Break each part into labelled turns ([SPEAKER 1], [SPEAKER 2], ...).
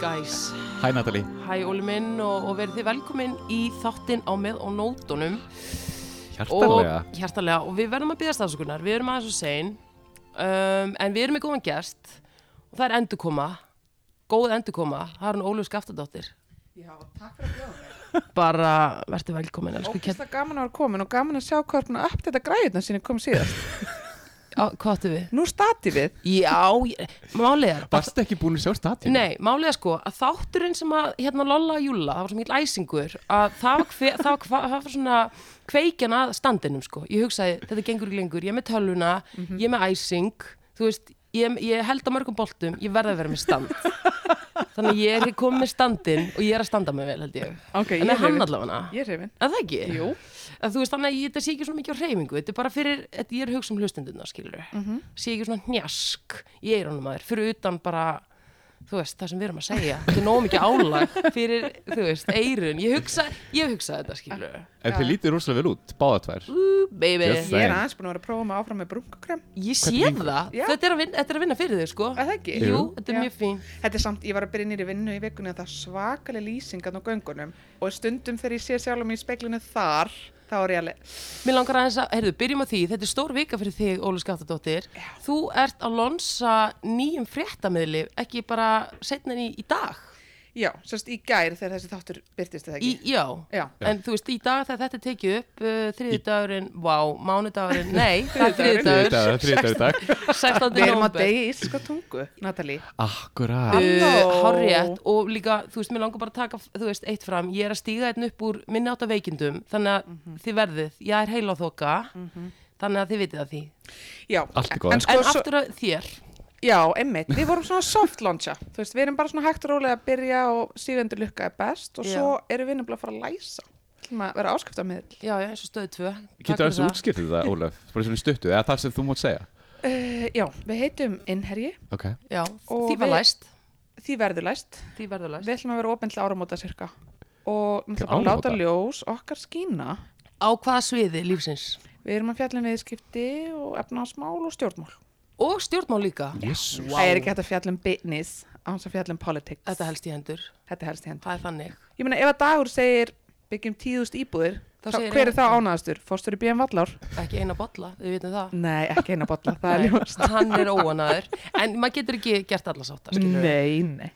[SPEAKER 1] guys
[SPEAKER 2] Hæ Natalie
[SPEAKER 1] Hæ Óli minn og, og verið þið velkomin í þáttinn á með og nótunum
[SPEAKER 2] Hjartarlega
[SPEAKER 1] og, Hjartalega og við verðum að byggja stafsökunar Við erum aðeins og sein um, En við erum með góðan gest Og það er endurkoma Góð endurkoma, það er hún Óluf Skaftadóttir
[SPEAKER 3] Já, takk fyrir að bjóða mér.
[SPEAKER 1] Bara verður velkomin elsku kett
[SPEAKER 3] Ógæslega gaman að vera komin og gaman að sjá hvað er búin að uppdata græðuna sinni kom síðast.
[SPEAKER 1] Á, Hvað áttu við?
[SPEAKER 3] Nú stati við.
[SPEAKER 1] Já, ég- málið er að-
[SPEAKER 2] Varstu ekki búin að sjá statíu?
[SPEAKER 1] Nei, málið er sko að þátturinn sem að hérna Lolla og Júlla, það var svo mikil æsingur að það var, hve, það var, hva, það var svona kveikjan að standinum sko ég hugsaði, þetta gengur ekki lengur, ég er með tölvuna ég er með æsing, þú veist ég, ég held á mörgum boltum, ég verði að vera með stand þannig að ég er komið með standin og ég er að standa mig vel held ég
[SPEAKER 3] Ok, ég
[SPEAKER 1] en er hann
[SPEAKER 3] hrifin.
[SPEAKER 1] allavega
[SPEAKER 3] Ég er hefinn.
[SPEAKER 1] að það ekki?
[SPEAKER 3] Jú.
[SPEAKER 1] Að þú veist, þannig að ég, þetta sé ekki svona mikið á reyfingu, þetta er bara fyrir, þetta, ég er að hugsa um hlustendurna, skilur
[SPEAKER 3] Mhm.
[SPEAKER 1] sé ekki svona hnjask í eirónum að þér, fyrir utan bara, þú veist, það sem við erum að segja, þetta er nóg mikið álag fyrir, þú veist, eirun, ég hugsa, ég hugsa þetta, skilur
[SPEAKER 2] En þið lítið rosalega vel út, báða tvær
[SPEAKER 1] baby,
[SPEAKER 2] Yes.
[SPEAKER 3] Ég er
[SPEAKER 2] Nei.
[SPEAKER 3] aðeins búin að vera að prófa mig áfram með brunkakrem.
[SPEAKER 1] ég
[SPEAKER 2] Hvernig
[SPEAKER 1] sé
[SPEAKER 2] gengur?
[SPEAKER 1] það,
[SPEAKER 3] Já.
[SPEAKER 1] þetta er, að vinna, þetta er að vinna fyrir þau, sko,
[SPEAKER 3] Er það ekki?
[SPEAKER 1] jú,
[SPEAKER 2] Jú.
[SPEAKER 1] þetta er
[SPEAKER 3] Já.
[SPEAKER 1] mjög fín,
[SPEAKER 3] Þetta er samt, ég var að byrja nýri vinnu í vikunni að það er svakalega lýsingan á göngunum og stundum þegar ég sé sjálf mig í speglinu þar, þá er ég alveg,
[SPEAKER 1] mér langar aðeins að, heyrðu, byrjum á því, þetta er stór vika fyrir þig, Ólu Skaftadóttir, þú ert að lonsa nýjum fréttamiðli, ekki bara setna í, í dag,
[SPEAKER 3] já, sérst í gær þegar þessi þáttur byrtist eða
[SPEAKER 1] í,
[SPEAKER 3] ekki.
[SPEAKER 1] já,
[SPEAKER 3] Já,
[SPEAKER 1] En þú veist, í dag þegar þetta er tekið upp, uh, þriðudagurinn, vá, mánudagurinn, nei, það er
[SPEAKER 2] Þriðið
[SPEAKER 1] þriðudagur,
[SPEAKER 2] dagur, þriðið dagur í dag
[SPEAKER 1] 16.
[SPEAKER 3] við erum á
[SPEAKER 1] november.
[SPEAKER 3] degi íslenska tungu, Natalie.
[SPEAKER 2] Akkurát
[SPEAKER 1] Uh,
[SPEAKER 3] Halló.
[SPEAKER 1] Hárétt og líka, þú veist, mér langar bara að taka, þú veist, eitt fram, ég er að stíga einn upp úr minni átta veikindum, þannig að
[SPEAKER 3] Mhm.
[SPEAKER 1] þið verðið, ég er heil á þoka, þannig að þið vitið að því.
[SPEAKER 3] Já,
[SPEAKER 2] Allt í góðu.
[SPEAKER 3] en Mhm. sko,
[SPEAKER 1] en
[SPEAKER 3] svo-
[SPEAKER 1] aftur að þér,
[SPEAKER 3] Já, einmitt, við vorum svona soft launcha þú veist, við erum bara svona hægt og rólega að byrja og síðendur lukka er best og
[SPEAKER 1] Já.
[SPEAKER 3] svo erum við nefnilega að fara að læsa Við ætlum að vera áskiptamiðl
[SPEAKER 1] já, já, eins og stöðu tvö. takk
[SPEAKER 2] Getur
[SPEAKER 1] fyrir
[SPEAKER 2] aðeins útskiptið það, Ólaf? Bara svona stuttu, eða það sem þú mátt segja
[SPEAKER 3] uh, Já, við heitum Inherji,
[SPEAKER 2] Ok
[SPEAKER 1] Já,
[SPEAKER 3] Og
[SPEAKER 1] því var
[SPEAKER 3] við-
[SPEAKER 1] læst,
[SPEAKER 3] því verður læst
[SPEAKER 1] því verður læst.
[SPEAKER 3] við ætlum að vera opinn til áramóta cirka og við
[SPEAKER 2] Til
[SPEAKER 3] ætlum bara að láta
[SPEAKER 2] áramóta?
[SPEAKER 3] ljós okkar skína
[SPEAKER 1] Á hvaða sviði lífsins?
[SPEAKER 3] við erum að fjalla um viðskipti og efnaðsmál og stjórnmál
[SPEAKER 1] Og stjórnmál líka.
[SPEAKER 2] Jésu
[SPEAKER 1] Vá.
[SPEAKER 3] Það er ekki hægt að fjalla um business á hans að fjalla um politics
[SPEAKER 1] Þetta helst í hendur,
[SPEAKER 3] Þetta helst í hendur
[SPEAKER 1] það er þannig.
[SPEAKER 3] Ég meina, ef að dagur segir byggjum tíðust íbúðir
[SPEAKER 1] Þá
[SPEAKER 3] þá,
[SPEAKER 1] segir
[SPEAKER 3] hver er
[SPEAKER 1] ég-
[SPEAKER 3] þá ánæðastur? Fórstur í BM Vallár?
[SPEAKER 1] Ekki eina bolla, við vitum það.
[SPEAKER 3] Nei, ekki eina bolla, það er ljóst.
[SPEAKER 1] hann er óanaður en maður getur ekki gert alla sáttar skilurðu.
[SPEAKER 3] Nei, nei.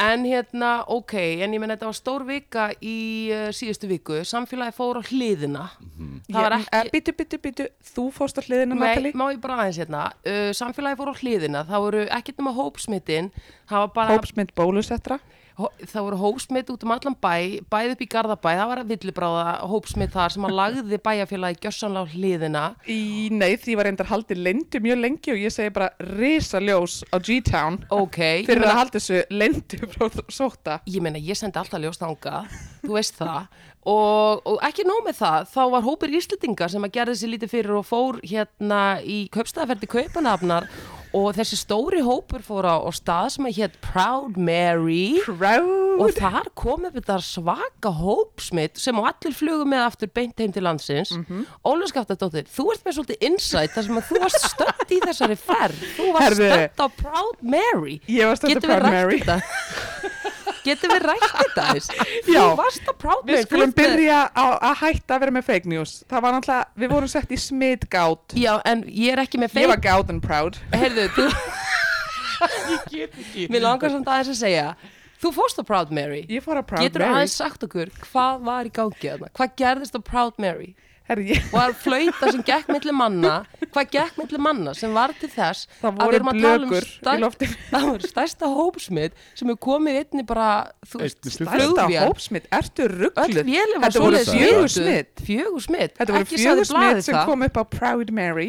[SPEAKER 1] en hérna, ok, en ég menn þetta var stór vika í uh, síðustu viku samfélagi fór á hliðina
[SPEAKER 3] Mhm.
[SPEAKER 1] það var ekki
[SPEAKER 3] Bitu, bitu, bitu, þú fórst á
[SPEAKER 1] Nei,
[SPEAKER 3] hliðina, hérna, Natalie?
[SPEAKER 1] má ég bara aðeins hérna uh, Samfélagi fór á hliðina, það voru ekkert nema hópsmittin Það, var bara,
[SPEAKER 3] Hópsmynd bólusettra?
[SPEAKER 1] hó, það voru hópsmitt út um allan bæ Bæð upp í Garðabæ, það var að villibráða hópsmitt þar sem að lagði bæjarfélagi gjörsanlega á hliðina
[SPEAKER 3] Í, nei, því var reyndar haldið lindu mjög lengi og ég segi bara risaljós á G-Town
[SPEAKER 1] Ok, ég
[SPEAKER 3] fyrir
[SPEAKER 1] meina-
[SPEAKER 3] að halda þessu lindu frá sóta.
[SPEAKER 1] ég meina, ég sendi alltaf ljóstanga, þú veist það, og, og ekki nóg með það, þá var hópur íslitinga sem að gerði sér lítið fyrir og fór hérna í kaupstaðaferdi kaupanafnar og þessi stóri hópur fór á, á stað sem að hétt Proud Mary og
[SPEAKER 3] Proud.
[SPEAKER 1] þar kom upp þetta svaka hópsmitt sem á allir flugum með aftur beint heim til landsins mm
[SPEAKER 3] Mhm.
[SPEAKER 1] -hmm. þú ert með svolítið insight þar sem að þú varst stönd í þessari ferð þú varst
[SPEAKER 3] Herðu.
[SPEAKER 1] stönd á Proud Mary
[SPEAKER 3] Ég var stönd á
[SPEAKER 1] Getum við
[SPEAKER 3] Proud
[SPEAKER 1] rætt
[SPEAKER 3] Mary.
[SPEAKER 1] þetta? Getum við rætt þetta aðeins?
[SPEAKER 3] Já.
[SPEAKER 1] Þú varst á Proud Mary
[SPEAKER 3] Við
[SPEAKER 1] þú
[SPEAKER 3] skulum
[SPEAKER 1] ert með-
[SPEAKER 3] byrja á að hætta að vera með fake news. Það var náttúrulega, við vorum sett í smitgát.
[SPEAKER 1] Já, en ég er ekki með
[SPEAKER 3] Ég var
[SPEAKER 1] fake
[SPEAKER 3] gát en proud.
[SPEAKER 1] Heyrðu, þú Ég get ekki Mér langar samt aðeins að segja Þú fórst á Proud Mary
[SPEAKER 3] Ég fór á Proud
[SPEAKER 1] Getur
[SPEAKER 3] Mary.
[SPEAKER 1] aðeins sagt okkur hvað var í gangi þarna? Hvað gerðist á Proud Mary?
[SPEAKER 3] Herri, ég...
[SPEAKER 1] Var flauta sem gekk milli manna Hvað gekk milli manna sem var til þess að
[SPEAKER 3] Það
[SPEAKER 1] við
[SPEAKER 3] voru
[SPEAKER 1] erum að tala um
[SPEAKER 3] blökur í
[SPEAKER 1] stær-
[SPEAKER 3] loftinu.
[SPEAKER 1] Það voru stærsta hópsmið sem hefur komið einni bara þú veist,
[SPEAKER 2] Einni flugvél.
[SPEAKER 3] Þetta
[SPEAKER 1] flugvél.
[SPEAKER 3] hópsmitt, ertu ruggluð?
[SPEAKER 1] öll vélum var
[SPEAKER 3] Þetta voru
[SPEAKER 1] svoleiðis
[SPEAKER 3] fjögur
[SPEAKER 1] notuð.
[SPEAKER 3] smitt.
[SPEAKER 1] fjögur smitt,
[SPEAKER 3] Þetta voru
[SPEAKER 1] ekki sagði
[SPEAKER 3] fjögur smitt
[SPEAKER 1] blaðið
[SPEAKER 3] sem
[SPEAKER 1] það.
[SPEAKER 3] kom upp á Proud Mary.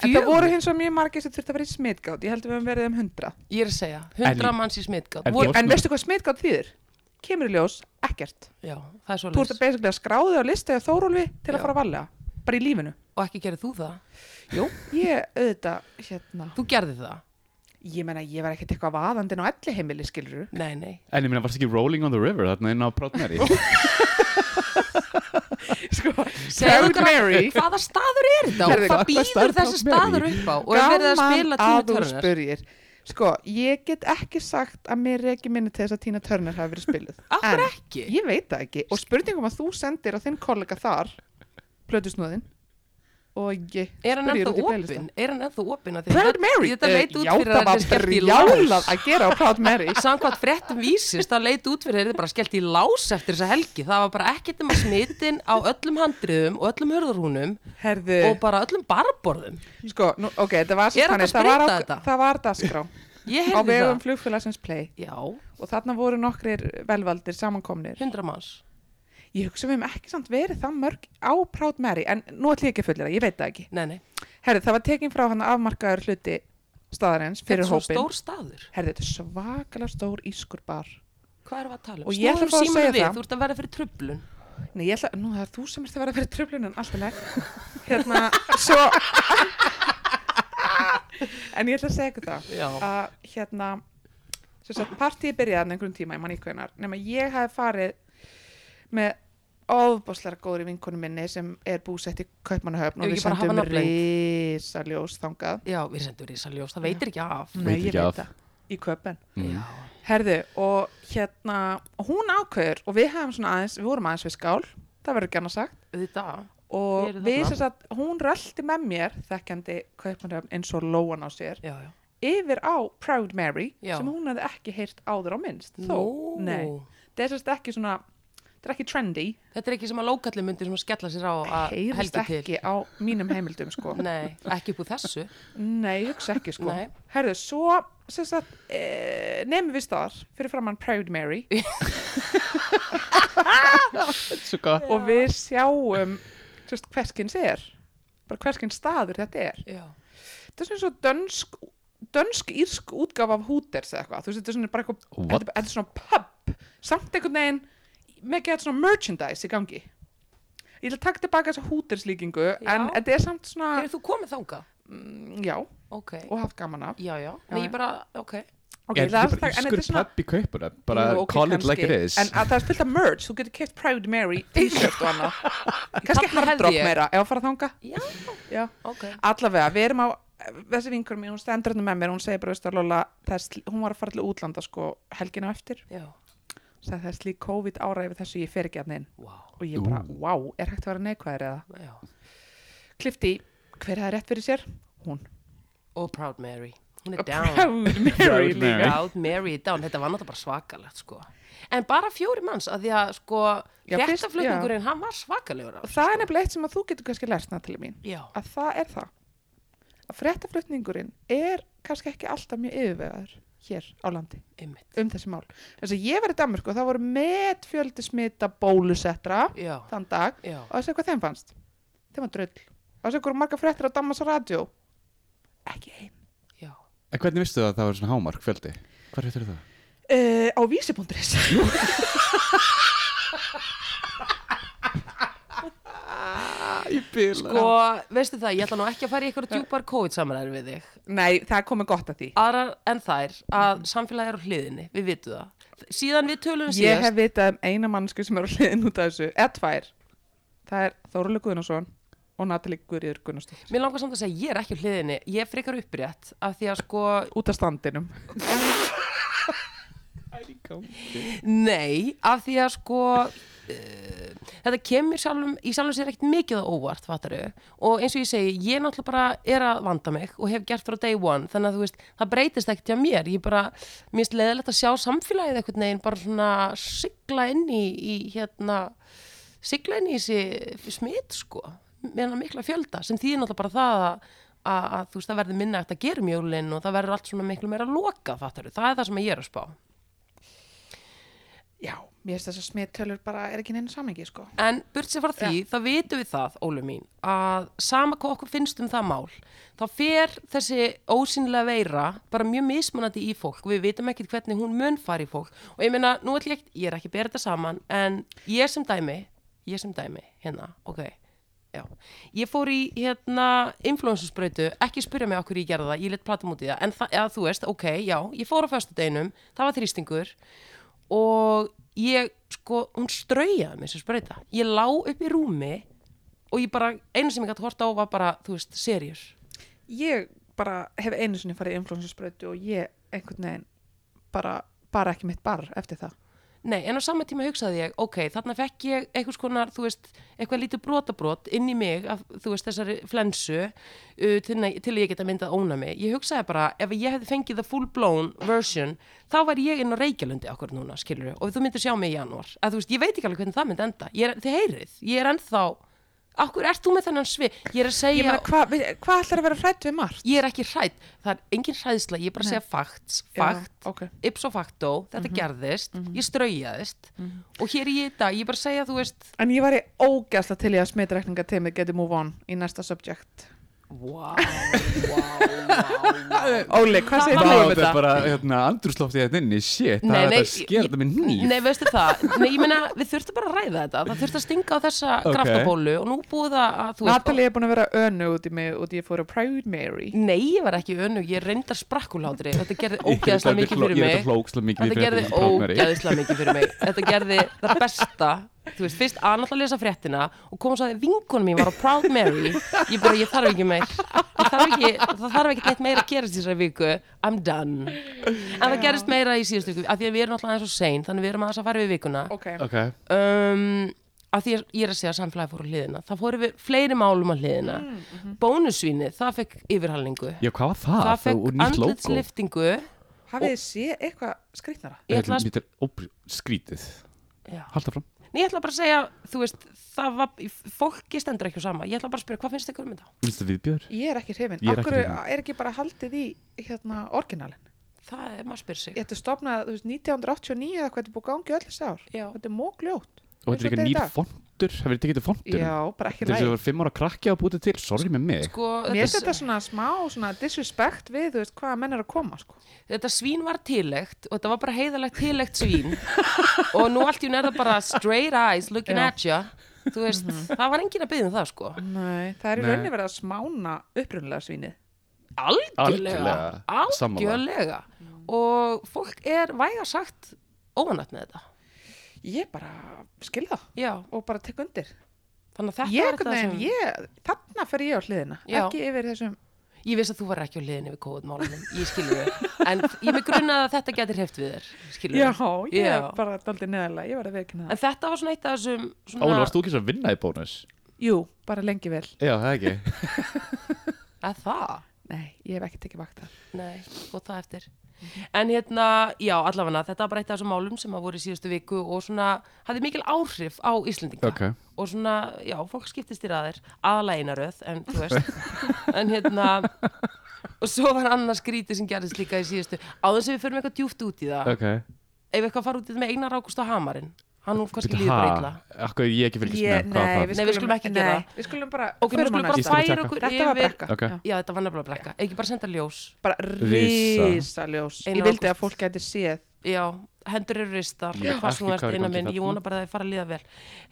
[SPEAKER 3] En
[SPEAKER 1] Fjögur?
[SPEAKER 3] það voru hins og mjög margir sem þurfti að vera í smittgátt. Ég held að við höfum verið um hundra.
[SPEAKER 1] ég er að segja, 100
[SPEAKER 2] En-
[SPEAKER 1] manns í smittgátt
[SPEAKER 2] en-
[SPEAKER 1] Voru-
[SPEAKER 2] Fórstu-
[SPEAKER 3] En veistu hvað smittgátt þýðir? Kemur í ljós, ekkert.
[SPEAKER 1] já, það er
[SPEAKER 3] Þú ert að
[SPEAKER 1] svoleiðis
[SPEAKER 3] basically að skráðu þig á lista eða þórólfi til
[SPEAKER 1] Já.
[SPEAKER 3] að fara að valja. Bara í lífinu.
[SPEAKER 1] og ekki gerði þú það,
[SPEAKER 3] Jú. Ég, auðvitað, hérna.
[SPEAKER 1] þú gerði það
[SPEAKER 3] Ég menna, ég var ekkert eitthvað vaðandinn á elli heimili, skilur
[SPEAKER 1] nei, nei,
[SPEAKER 2] En ég meina, varstu ekki Rolling on the River þarna inn á Mm. Prátneri?
[SPEAKER 3] Sko,
[SPEAKER 1] Segðu
[SPEAKER 3] Proud
[SPEAKER 1] okkur að-
[SPEAKER 3] Mary.
[SPEAKER 1] hvaða staður er þetta og hvað
[SPEAKER 3] Herðu,
[SPEAKER 2] hvað staður
[SPEAKER 1] býður þessi
[SPEAKER 2] Proud
[SPEAKER 1] staður
[SPEAKER 2] Mary?
[SPEAKER 1] upp á og er verið að spila
[SPEAKER 3] að
[SPEAKER 1] tíu
[SPEAKER 3] þú
[SPEAKER 1] törnir
[SPEAKER 3] spurjir Sko, ég get ekki sagt að mér er ekki minni til þess að Tina Turner hafi verið spiluð.
[SPEAKER 1] Akkur ekki?
[SPEAKER 3] Ég veit það ekki. Og spurningum að þú sendir á þinn kollega þar, plötusnúðin, og ég
[SPEAKER 1] Er hann
[SPEAKER 3] spyr ég
[SPEAKER 1] ennþá
[SPEAKER 3] út í playlista.
[SPEAKER 1] opinn? Er hann ennþá opinn? Af því að
[SPEAKER 3] Proud
[SPEAKER 1] þetta-
[SPEAKER 3] Mary!
[SPEAKER 1] Þetta
[SPEAKER 3] Eh,
[SPEAKER 1] leit út
[SPEAKER 3] já,
[SPEAKER 1] fyrir að
[SPEAKER 3] það
[SPEAKER 1] þetta
[SPEAKER 3] var
[SPEAKER 1] er skellt í
[SPEAKER 3] brjálað
[SPEAKER 1] lás.
[SPEAKER 3] að gera á Proud Mary.
[SPEAKER 1] Samkvæmt fréttum vísins, það leit út fyrir að þetta er bara skellt í lás eftir þessa helgi. Það var bara ekkert um að smitin á öllum handriðum og öllum hörðarhúnum
[SPEAKER 3] Herðu,
[SPEAKER 1] og bara öllum barborðum.
[SPEAKER 3] sko, nú, ok, þetta var
[SPEAKER 1] Er
[SPEAKER 3] sem
[SPEAKER 1] hægt að
[SPEAKER 3] þannig, það var,
[SPEAKER 1] spreita
[SPEAKER 3] á,
[SPEAKER 1] þetta?
[SPEAKER 3] það var dasgrá
[SPEAKER 1] Ég
[SPEAKER 3] á
[SPEAKER 1] heyrði
[SPEAKER 3] vegum
[SPEAKER 1] það.
[SPEAKER 3] flugfélagsins play
[SPEAKER 1] Já,
[SPEAKER 3] og þarna voru nokkrir velvaldir samankomnir.
[SPEAKER 1] hundra manns.
[SPEAKER 3] Ég hugsa við hefum ekki samt verið það mörg á Proud Mary, en nú ætlum ég ekki að fullera, ég veit það ekki.
[SPEAKER 1] Nei, nei.
[SPEAKER 3] Herðu, það var tekin frá hann afmarkaður hluti staðarins
[SPEAKER 1] Þetta er
[SPEAKER 3] fyrir
[SPEAKER 1] svo
[SPEAKER 3] hópin.
[SPEAKER 1] stór staður.
[SPEAKER 3] Herðu, þetta er svakalega stór ískur bar.
[SPEAKER 1] Hvað erum við að tala um?
[SPEAKER 3] Og ég ætla
[SPEAKER 1] Snúum
[SPEAKER 3] bara að
[SPEAKER 1] símanum
[SPEAKER 3] segja
[SPEAKER 1] við,
[SPEAKER 3] það.
[SPEAKER 1] Þú ert að verða fyrir trublun.
[SPEAKER 3] Nei, ég ætla, nú það er þú sem ert að vera fyrir tröflunum, alltaf leg. Hérna, svo... en ég ætla að segja ykkur það.
[SPEAKER 1] Já.
[SPEAKER 3] Að, hérna, sem sagt, partíi byrjaði þarna einhverjum tíma, ég man í hvernar, nema ég hafi farið með ofbáslega góðri vinkonu minni sem er búsett í
[SPEAKER 1] Ef
[SPEAKER 3] Kaupmannahöfn og
[SPEAKER 1] ekki
[SPEAKER 3] við
[SPEAKER 1] bara hafa
[SPEAKER 3] sendum
[SPEAKER 1] nafnleynd.
[SPEAKER 3] risaljós þangað.
[SPEAKER 1] Já, við sendum risa ljós, það veitir ekki af.
[SPEAKER 2] Veit ekki af.
[SPEAKER 3] það í Köpen.
[SPEAKER 2] Mm.
[SPEAKER 1] Já.
[SPEAKER 3] Herðu, og hérna, hún ákveður og við hefum svona aðeins, við vorum aðeins við skál, það verður ekki annað sagt
[SPEAKER 1] Auðvitað.
[SPEAKER 3] og
[SPEAKER 1] Ég er
[SPEAKER 3] við
[SPEAKER 1] þarna.
[SPEAKER 3] sem sagt, hún rölti með mér þekkjandi Kaupmannhöfn eins og lóan á sér
[SPEAKER 1] Já, já.
[SPEAKER 3] yfir á Proud Mary
[SPEAKER 1] Já.
[SPEAKER 3] sem hún hefði ekki heyrt áður á minnst
[SPEAKER 1] Nú.
[SPEAKER 3] þó, nei, það er sem sagt ekki svona það er ekki trendy,
[SPEAKER 1] Þetta er ekki sem að lókallin myndir sem að skella sér á að
[SPEAKER 3] heyrist
[SPEAKER 1] helgi til.
[SPEAKER 3] ekki á mínum heimildum sko
[SPEAKER 1] Nei, ekki upp úr þessu.
[SPEAKER 3] nei, hugsa ekki sko
[SPEAKER 1] Nei.
[SPEAKER 3] herðu, svo sem sagt, e, nefnum við staðar fyrir framann Proud Mary
[SPEAKER 2] Svo gott.
[SPEAKER 3] og við sjáum sem sagt, hverskins er bara hverskins staður þetta er
[SPEAKER 1] Já.
[SPEAKER 3] þetta er svona svo dönsk dönsk-írsk útgáfa af Hooters eða eitthvað, þú veist, þetta er svona bara eitthvað
[SPEAKER 2] What?
[SPEAKER 3] þetta, þetta er svona pub, samt einhvern veginn með gett svona merchandise í gangi ég ætla að taka tilbaka þessa Hooters líkingu, en
[SPEAKER 1] Já.
[SPEAKER 3] þetta er samt svona
[SPEAKER 1] Hefur þú komið þangað?
[SPEAKER 3] mm, já, og
[SPEAKER 1] Ok.
[SPEAKER 3] haft gaman af
[SPEAKER 1] Já, já. Nei,
[SPEAKER 3] já.
[SPEAKER 1] ég bara, ok.
[SPEAKER 3] okay,
[SPEAKER 2] Er
[SPEAKER 3] ég
[SPEAKER 2] þetta ekki
[SPEAKER 3] ætla að
[SPEAKER 2] bara
[SPEAKER 3] taka- en þetta
[SPEAKER 2] ískur
[SPEAKER 3] er svona
[SPEAKER 2] pub í kaupuna? Bara
[SPEAKER 3] Jú, ok,
[SPEAKER 2] call it like it
[SPEAKER 3] kannski.
[SPEAKER 2] is.
[SPEAKER 3] en að það er fullt af merch, þú getur keft Proud Mary t-shirt og annað kannski
[SPEAKER 1] Þarna hefði
[SPEAKER 3] hardrock
[SPEAKER 1] ég.
[SPEAKER 3] meira, ef að fara þanga
[SPEAKER 1] Já,
[SPEAKER 3] já
[SPEAKER 1] ok.
[SPEAKER 3] allavega, við erum á þessi vinkur mín, hún stendur hérna með mér, hún segir bara veist að Lola, þess, hún var að fara til útlanda sko helgina á eftir,
[SPEAKER 1] Já.
[SPEAKER 3] sagði það er slík COVID ára yfir þessu ég fer ekki að inn
[SPEAKER 1] Vá. Wow.
[SPEAKER 3] og ég bara, wow, er hægt að vera neikvæðir eða
[SPEAKER 1] Já.
[SPEAKER 3] klifti, í, hver hefði rétt fyrir sér? Hún,
[SPEAKER 1] Og Oh, Proud Mary. Hún er
[SPEAKER 3] A
[SPEAKER 1] down.
[SPEAKER 3] Oh, proud Mary
[SPEAKER 2] Proud Mary.
[SPEAKER 3] líka
[SPEAKER 1] Proud Mary er down. Þetta var náttúrulega bara svakalegt, sko. En bara fjóri manns, að því að, sko,
[SPEAKER 3] Já, fyrst-
[SPEAKER 1] réttaflutningurinn, hann var svakalegur á.
[SPEAKER 3] og það er nefnilega eitt sem að þú getur kannski lært Natalie mín,
[SPEAKER 1] Já.
[SPEAKER 3] að það er það að fréttaflutningurinn er kannski ekki alltaf mjög yfirvegaður hér á landi
[SPEAKER 1] Ymmit.
[SPEAKER 3] um þessi mál. Þess að ég var í Danmörku og það voru metfjöldi smita bólusettra
[SPEAKER 1] Já.
[SPEAKER 3] þann dag
[SPEAKER 1] Já.
[SPEAKER 3] og þessi hvað þeim fannst. Þeim var dröll. Og þessi hvað marga fréttir á Danmarks Radio. Ekki ein.
[SPEAKER 1] Já.
[SPEAKER 2] En hvernig vistu það að það var svona hámark fjöldi? Hvað réttur það?
[SPEAKER 3] Uh, á vísi.is
[SPEAKER 2] Í bila.
[SPEAKER 1] Sko, veistu það, ég ætla nú ekki að fara í eitthvað djúpar COVID-samræður við þig.
[SPEAKER 3] Nei, það er komið gott að því.
[SPEAKER 1] aðrar en þær að samfélagi er á hliðinni, við vitum það síðan við tölum
[SPEAKER 3] Ég
[SPEAKER 1] síðast
[SPEAKER 3] hef vitað um eina mannsku sem er á hliðin út af þessu. Eða tvær. Það er Þóruleg Guðnason og Natalie Guðriður Guðnarsdóttir.
[SPEAKER 1] mér langar samt að segja, ég er ekki á hliðinni ég er frekar upprétt af því að sko
[SPEAKER 3] Út af standinum.
[SPEAKER 1] nei, af því að sko uh, þetta kemur sjálfum, í sjálfum sér ekkert mikið á óvart fattaru. og eins og ég segi, ég náttúrulega bara er að vanda mig og hef gert frá day one þannig að þú veist, það breytist ekkert hjá mér ég bara, mér finnst leiðilegt að sjá samfélagið eitthvað neginn bara svona sigla inn í, í hérna sigla inn í þessi smitt sko með hann mikla fjölda sem þýðir náttúrulega bara það að, að, að þú veist það verður minna eftir að gera um jólin og það verður allt svona miklu meira lokað fattaru, það er það sem ég er að spá
[SPEAKER 3] Já, mér finnst þess að smittölur bara er ekki neina samengi, sko.
[SPEAKER 1] en burt sér frá því, þá vitum við það Ólu mín, að sama hvað okkur finnst um það mál, þá fer þessi ósynlega veira bara mjög mismunandi í fólk, við vitum ekkert hvernig hún mun fara í fólk og ég meina, nú ætlum ég ekki, ég er ekki að bera þetta saman en ég sem dæmi, ég sem dæmi hérna, ok Já, ég fór í hérna influensusbrautu, ekki spyrja mig okkur ég gerði það, ég let platum út í það, en það, eða, þú veist, ok, já, ég fór á föstudeginum, það var þrýstingur og ég, sko, hún straujaði mér sem sprauta, ég lá upp í rúmi og ég bara, einu sem ég gæti horta á var bara, þú veist, seriur.
[SPEAKER 3] Ég bara hef einu sinni farið influensusprötu og ég einhvern veginn bara, bara ekki mitt bar eftir það
[SPEAKER 1] Nei, en á sama tíma hugsaði ég, ok, þarna fekk ég einhvers konar, þú veist, eitthvað lítið brotabrot inn í mig af, þú veist, þessari flensu uh, til, til ég geta myndað óna mig. Ég hugsaði bara, ef ég hefði fengið the full blown version, þá væri ég inn á Reykjalundi okkur núna, skilur og þú myndir sjá mig í janúar. Að þú veist, ég veit ekki alveg hvernig það myndi enda. Ég er, þið heyrið, ég er ennþá, okkur, ert þú með þennan svið? Ég er að segja...
[SPEAKER 3] ég meina, hvað hva ætlar að vera hrætt við margt?
[SPEAKER 1] Ég er ekki hrætt, það er engin hræðsla, ég er bara að segja facts, fakt,
[SPEAKER 3] Já, ok.
[SPEAKER 1] ipso facto, þetta gerðist, ég straujaðist og hér er ég í dag, ég er bara að segja, þú veist,
[SPEAKER 3] En ég var í ógæsla til ég að smitrekninga teimið geti move on í næsta subject.
[SPEAKER 1] wow, wow, wow.
[SPEAKER 3] Óli, hvað
[SPEAKER 1] Vá,
[SPEAKER 3] segir þú um
[SPEAKER 2] þetta er
[SPEAKER 3] þetta?
[SPEAKER 2] bara hérna, andrúsloftið hérna inni, shit,
[SPEAKER 1] Nei,
[SPEAKER 2] það er
[SPEAKER 1] nei,
[SPEAKER 2] þetta að skera þetta með nýf.
[SPEAKER 1] Nei, veistu það, nei, ég meina, við þurftum bara að ræða þetta, það þurfti að stinga á þessa
[SPEAKER 2] Ok.
[SPEAKER 1] graftapólu og nú búið það að, þú
[SPEAKER 3] Natalie er búin að vera önu út í mig og ég fór á primary.
[SPEAKER 1] nei, ég var ekki önug, ég reyndar sprakkulátri, þetta gerði
[SPEAKER 2] Ég held
[SPEAKER 1] ógeðslega
[SPEAKER 2] að
[SPEAKER 1] mikið
[SPEAKER 2] þetta
[SPEAKER 1] fyrir
[SPEAKER 2] hló- Ég
[SPEAKER 1] mig.
[SPEAKER 2] held að hlókslega mikið
[SPEAKER 1] Þetta
[SPEAKER 2] í
[SPEAKER 1] gerði
[SPEAKER 2] fréttum í Primary.
[SPEAKER 1] ógæðislega mikið fyrir mig Þetta gerði það besta Þú veist, fyrst að náttúrulega lesa fréttina og kom svo að vinkonum mín var á Proud Mary Ég bara, ég þarf ekki meir ég þarf ekki, Það þarf ekki neitt meira að gerast í þessari viku I'm done En það gerist meira í síðustu viku Af því að við erum náttúrulega aðeins og sein Þannig við erum aðeins að fara við vikuna
[SPEAKER 3] Ok,
[SPEAKER 2] Ok,
[SPEAKER 1] um, að því að ég er að segja að samfélagi fór á hliðina Það fóru við fleiri málum á hliðina Bónusvínið, það fekk yfirhalningu
[SPEAKER 2] já, hvað var það?
[SPEAKER 1] Það
[SPEAKER 2] og
[SPEAKER 1] fekk
[SPEAKER 2] nýtt logo.
[SPEAKER 1] andlitsliftingu
[SPEAKER 3] hafið þið séð eitthvað skrýtnara?
[SPEAKER 1] Ég ætla að-
[SPEAKER 2] Þetta er óbr- skrítið.
[SPEAKER 1] Já.
[SPEAKER 2] Halda fram.
[SPEAKER 1] Nei, ég ætla bara að segja, þú veist, það var, fólki stendur ekki á sama. Ég ætla bara að spyrja, hvað finnst ykkur um þetta?
[SPEAKER 2] Minnstu viðbjör?
[SPEAKER 3] Ég er ekki hrifin.
[SPEAKER 2] Ég er ekki
[SPEAKER 3] Akkur er,
[SPEAKER 2] hrifin.
[SPEAKER 3] er ekki bara haldið í hérna, orginalin?
[SPEAKER 1] Það er, maður spyrir sig.
[SPEAKER 3] Ég ætti stopnað, þú veist, 1989 eða hvað þetta er búið gangi öll þessi ár.
[SPEAKER 1] Já.
[SPEAKER 3] Þetta er mógljótt.
[SPEAKER 2] Og þetta er líka nýr fondur, hefur þið tekið þetta fondur?
[SPEAKER 3] Já, bara ekki
[SPEAKER 2] Þetta er
[SPEAKER 3] læg.
[SPEAKER 2] svo fimm ára krakki á að búið þetta til, sorry með mig.
[SPEAKER 1] Sko,
[SPEAKER 3] Mér finnst þetta svona smá svona disrespect við, þú veist, hvaða menn er að koma, sko.
[SPEAKER 1] þetta svín var tilegt og þetta var bara heiðalegt tilegt svín og nú allt í hún er það bara straight eyes looking
[SPEAKER 3] Já. Mhm.
[SPEAKER 1] at ya. Þú veist, það var engin að byggja um það, sko.
[SPEAKER 3] Nei, það er í
[SPEAKER 2] Nei.
[SPEAKER 3] rauninni verið að smána upprunnulega svínið.
[SPEAKER 1] Algjörlega.
[SPEAKER 2] Algjörlega.
[SPEAKER 1] Algjörlega. Og fólk er væga sagt óanætt með þetta.
[SPEAKER 3] Ég bara skil það
[SPEAKER 1] Já,
[SPEAKER 3] og bara tek undir.
[SPEAKER 1] þannig að þetta
[SPEAKER 3] Ég,
[SPEAKER 1] var
[SPEAKER 3] einhvern veginn, ég, þarna fer ég á hliðina,
[SPEAKER 1] Já.
[SPEAKER 3] ekki yfir þessum.
[SPEAKER 1] Ég veist að þú var ekki á liðinni við COVID-málunum, ég skilur þau. En ég með grunnaði að þetta getur hreift við þér, skilur
[SPEAKER 3] Já,
[SPEAKER 1] þau.
[SPEAKER 3] ég
[SPEAKER 1] Já.
[SPEAKER 3] er bara daldið neðalega, ég var að vekina það.
[SPEAKER 1] En þetta var svona eitt af þessum... Svona,
[SPEAKER 2] Óli, varst þú ekki svo að vinna í bónus?
[SPEAKER 3] Jú, bara lengi vel.
[SPEAKER 2] Já, það ekki.
[SPEAKER 1] Að það?
[SPEAKER 3] Nei, ég hef ekki tekið vakta.
[SPEAKER 1] Nei, og það eftir. En hérna, já, allavega, þetta var bara eitt af þessum málum sem að voru í síðustu viku og svona, hafði mikil áhrif á Íslendinga.
[SPEAKER 2] Ok.
[SPEAKER 1] Og svona, já, fólk skiptist í raðir, aðalega einaröð, en þú veist. en hérna, og svo var annars skrítið sem gerðist líka í síðustu. Áður sem við förum eitthvað djúft út í það,
[SPEAKER 2] Ok.
[SPEAKER 1] ef eitthvað fara út í þetta með Einar Ágúst á Hamarinn, hann nú kannski
[SPEAKER 2] Bíddu,
[SPEAKER 1] líður
[SPEAKER 2] ha?
[SPEAKER 1] bara illa.
[SPEAKER 2] Akkur ég ekki fylgist með
[SPEAKER 3] nei,
[SPEAKER 2] hvað var það.
[SPEAKER 1] Nei, við skulum ekki gera
[SPEAKER 3] Nei, við skulum bara,
[SPEAKER 1] Ok, nú
[SPEAKER 3] förum
[SPEAKER 1] skulum
[SPEAKER 3] á
[SPEAKER 1] bara
[SPEAKER 2] Ég
[SPEAKER 3] næsta.
[SPEAKER 2] skal bara
[SPEAKER 1] færa
[SPEAKER 2] taka.
[SPEAKER 1] okkur
[SPEAKER 3] Þetta var
[SPEAKER 1] yfir...
[SPEAKER 3] brekka.
[SPEAKER 2] Ok.
[SPEAKER 1] Já, þetta var nefnilega brekka. Ekki bara senda ljós.
[SPEAKER 3] Bara
[SPEAKER 2] Risa.
[SPEAKER 3] risaljós. Ég
[SPEAKER 1] Einar
[SPEAKER 3] vildi að
[SPEAKER 1] Ágúst.
[SPEAKER 3] fólk gæti séð.
[SPEAKER 1] Já, hendur eru ristar,
[SPEAKER 2] Ég veit
[SPEAKER 1] hvað
[SPEAKER 2] ekki
[SPEAKER 1] svo ert
[SPEAKER 2] hvað er í
[SPEAKER 1] innan
[SPEAKER 2] gangi
[SPEAKER 1] minn, ég
[SPEAKER 2] þarna.
[SPEAKER 1] vona bara að það fara að líða vel.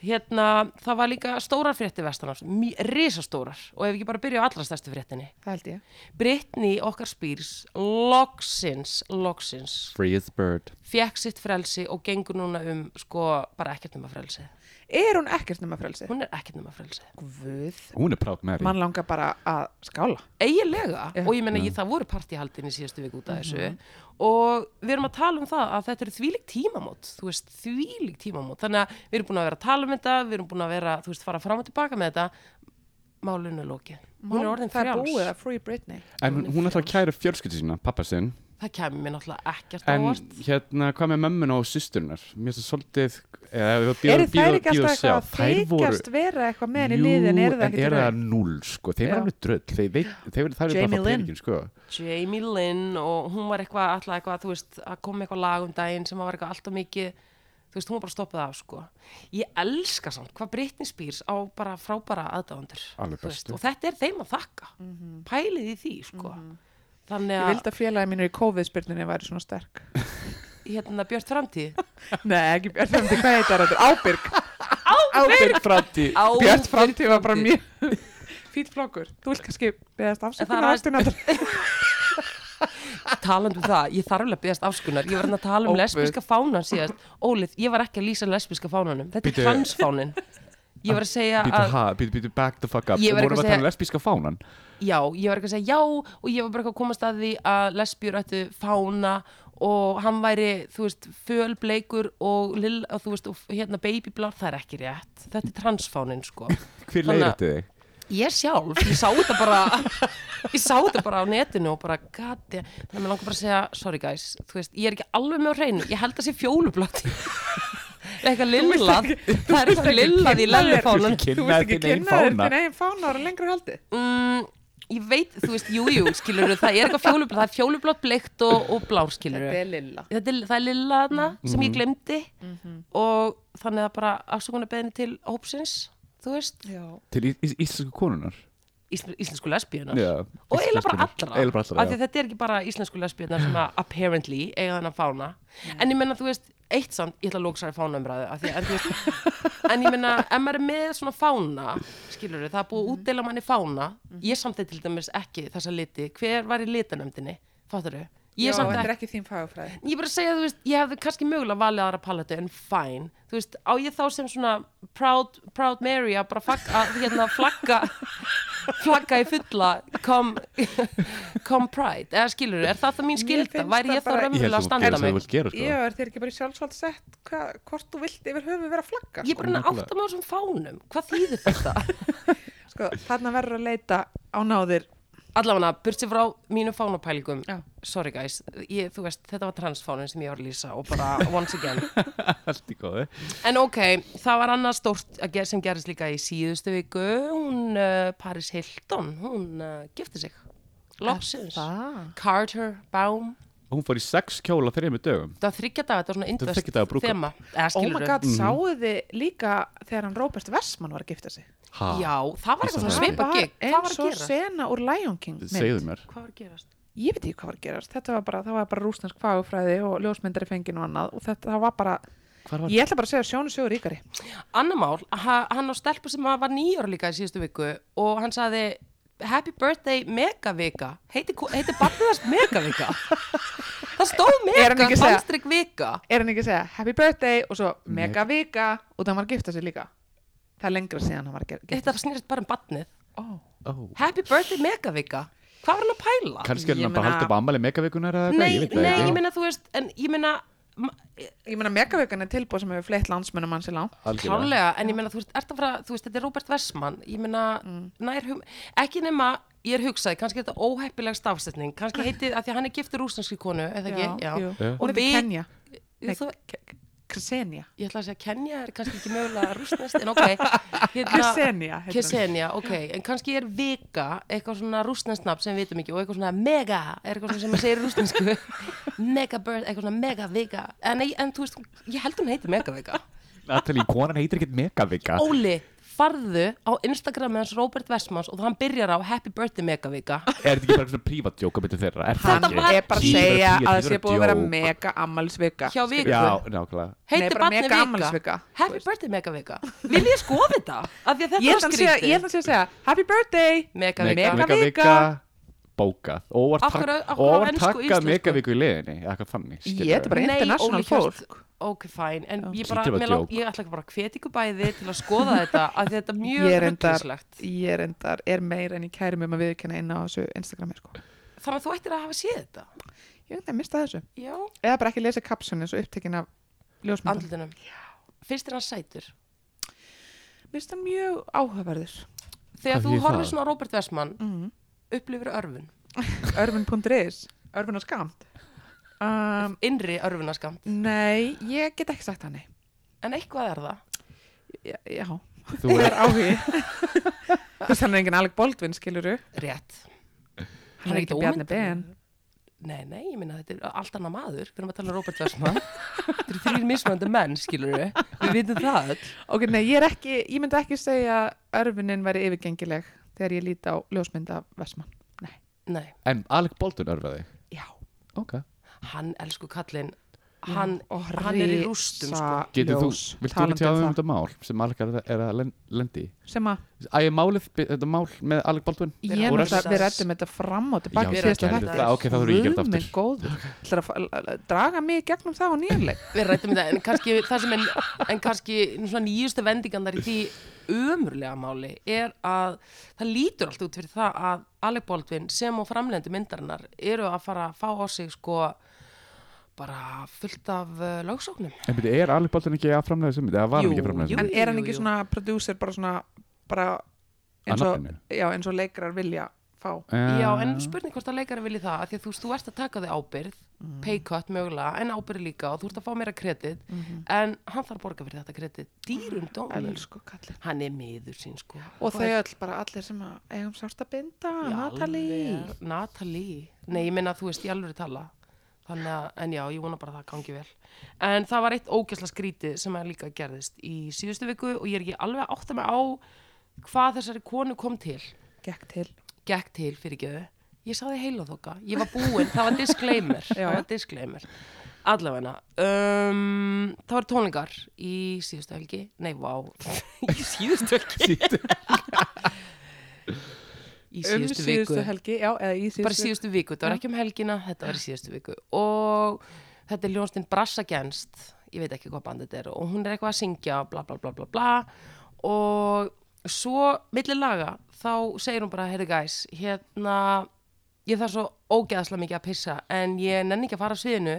[SPEAKER 1] Hérna, það var líka stórar frétti vestanars, mý- risastórar, og ef ekki bara byrja á allra stærstu fréttinni.
[SPEAKER 3] Það held ég.
[SPEAKER 1] Brittany okkar spýrs, loksins, loksins,
[SPEAKER 2] Free as a bird.
[SPEAKER 1] fekk sitt frelsi og gengur núna um, sko, bara ekkert um að frelsi.
[SPEAKER 3] Er hún ekkert nema frelsi?
[SPEAKER 1] Hún er ekkert um að frelsi.
[SPEAKER 3] Guð.
[SPEAKER 2] Hún er proud Mary.
[SPEAKER 3] Man langar bara að skála.
[SPEAKER 1] eiginlega og ég menna ég, það voru partíhaldin í síðustu viku út af þessu
[SPEAKER 3] Mhm.
[SPEAKER 1] og við erum að tala um það að þetta eru þvílík tímamót þú veist, þvílík tímamót þannig að við erum búin að vera að tala um þetta við erum búin að vera, þú veist, fara fram og tilbaka með þetta málunni lokið hún er orðin
[SPEAKER 3] Það er búið
[SPEAKER 1] frjáls,
[SPEAKER 3] að Free Britney.
[SPEAKER 2] En hún ætlar að kæra fjölskyldu sína, pappa sinn.
[SPEAKER 1] það kemur mér náttúrulega ekkert á
[SPEAKER 2] En
[SPEAKER 1] óvart
[SPEAKER 2] hérna, hvað með mömmuna og systurnar? Mér finnst það svolítið eða, ef við
[SPEAKER 3] Eru
[SPEAKER 2] bíðum-
[SPEAKER 3] þær
[SPEAKER 2] bíðum-
[SPEAKER 3] ekki
[SPEAKER 2] bíðum
[SPEAKER 3] alltaf
[SPEAKER 2] sjá.
[SPEAKER 3] eitthvað að
[SPEAKER 2] Þær voru-
[SPEAKER 3] þykjast vera eitthvað með henni í
[SPEAKER 2] Jú,
[SPEAKER 3] liðin, eru það
[SPEAKER 2] en
[SPEAKER 3] ekki
[SPEAKER 2] er það núl sko, þeim
[SPEAKER 3] Já.
[SPEAKER 2] er alveg dröll þeir, veit, þeir, þeir, þeir
[SPEAKER 3] Jamie
[SPEAKER 2] bara fá
[SPEAKER 3] Lynn.
[SPEAKER 2] peningin sko
[SPEAKER 1] Jamie Lynn og hún var eitthvað alltaf eitthvað, þú veist, að koma með eitthvað lag um daginn sem var eitthvað alltaf mikið þú veist, hún var bara stoppað af, sko ég elska samt hvað Britney Spears á bara frábæra aðdáðandur
[SPEAKER 2] Alveg bestu.
[SPEAKER 1] og þetta er þeim að þakka pælið í því, sko þannig
[SPEAKER 3] Ég
[SPEAKER 1] að,
[SPEAKER 3] vildi að félagi mínur í COVID-spyrnunni væri svona sterk.
[SPEAKER 1] hérna, Björt framtíð
[SPEAKER 3] Nei, ekki Björn Framtíð, hvað heitir þetta? Ábyrg.
[SPEAKER 2] Ábyrg framtíð
[SPEAKER 1] Ábyrg
[SPEAKER 3] Björn Framtíð var bara
[SPEAKER 1] framtíð.
[SPEAKER 3] mjög fýtt flokkur. Þú vil kannski
[SPEAKER 1] En
[SPEAKER 3] beðast
[SPEAKER 1] það
[SPEAKER 3] afsökunar
[SPEAKER 1] er
[SPEAKER 3] aftur náttúrulega.
[SPEAKER 1] talandi um það, ég þarf alveg að beðast afskunar ég var hérna að tala um
[SPEAKER 3] Óbeit.
[SPEAKER 1] lesbíska fánan síðast Ólið, ég var ekki að lýsa lesbíska fánanum þetta er
[SPEAKER 2] Bíddu.
[SPEAKER 1] transfánin ég var að segja
[SPEAKER 2] Býtu,
[SPEAKER 1] að,
[SPEAKER 2] ha, býtu, býtu, back the fuck up
[SPEAKER 1] Ég
[SPEAKER 2] Við
[SPEAKER 1] var eitthvað
[SPEAKER 2] vorum að
[SPEAKER 1] að
[SPEAKER 2] tala um lesbíska fánan
[SPEAKER 1] já, ég var ekki að segja já og ég var bara eitthvað að komast að því að lesbjur ættu fána og hann væri, þú veist, fölbleikur og, lill, og þú veist, og hérna babyblár, það er ekki rétt, þetta er transfánin sko.
[SPEAKER 2] Hver
[SPEAKER 1] Þannig að-
[SPEAKER 2] leiðrætti þig?
[SPEAKER 1] Ég sjálf, ég sá þetta bara ég sá þetta bara á netinu og bara gati, þannig að mér langar bara að segja sorry guys, þú veist, ég er ekki alveg með á hreinu ég held að sé fjólublátt eitthvað lillað, það er eitthvað lillað í
[SPEAKER 3] kynna þér-
[SPEAKER 1] lellufánan
[SPEAKER 2] Kynna
[SPEAKER 3] Þú veist ekki
[SPEAKER 2] þinn eigin
[SPEAKER 3] kynna þér
[SPEAKER 2] fána.
[SPEAKER 3] þinn eigin fána ára lengur haldi
[SPEAKER 1] mm, ég veit, þú veist, jú, jú, skilur það er eitthvað fjólublátt, það er fjólublátt bleikt og, og blár, skilur
[SPEAKER 3] Þetta er lilla
[SPEAKER 1] þetta er, það er lilla þarna sem ég glemdi
[SPEAKER 3] Mhm.
[SPEAKER 1] og þannig að bara afsökunarbeðin til hópsins, þú veist
[SPEAKER 3] Já,
[SPEAKER 2] Til í- í- íslensku konunar
[SPEAKER 1] ísl, íslensku lesbíunar
[SPEAKER 2] Já,
[SPEAKER 1] og
[SPEAKER 2] íslensku
[SPEAKER 1] eiginlega bara
[SPEAKER 2] konur.
[SPEAKER 1] allra,
[SPEAKER 2] Eiginlega bara allra,
[SPEAKER 1] af því
[SPEAKER 2] já.
[SPEAKER 1] að þetta er ekki bara íslensku lesbíunar sem að apparently eiga þannig að fána en ég menna þú veist, eitt samt, ég ætla að lóksari fánaumræðu af því, að- en, þú veist, en ég menna, ef maður er með svona fána skilur það er búið að útdeila manni fána ég samt til dæmis ekki þessa liti hver var í litanemdinni, fattar þau?
[SPEAKER 3] Já
[SPEAKER 1] Ég samt
[SPEAKER 3] þetta
[SPEAKER 1] ekki
[SPEAKER 3] er ekki þín fagfræði
[SPEAKER 1] ég er bara að segja, þú veist, ég hefði kannski mögulega valið aðra paletu en fine, þú veist, á ég þá sem svona proud, proud Mary að bara fag, að, hérna, flagga flagga í fulla come, come pride, eða skilur er það það mín
[SPEAKER 3] Mér
[SPEAKER 1] skilda,
[SPEAKER 3] finnst
[SPEAKER 1] væri
[SPEAKER 3] það
[SPEAKER 1] ég þá
[SPEAKER 3] bara-
[SPEAKER 2] Ég held
[SPEAKER 1] raunverulega að
[SPEAKER 2] að þú gerir
[SPEAKER 1] standa
[SPEAKER 2] það þú
[SPEAKER 1] mig
[SPEAKER 2] vilt gera
[SPEAKER 3] Já,
[SPEAKER 2] sko.
[SPEAKER 3] er þér ekki bara í sjálfsvald sett hva, hvort þú vilt yfir höfu vera að flagga
[SPEAKER 1] ég er bara að átta mig á þessum fánum, hvað þýðir þetta
[SPEAKER 3] sko, Þarna verður að leita á náðir
[SPEAKER 1] allavega, burt sér frá mínu fánapælingum
[SPEAKER 3] Já.
[SPEAKER 1] sorry guys, ég, þú veist, þetta var transfánun sem ég var að lýsa og bara once again
[SPEAKER 2] Allt í góði
[SPEAKER 1] En ok, það var annað stórt að ger, sem gerist líka í síðustu viku, hún uh, Paris Hilton, hún uh, gifti sig, loksins, Ah.
[SPEAKER 3] Það
[SPEAKER 1] Carter, Baum,
[SPEAKER 2] Hún fór í sex kjóla þrejum dögum
[SPEAKER 1] það var þryggja daga, þetta var svona
[SPEAKER 2] Þetta var
[SPEAKER 1] indvest
[SPEAKER 2] þriggja daga brúðkaup.
[SPEAKER 1] þema, eða
[SPEAKER 3] Oh
[SPEAKER 1] skilur
[SPEAKER 3] my
[SPEAKER 2] Mm.
[SPEAKER 3] god, sáuðu þið líka þegar hann Robert Vessman var að gifta sig
[SPEAKER 2] Ha,
[SPEAKER 1] Já, það var
[SPEAKER 2] Ég sá
[SPEAKER 1] eitthvað svona
[SPEAKER 2] Ah. það.
[SPEAKER 1] svipa gig, hvað
[SPEAKER 3] Það var
[SPEAKER 1] var
[SPEAKER 3] eins
[SPEAKER 1] að
[SPEAKER 3] og
[SPEAKER 1] gera?
[SPEAKER 3] sena úr Lion King mynd.
[SPEAKER 2] segðu mér
[SPEAKER 1] Hvað var að gerast?
[SPEAKER 3] Ég veit ekki hvað var að gerast Þetta var bara, það var bara rúsnesk fagfræði og ljósmyndari fengin og annað og þetta, það var bara,
[SPEAKER 2] Hvar var
[SPEAKER 3] ég ætla bara að segja sjónu sögur ríkari
[SPEAKER 1] Anna Mál, ha, hann á stelpu sem var nýjóra líka í síðustu viku og hann sagði Happy birthday Megavika, heiti, ko- heiti barniðast Megavika? það stóð
[SPEAKER 3] Er hann
[SPEAKER 1] Mega,
[SPEAKER 3] ekki að segja-
[SPEAKER 1] fannstrygg Vika.
[SPEAKER 3] Er hann ekki að segja happy birthday og svo
[SPEAKER 2] Meg-
[SPEAKER 3] mega vika og það var að gifta sig líka Það er lengra síðan hann var að gera- gifta
[SPEAKER 1] Þetta snýrist bara um barnið.
[SPEAKER 3] sig oh.
[SPEAKER 2] Ó.
[SPEAKER 1] Happy birthday megavika Hvað var hann að pæla?
[SPEAKER 2] Kannski er
[SPEAKER 3] Ég
[SPEAKER 2] hann bara
[SPEAKER 3] meina-
[SPEAKER 2] haldið bara ammæli megavikunar eða eitthvað,
[SPEAKER 1] nei,
[SPEAKER 2] ég veit það
[SPEAKER 1] nei,
[SPEAKER 2] ekki.
[SPEAKER 1] ég meina þú veist En ég meina ma-
[SPEAKER 3] Ég meina megavikan er tilbúið sem hefur fleitt landsmönnum hans í lang
[SPEAKER 2] Algjörlega.
[SPEAKER 1] Klálega, en ég meina þú veist, ert að fara, þú veist, þetta er Robert Vessmann Ég meina, nær hum Ekki nema, ég er hugsaði, kannski er þetta óheppileg stafsetning Kannski heitið, að því að hann er giftur rústanski konu Eða ekki, já,
[SPEAKER 3] jú.
[SPEAKER 2] Já.
[SPEAKER 3] Hún
[SPEAKER 1] við-
[SPEAKER 3] heitir Kenya
[SPEAKER 1] Ég, þú,
[SPEAKER 3] Ksenia
[SPEAKER 1] ég ætla að segja, Kenya er kannski ekki mögulega rústnest En ok, Hérna-
[SPEAKER 3] Ksenia heitir hún.
[SPEAKER 1] Kesenia, ok, en kannski er vika eitthvað svona rústnensnafn sem við vitum ekki og eitthvað svona mega, er eitthvað svona sem maður segir í rústnensku mega bird, eitthvað svona mega vika, en, nei, en þú veist ég held hún heiti mega vika
[SPEAKER 2] Natalie, konan heitir ekkert megavika
[SPEAKER 1] Óli, farðu á Instagram með hans Robert Vestmans og hann byrjar á happy birthday mega vika
[SPEAKER 2] Er þetta ekki bara svona prívatjóka betur þeirra? Er það
[SPEAKER 1] Þetta
[SPEAKER 2] ekki?
[SPEAKER 1] var-
[SPEAKER 3] Ég er bara að
[SPEAKER 2] Hlýtur
[SPEAKER 3] segja
[SPEAKER 2] tíu,
[SPEAKER 3] að það
[SPEAKER 2] hlýtur
[SPEAKER 3] sé búið að vera
[SPEAKER 2] djók.
[SPEAKER 3] mega ammælisvika
[SPEAKER 1] hjá viku
[SPEAKER 2] Já, nákvæmlega
[SPEAKER 3] Nei,
[SPEAKER 1] heitir
[SPEAKER 3] bara
[SPEAKER 1] barnið
[SPEAKER 3] mega
[SPEAKER 1] vika.
[SPEAKER 3] afmælisvika, þú
[SPEAKER 1] happy
[SPEAKER 3] veist.
[SPEAKER 1] birthday mega vika vil ég skoða þetta? Af því að
[SPEAKER 3] Ég
[SPEAKER 1] þetta
[SPEAKER 3] ætla
[SPEAKER 1] var
[SPEAKER 3] að segja- ég
[SPEAKER 1] skrítið
[SPEAKER 3] ætla að segja happy birthday
[SPEAKER 1] mega
[SPEAKER 2] Meg-
[SPEAKER 1] vika
[SPEAKER 3] Megavika.
[SPEAKER 2] Bókað Óvart
[SPEAKER 1] Af hverju- af
[SPEAKER 2] tak-
[SPEAKER 1] hverju á
[SPEAKER 2] óvart
[SPEAKER 1] ensku og
[SPEAKER 2] taka
[SPEAKER 1] íslensku?
[SPEAKER 2] megaviku í liðinni eða Eitthvað fannig
[SPEAKER 3] Ég er bara
[SPEAKER 1] Nei,
[SPEAKER 3] international
[SPEAKER 1] Óli Hjört-
[SPEAKER 3] fólk
[SPEAKER 1] ok, fæn, en ég
[SPEAKER 2] Hlýtur
[SPEAKER 1] bara,
[SPEAKER 2] að vera
[SPEAKER 1] mér lang,
[SPEAKER 2] djók.
[SPEAKER 1] ég ætla ekki bara að hvetja ykkur bæði til að skoða þetta, að þetta er mjög
[SPEAKER 3] Ég er endar,
[SPEAKER 1] ruglingslegt.
[SPEAKER 3] ég er endar, er meir en ég kæri mig um að viðkenna inn á þessu Instagrami sko.
[SPEAKER 1] Þannig að þú ættir að hafa séð þetta.
[SPEAKER 3] Ég veit að mista þessu
[SPEAKER 1] Já.
[SPEAKER 3] Eða bara ekki lesa kapsunni svo upptekin af ljósmyndum
[SPEAKER 1] Andlutunum. Fyrst er hann sætur.
[SPEAKER 3] Mista mjög áhugaverður
[SPEAKER 1] Þegar
[SPEAKER 2] Hvað
[SPEAKER 1] þú
[SPEAKER 2] þýðir það?
[SPEAKER 1] horfir svona á Robert Vessmann,
[SPEAKER 3] mm.
[SPEAKER 1] upplifir örfun.
[SPEAKER 3] Örfun.is, örfun og skamt um,
[SPEAKER 1] Innri örfunaskam.
[SPEAKER 3] Nei, ég get ekki sagt hann
[SPEAKER 1] En eitthvað er það.
[SPEAKER 3] Já, já.
[SPEAKER 2] Þú
[SPEAKER 3] það
[SPEAKER 2] er
[SPEAKER 3] er áhugi Þú veist hann er enginn Alec Baldwin skiluru
[SPEAKER 1] Rétt.
[SPEAKER 3] Hann er ekki Bjarni Ben
[SPEAKER 1] Nei, nei, ég minna þetta er allt annað maður. Við erum að tala um Robert Vessmann. þetta eru þrýr mismöndi menn, skilur við. Við vitum það. öll.
[SPEAKER 3] Ok, nei, ég er ekki, ég myndi ekki segja að örfunin væri yfirgengileg þegar ég líti á ljósmynda Vestmann
[SPEAKER 1] Nei,
[SPEAKER 2] En Alec Baldwin örfaði
[SPEAKER 3] Já
[SPEAKER 2] Ok
[SPEAKER 1] hann elsku kallinn hann,
[SPEAKER 3] og
[SPEAKER 1] hann er í rústum, sko.
[SPEAKER 2] Getur þú,
[SPEAKER 3] risaljós.
[SPEAKER 2] vilt þú
[SPEAKER 3] Talandi
[SPEAKER 2] ekki hafa um
[SPEAKER 3] það.
[SPEAKER 2] þetta mál sem Alec er er að len- lendi í?
[SPEAKER 3] sem að
[SPEAKER 2] Æ, málið, þetta mál með Alec Baldwin?
[SPEAKER 3] ég
[SPEAKER 1] Við
[SPEAKER 2] erum
[SPEAKER 3] náttúrulega,
[SPEAKER 1] það.
[SPEAKER 3] við rættum þetta fram og tilbaki
[SPEAKER 1] Já,
[SPEAKER 3] síðasta
[SPEAKER 1] gerðu
[SPEAKER 3] þætti.
[SPEAKER 2] það, ok, þá þarf ég að gera þetta
[SPEAKER 3] Guð minn
[SPEAKER 2] aftur.
[SPEAKER 3] góður. Ætlarðu að fa- að- að draga mig í gegnum það á nýjanleik
[SPEAKER 1] við rættum þetta en kannski það sem en, en kannski svona nýjustu vendingarnar í því umurlega máli er að það lítur allt út fyrir það að Alec Baldwin sem og framlendi myndarinnar eru að fara að fá á sig sko bara fullt af uh, lögsóknum
[SPEAKER 2] En byrju, er Alec Baldwin ekki að framlega þessu myndi? Það var hann
[SPEAKER 1] Jú,
[SPEAKER 2] ekki að framlega
[SPEAKER 1] jú.
[SPEAKER 2] þessu
[SPEAKER 3] en er hann
[SPEAKER 1] jú,
[SPEAKER 3] ekki
[SPEAKER 1] jú.
[SPEAKER 3] svona prodúser bara svona bara eins
[SPEAKER 2] Að
[SPEAKER 3] og,
[SPEAKER 2] nafninu?
[SPEAKER 3] já, eins og leikrar vilja fá
[SPEAKER 2] myndi?
[SPEAKER 3] Ah.
[SPEAKER 1] Já, en spurning hvort að leikari vilji það af því að þú, veist, þú ert að taka þig ábyrgð
[SPEAKER 3] Mm.
[SPEAKER 1] pay cut mögulega, en ábyrgð líka og þú ert að fá meira kredit en hann þarf að borga fyrir þetta kredit dýrum dómum
[SPEAKER 3] Mhm.
[SPEAKER 2] sko,
[SPEAKER 3] elsku kallir
[SPEAKER 1] hann er miður sín sko
[SPEAKER 3] og þau öll bara allir sem að eigum sárt að binda
[SPEAKER 1] Í
[SPEAKER 3] Natalie
[SPEAKER 1] alveg, Natalie Nei, ég minna að þú veist, ég alveg tala Þannig að, en já, ég vona bara að það gangi vel En það var eitt ógæsla skrítið sem að líka gerðist í síðustu viku og ég er ekki alveg átt að mig á hvað þessari konu kom til
[SPEAKER 3] gekk til
[SPEAKER 1] Gekk til fyrir geðu Ég saði heila þoka, ég var búin, það var disclaimer
[SPEAKER 3] Já,
[SPEAKER 1] Það var disclaimer Allavegna um, Það var tónlingar í síðustu helgi Nei, vá, í síðustu helgi Í
[SPEAKER 3] um
[SPEAKER 1] síðustu viku
[SPEAKER 3] helgi já, eða í
[SPEAKER 1] bara í
[SPEAKER 3] síðustu
[SPEAKER 1] síðustu viku, þetta var
[SPEAKER 3] Já.
[SPEAKER 1] ekki um helgina þetta var í síðustu viku og þetta er ljónstinn Brassagenst ég veit ekki hvað bandið er og hún er eitthvað að syngja bla bla bla bla bla og svo milli laga þá segir hún bara, heyrðu guys hérna, ég þarf svo ógeðslega mikið að pissa en ég nenni ekki að fara af sviðinu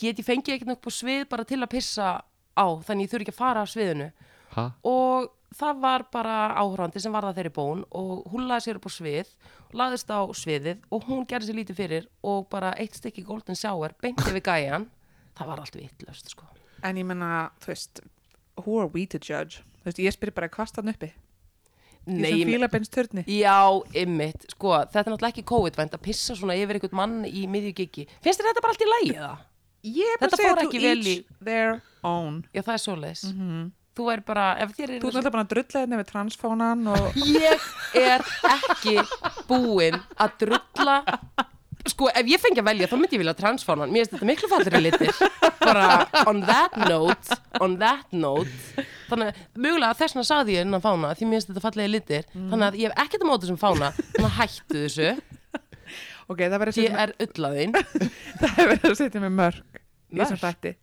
[SPEAKER 1] get ég fengið eitthvað upp á svið bara til að pissa á þannig ég þurfi ekki að fara af sviðinu
[SPEAKER 2] Hæ?
[SPEAKER 1] og það var bara áhörandi sem var það þeirri bón og hún laði sér upp á svið laðist á sviðið og hún gerði sér lítið fyrir og bara eitt stykki golden shower beinti við gæjan það var allt vittlöst sko
[SPEAKER 3] en ég menna, þú veist who are we to judge þú veist, ég spyr bara hvað stann uppi
[SPEAKER 1] Nei,
[SPEAKER 3] ég
[SPEAKER 1] ég-
[SPEAKER 3] sem fílabins törni
[SPEAKER 1] Já, ymmit, sko, þetta er náttúrulega ekki COVID-vænt að pissa svona yfir einhvern mann í miðju gigi. Finnst þér þetta bara allt í lagi eða?
[SPEAKER 3] ég er
[SPEAKER 1] Þetta
[SPEAKER 3] bara að segja
[SPEAKER 1] fór
[SPEAKER 3] to
[SPEAKER 1] ekki vel
[SPEAKER 3] each their own
[SPEAKER 1] Já, það er svoleiðis. Þú er bara, ef þér er...
[SPEAKER 3] Mhm. þú ert alltaf bara að drulla hérna við transfónan og
[SPEAKER 1] Ég er ekki búin að drulla Sko, ef ég fengi að velja, þá myndi ég vilja transfána hann. Mér finnst þetta miklu fallri litir. Bara on that note, on that note. Þannig að, mögulega þess vegna sagði ég innan fána, því mér finnst þetta fallegi litir. Þannig að ég hef ekkert að móta sem fána, þannig að hættu þessu.
[SPEAKER 3] ok, það verður að setja
[SPEAKER 1] Ég er ullaðinn.
[SPEAKER 3] með- það verður að setja með mörg í þessum
[SPEAKER 1] Mörk?
[SPEAKER 3] þætti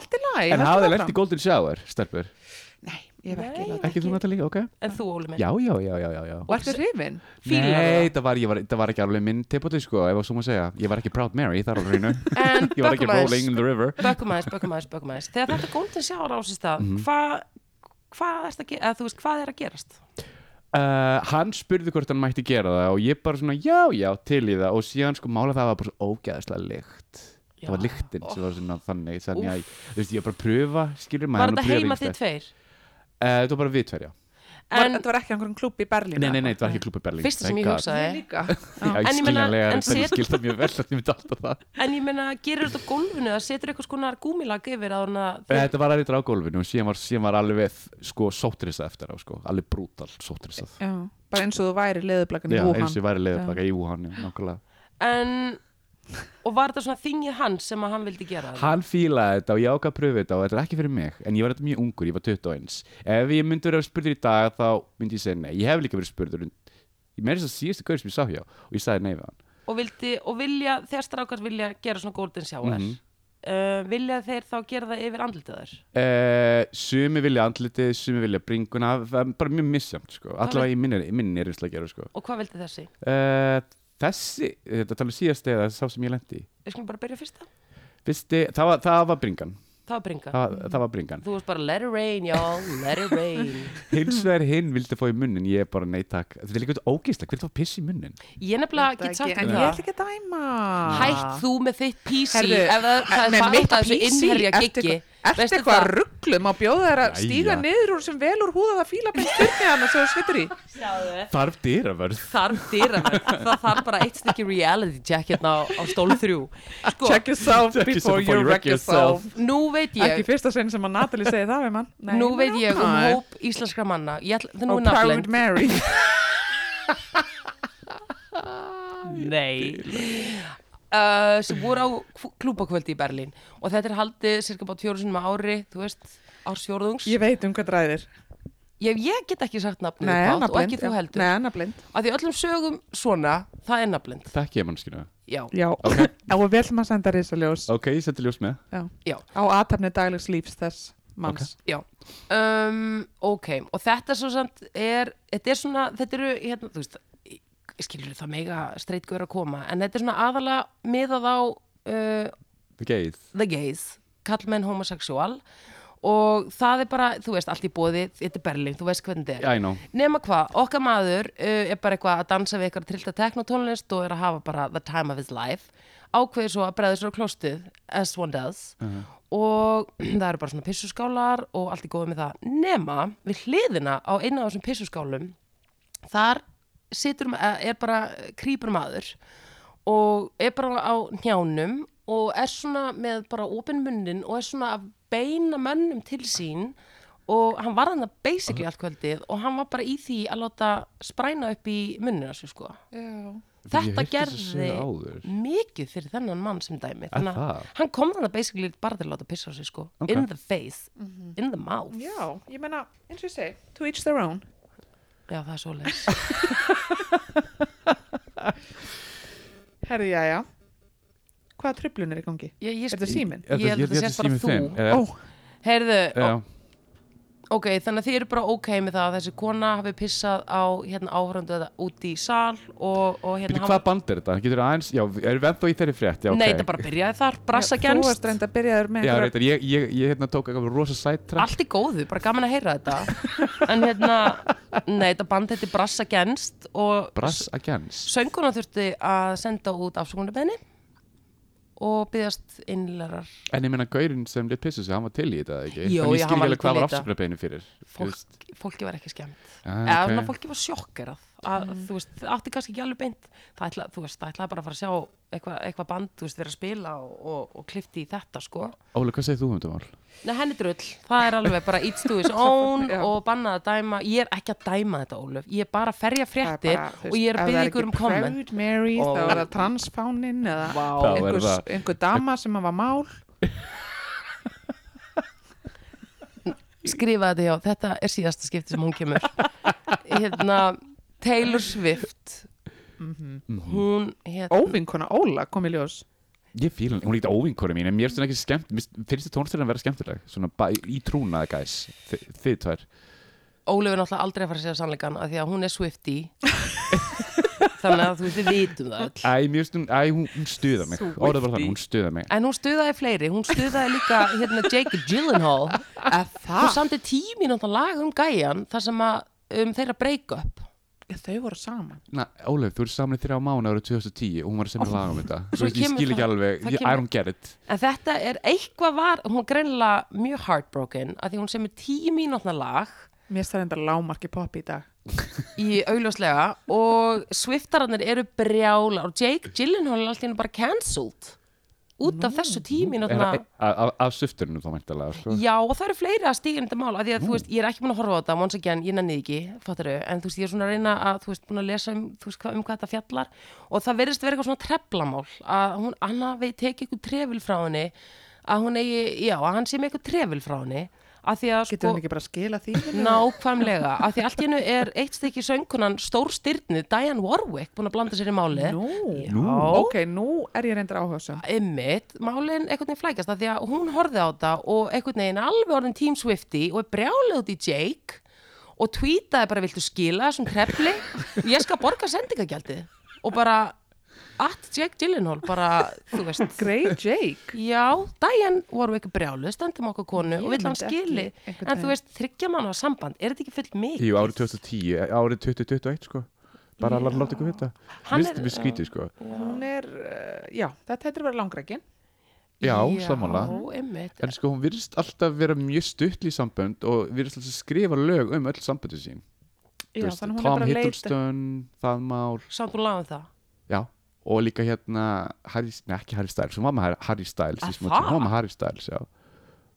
[SPEAKER 3] allt í lagi
[SPEAKER 2] En hafið lent í Golden Shower, stelpur?
[SPEAKER 3] nei, ég hef ekki
[SPEAKER 1] Nei.
[SPEAKER 3] látið.
[SPEAKER 2] Ekki þú Natalie, ok?
[SPEAKER 1] En þú, Óli minn.
[SPEAKER 2] Já, já, já, já, já, já.
[SPEAKER 3] og ertu hrifin
[SPEAKER 1] fílar
[SPEAKER 2] Nei,
[SPEAKER 1] það.
[SPEAKER 2] það var, ég var, það var ekki alveg minn tipoti, sko, ef að svo má segja. Ég var ekki Proud Mary, það er alveg hreinu.
[SPEAKER 1] En
[SPEAKER 2] Ég var ekki
[SPEAKER 1] bökum aðeins.
[SPEAKER 2] Rolling in the River.
[SPEAKER 1] Bökum aðeins, bökum aðeins, bökum aðeins. Þegar þetta góndin sjáur á sér stað,
[SPEAKER 2] Mhm.
[SPEAKER 1] mm. hvað ertu að ge- eða þú veist, hvað er að gerast?
[SPEAKER 2] Uh, hann spurði hvort hann mætti gera það og ég bara svona, já, já, til í það og síðan sko mála það var bara svo ógæðslega lykt. Það var
[SPEAKER 1] Já.
[SPEAKER 2] lyktin sem var svona þannig, þannig að, þú veist, ég var bara að pröfa, skilur
[SPEAKER 1] Var
[SPEAKER 2] maður.
[SPEAKER 1] þetta heima þið tveir?
[SPEAKER 2] Uh, þetta var bara við tverja.
[SPEAKER 3] en,
[SPEAKER 1] En,
[SPEAKER 3] þetta var ekki einhverjum klúb í Berlín
[SPEAKER 2] Nei, nei, nei,
[SPEAKER 3] eða
[SPEAKER 2] þetta var ekki klubbi Berlín.
[SPEAKER 1] Fyrsta sem
[SPEAKER 2] Thank
[SPEAKER 1] ég
[SPEAKER 2] God.
[SPEAKER 1] hugsaði.
[SPEAKER 3] eitthvað?
[SPEAKER 1] nei.
[SPEAKER 3] ég líka
[SPEAKER 2] Já,
[SPEAKER 1] En
[SPEAKER 2] ég
[SPEAKER 1] ég meina,
[SPEAKER 2] skiljanlega,
[SPEAKER 1] en
[SPEAKER 2] þetta er
[SPEAKER 1] set-
[SPEAKER 2] skilt það mjög vel að ég myndi alltaf það.
[SPEAKER 1] en ég meina, gerir þetta á gólfinu eða setur eitthvað skona gúmilag yfir að hana
[SPEAKER 3] Eh.
[SPEAKER 2] Þetta var aðeins á gólfinu og síðan var, síðan var alveg sko sótrissað eftir á sko, alveg brútal sótrissað.
[SPEAKER 3] já, bara eins og þú væri leðublakan í
[SPEAKER 2] Já, eins og
[SPEAKER 3] Wuhan
[SPEAKER 2] ég væri leiðbaka í Wuhan, já, nákvæmlega.
[SPEAKER 1] en, og var þetta svona þingið hans sem að hann vildi gera það?
[SPEAKER 2] Hann fílaði þetta og ég ákvað að pröfu þetta og þetta er ekki fyrir mig, en ég var þetta mjög ungur, ég var 21. Ef ég myndi verið að spurður í dag þá myndi ég segja nei, ég hef líka verið spurður, en- ég meiri þess að síðustu gaur sem ég sá hjá og ég sagði nei við hann.
[SPEAKER 1] og vildi, og vilja, þegar strákar vilja gera svona golden shower
[SPEAKER 2] Mhm.
[SPEAKER 1] uh, vilja þeir þá gera það yfir andlitaður
[SPEAKER 2] Uh, sumi vilja andlitið, sumi vilja bringuna, það er bara mjög misjamt sko, allavega í minni, minni er einslega að gera sko.
[SPEAKER 1] og hvað vildi þessi?
[SPEAKER 2] Eh, þessi, þetta talar síðast eða sá sem ég lendi í
[SPEAKER 1] Við skulum bara byrja fyrsta,
[SPEAKER 2] Visti, það, var, það var bringan
[SPEAKER 1] það var bringa
[SPEAKER 2] það, það var bringan
[SPEAKER 1] þú veist bara let it rain, y'all, let it rain
[SPEAKER 2] hins vegar hinn vildi fá í munnin ég er bara nei takk, þetta er líka eitthvað ógeislega hvernig fá piss í munnin
[SPEAKER 1] ég nefnilega get sagt
[SPEAKER 3] en
[SPEAKER 1] um
[SPEAKER 3] ég ætla
[SPEAKER 1] það
[SPEAKER 3] ekki að dæma
[SPEAKER 1] hætt þú með þitt PC
[SPEAKER 3] Herðu,
[SPEAKER 1] ef það, það er
[SPEAKER 3] Ah. með
[SPEAKER 1] bara
[SPEAKER 3] mitt
[SPEAKER 1] út af þessu
[SPEAKER 3] PC,
[SPEAKER 1] innherja
[SPEAKER 3] ertu
[SPEAKER 1] giggi
[SPEAKER 3] eitthvað- Ertu
[SPEAKER 1] Veistu
[SPEAKER 3] eitthvað
[SPEAKER 1] það?
[SPEAKER 3] rugglum á bjóða þær að
[SPEAKER 2] Jæja.
[SPEAKER 3] stíga niður úr sem vel úr húðaða fílabins styrni hann sem þú svittur í
[SPEAKER 2] þarf dýravörð
[SPEAKER 1] þarf dýravernd það þarf bara eitt stykki reality check hérna á, á stólu þrjú sko,
[SPEAKER 3] Check yourself
[SPEAKER 2] Check
[SPEAKER 3] before
[SPEAKER 2] yourself
[SPEAKER 3] you wreck yourself
[SPEAKER 1] nú veit
[SPEAKER 3] Ekki í
[SPEAKER 1] ég
[SPEAKER 3] fyrsta sinn sem að Natalie segi það við mann Nei,
[SPEAKER 1] nú veit
[SPEAKER 3] nei,
[SPEAKER 1] ég um
[SPEAKER 3] nei.
[SPEAKER 1] hóp íslenskra manna ég ætla, það er nú
[SPEAKER 3] Og Proud
[SPEAKER 1] nafnlend
[SPEAKER 3] Mary
[SPEAKER 1] nei uh, sem voru á klúbakvöldi í Berlín og þetta er haldið cirka bát fjóru sinum ári, þú veist, ársfjóruðungs
[SPEAKER 3] Ég veit um hvað ræðir
[SPEAKER 1] ég, ég get ekki sagt nafnið
[SPEAKER 3] Nei,
[SPEAKER 1] upphátt
[SPEAKER 3] annar
[SPEAKER 1] og
[SPEAKER 3] blind
[SPEAKER 1] ekki þú heldur
[SPEAKER 3] Nei, annar blind
[SPEAKER 1] að því öllum sögum svona, það er nafnblind
[SPEAKER 2] Þekki ég mannskina
[SPEAKER 1] já,
[SPEAKER 3] Já, okay. og við ætlum að senda risaljós
[SPEAKER 2] Ok, ég seti ljós með
[SPEAKER 3] Já.
[SPEAKER 1] Já.
[SPEAKER 3] Á aðtæfni daglegs lífs þess manns
[SPEAKER 1] já um, ok, og þetta svo samt er, þetta er svona, þetta eru hérna, þú veist, skilur það mega streitgur að koma, en þetta er svona aðalega miðað á uh,
[SPEAKER 2] The Gays
[SPEAKER 1] the gays, kallmenn homosexual og það er bara, þú veist, allt í bóði, þetta er Berlín, þú veist hvernig þetta er.
[SPEAKER 2] I know
[SPEAKER 1] Nema hvað, okkar maður uh, er bara eitthvað að dansa við eitthvað trillta teknotónlist og er að hafa bara the time of his life ákveður svo að bregða sér á klóstið as one does og það eru bara svona pissuskálar og allt í góðu með það nema við hliðina á einu af þessum pissuskálum þar situr, ma- eh, er bara krýpur maður og er bara á njánum og er svona með bara opinn munnin og er svona að beina mönnum til sín og hann var hann basically allt kvöldið og hann var bara í því að láta spræna upp í munnina sér sko.
[SPEAKER 3] Já.
[SPEAKER 2] Ég
[SPEAKER 1] Þetta
[SPEAKER 2] hef heyrt þessa sögu
[SPEAKER 1] gerði
[SPEAKER 2] áður.
[SPEAKER 1] mikið fyrir þennan mann sem dæmi. Þannig að
[SPEAKER 2] það?
[SPEAKER 1] hann kom þannig basically bara til að láta pissa á sig sko.
[SPEAKER 2] Ok.
[SPEAKER 1] In the face, in the mouth.
[SPEAKER 3] Mhm. Já, ég meina, eins og ég segi To each their own
[SPEAKER 1] Já, það er svo leis.
[SPEAKER 3] Herði, já, já Hvaða tröflun er í gangi?
[SPEAKER 1] Ég, ég,
[SPEAKER 3] Er þetta síminn?
[SPEAKER 1] Ég held að þetta sé bara þú.
[SPEAKER 2] Ó
[SPEAKER 3] Ó,
[SPEAKER 1] Heyrðu,
[SPEAKER 2] Eh, Já,
[SPEAKER 1] Ok, þannig að þið eru bara ok með það að þessi kona hafi pissað á hérna áhverjandu þetta út í sal og, og hérna
[SPEAKER 2] byrju hvað band er þetta? Getur aðeins, já, erum við ennþá í þeirri frétt? Já,
[SPEAKER 1] Nei,
[SPEAKER 2] ok.
[SPEAKER 1] þetta bara byrjaði þar, brassa
[SPEAKER 3] Þú varst
[SPEAKER 1] genst
[SPEAKER 3] reynd að byrja þér með
[SPEAKER 2] Já,
[SPEAKER 3] einhverja-
[SPEAKER 2] reyndar, ég, ég, ég hérna tók eitthvað rosa sættra
[SPEAKER 1] Allt í góðu, bara gaman að heyra þetta En hérna, nei, þetta band heiti brassa genst og
[SPEAKER 2] Brass Against
[SPEAKER 1] sönguna þurfti að senda út afsökunarbeðni og byggðast innlærar
[SPEAKER 2] En ég meina gaurinn sem lit pissu sig, hann var til í þetta, eða ekki?
[SPEAKER 1] Jú, já,
[SPEAKER 2] Þannig ég
[SPEAKER 1] hann
[SPEAKER 2] skil
[SPEAKER 1] var
[SPEAKER 2] ekki alveg
[SPEAKER 1] alveg til
[SPEAKER 2] hvað
[SPEAKER 1] í
[SPEAKER 2] var
[SPEAKER 1] þetta.
[SPEAKER 2] afsökunarbeinu fyrir þú
[SPEAKER 1] Fólk,
[SPEAKER 2] veist.
[SPEAKER 1] fólki var ekki skemmt
[SPEAKER 2] Ah,
[SPEAKER 1] eða
[SPEAKER 2] ok.
[SPEAKER 1] svona fólki var sjokkerað að þú veist, það átti kannski ekki alveg beint það ætla, þú veist, það ætlaði bara að fara að sjá eitthvað eitthva band, þú veist, vera að spila og, og, og klifti í þetta, sko
[SPEAKER 2] Óli, hvað segir þú um þetta mál?
[SPEAKER 1] Nei, henni drull, það er alveg bara each to his own
[SPEAKER 3] Já.
[SPEAKER 1] og bannað að dæma ég er ekki að dæma þetta, Ólöf, ég er bara að ferja
[SPEAKER 3] Það
[SPEAKER 1] fréttir
[SPEAKER 3] bara, þú
[SPEAKER 1] og ég er
[SPEAKER 3] veist,
[SPEAKER 1] að
[SPEAKER 3] ef það
[SPEAKER 1] byggja ykkur um
[SPEAKER 3] ekki
[SPEAKER 1] komment
[SPEAKER 3] Proud Mary,
[SPEAKER 1] Og-
[SPEAKER 3] þá er það transfáninn eða
[SPEAKER 1] Vá.
[SPEAKER 2] Þá er
[SPEAKER 3] einhver,
[SPEAKER 2] það-
[SPEAKER 3] einhver dama sem að var mál
[SPEAKER 1] skrifa þetta, já, þetta er síðasta skipti sem hún kemur hérna, Taylor Swift Mhm. hún, hérna
[SPEAKER 3] óvinkona Óla kom í ljós
[SPEAKER 2] Ég fíl hann, hún er ekkert óvinkori mín, en mér finnst hún ekki skemmt, mér finnst þið tónstöðan vera skemmtileg, svona bara í- í trúnaði, guys, Þi, þið tvær.
[SPEAKER 1] Ólöf er náttúrulega aldrei að fara að segja sannleikan af því að hún er Swifty þannig að þú veist, við vitum það öll
[SPEAKER 2] Æ, mér finnst hún, æ, hún, hún stuða mig,
[SPEAKER 3] Swiftie.
[SPEAKER 2] orðið bara þannig, hún stuða mig.
[SPEAKER 1] en hún stuðaði fleiri, hún stuðaði líka hérna Jake Gyllenhaal
[SPEAKER 3] að
[SPEAKER 1] hún samti tími náttúrulega lag um gæjan þar sem að um, þeirra break up
[SPEAKER 3] þau voru saman
[SPEAKER 2] Na, Ólef, þú ert saman í þrjá mánu árið 2010 og hún var að semja oh. lag um þetta. Þú
[SPEAKER 1] Svo
[SPEAKER 2] veist, ég
[SPEAKER 1] kemur
[SPEAKER 2] skil ekki
[SPEAKER 1] það-
[SPEAKER 2] alveg,
[SPEAKER 1] það
[SPEAKER 2] ég,
[SPEAKER 1] kemur-
[SPEAKER 2] I don't get it.
[SPEAKER 1] en þetta er eitthvað var hún er greinilega mjög heartbroken af því hún sem er tími náttúrulega lag
[SPEAKER 3] mér stæði enda lágmarki popp í dag
[SPEAKER 1] í augljóslega og Swiftararnir eru brjála og Jake Gyllenhaal er alltaf henni bara cancelled út af þessu tími
[SPEAKER 2] Er
[SPEAKER 1] náttúrulega
[SPEAKER 2] það a- a- Af sufturinu þá mæntalega,
[SPEAKER 3] Mm.
[SPEAKER 2] sko.
[SPEAKER 1] Já, og það eru fleiri að stíga inn í þetta mál af því að, þú veist, ég er ekki búin að horfa á þetta, once again, ég nenni því ekki, fattaru, en þú veist, ég er svona að reyna að, þú veist, búin að lesa um, þú veist, hva, um hvað þetta fjallar og það verðist vera eitthvað svona treflamál að hún, hann hafi tekið eitthvað trefil frá henni að hún eigi, já, að hann sé með eitthvað trefil frá henni að því að,
[SPEAKER 3] getur
[SPEAKER 1] sko,
[SPEAKER 3] hann ekki bara að skila því
[SPEAKER 1] nákvæmlega að því allt í hennu er eitt stykki söngkunan stórstyrnið Diane Warwick búin að blanda sér í málið
[SPEAKER 3] nú,
[SPEAKER 1] Já.
[SPEAKER 3] ok, nú er ég reyndar áhugasum
[SPEAKER 1] ymmit, málin einhvern veginn flækast að því að hún horfði á þetta og einhvern veginn alveg orðin Team Swifty og er brjálið út í Jake og tweetaði bara viltu skila þessum krefli ég skal borga sendingagjaldið og bara at Jake Gyllenhaal bara, þú veist
[SPEAKER 3] Grey Jake
[SPEAKER 1] já, Diane Warwick er brjálið stendum okkar konu
[SPEAKER 3] Ég
[SPEAKER 1] og vill hann
[SPEAKER 3] myndi
[SPEAKER 1] skili
[SPEAKER 3] ekki einhvern
[SPEAKER 1] en
[SPEAKER 3] veginn.
[SPEAKER 1] þú veist, þryggja mann á samband er þetta ekki full mikið?
[SPEAKER 2] Jú, árið 2010, e, árið 2021, sko. Bara að láta ykkur vita.
[SPEAKER 1] Hann
[SPEAKER 2] Mér finnst
[SPEAKER 1] er-
[SPEAKER 2] þetta mjög skrítið, sko.
[SPEAKER 3] hún er, uh, já, þetta heitir að vera langrækin
[SPEAKER 2] Já, sammála.
[SPEAKER 1] einmitt.
[SPEAKER 2] En sko, hún virðist alltaf vera mjög stuttli í sambönd og virðist alltaf skrifa lög um öll samböndu sín. Þú
[SPEAKER 3] já,
[SPEAKER 2] veist,
[SPEAKER 3] þannig hún er
[SPEAKER 2] Tom
[SPEAKER 3] bara að leita
[SPEAKER 2] Hiddleston, það mál,
[SPEAKER 1] samt hún lagði um það
[SPEAKER 2] já. Og líka hérna, Harry, nei ekki Harry Styles, hún var með Harry- Harry Styles í
[SPEAKER 1] Að
[SPEAKER 2] smá tíma,
[SPEAKER 1] það?
[SPEAKER 2] hún var með Harry Styles, já.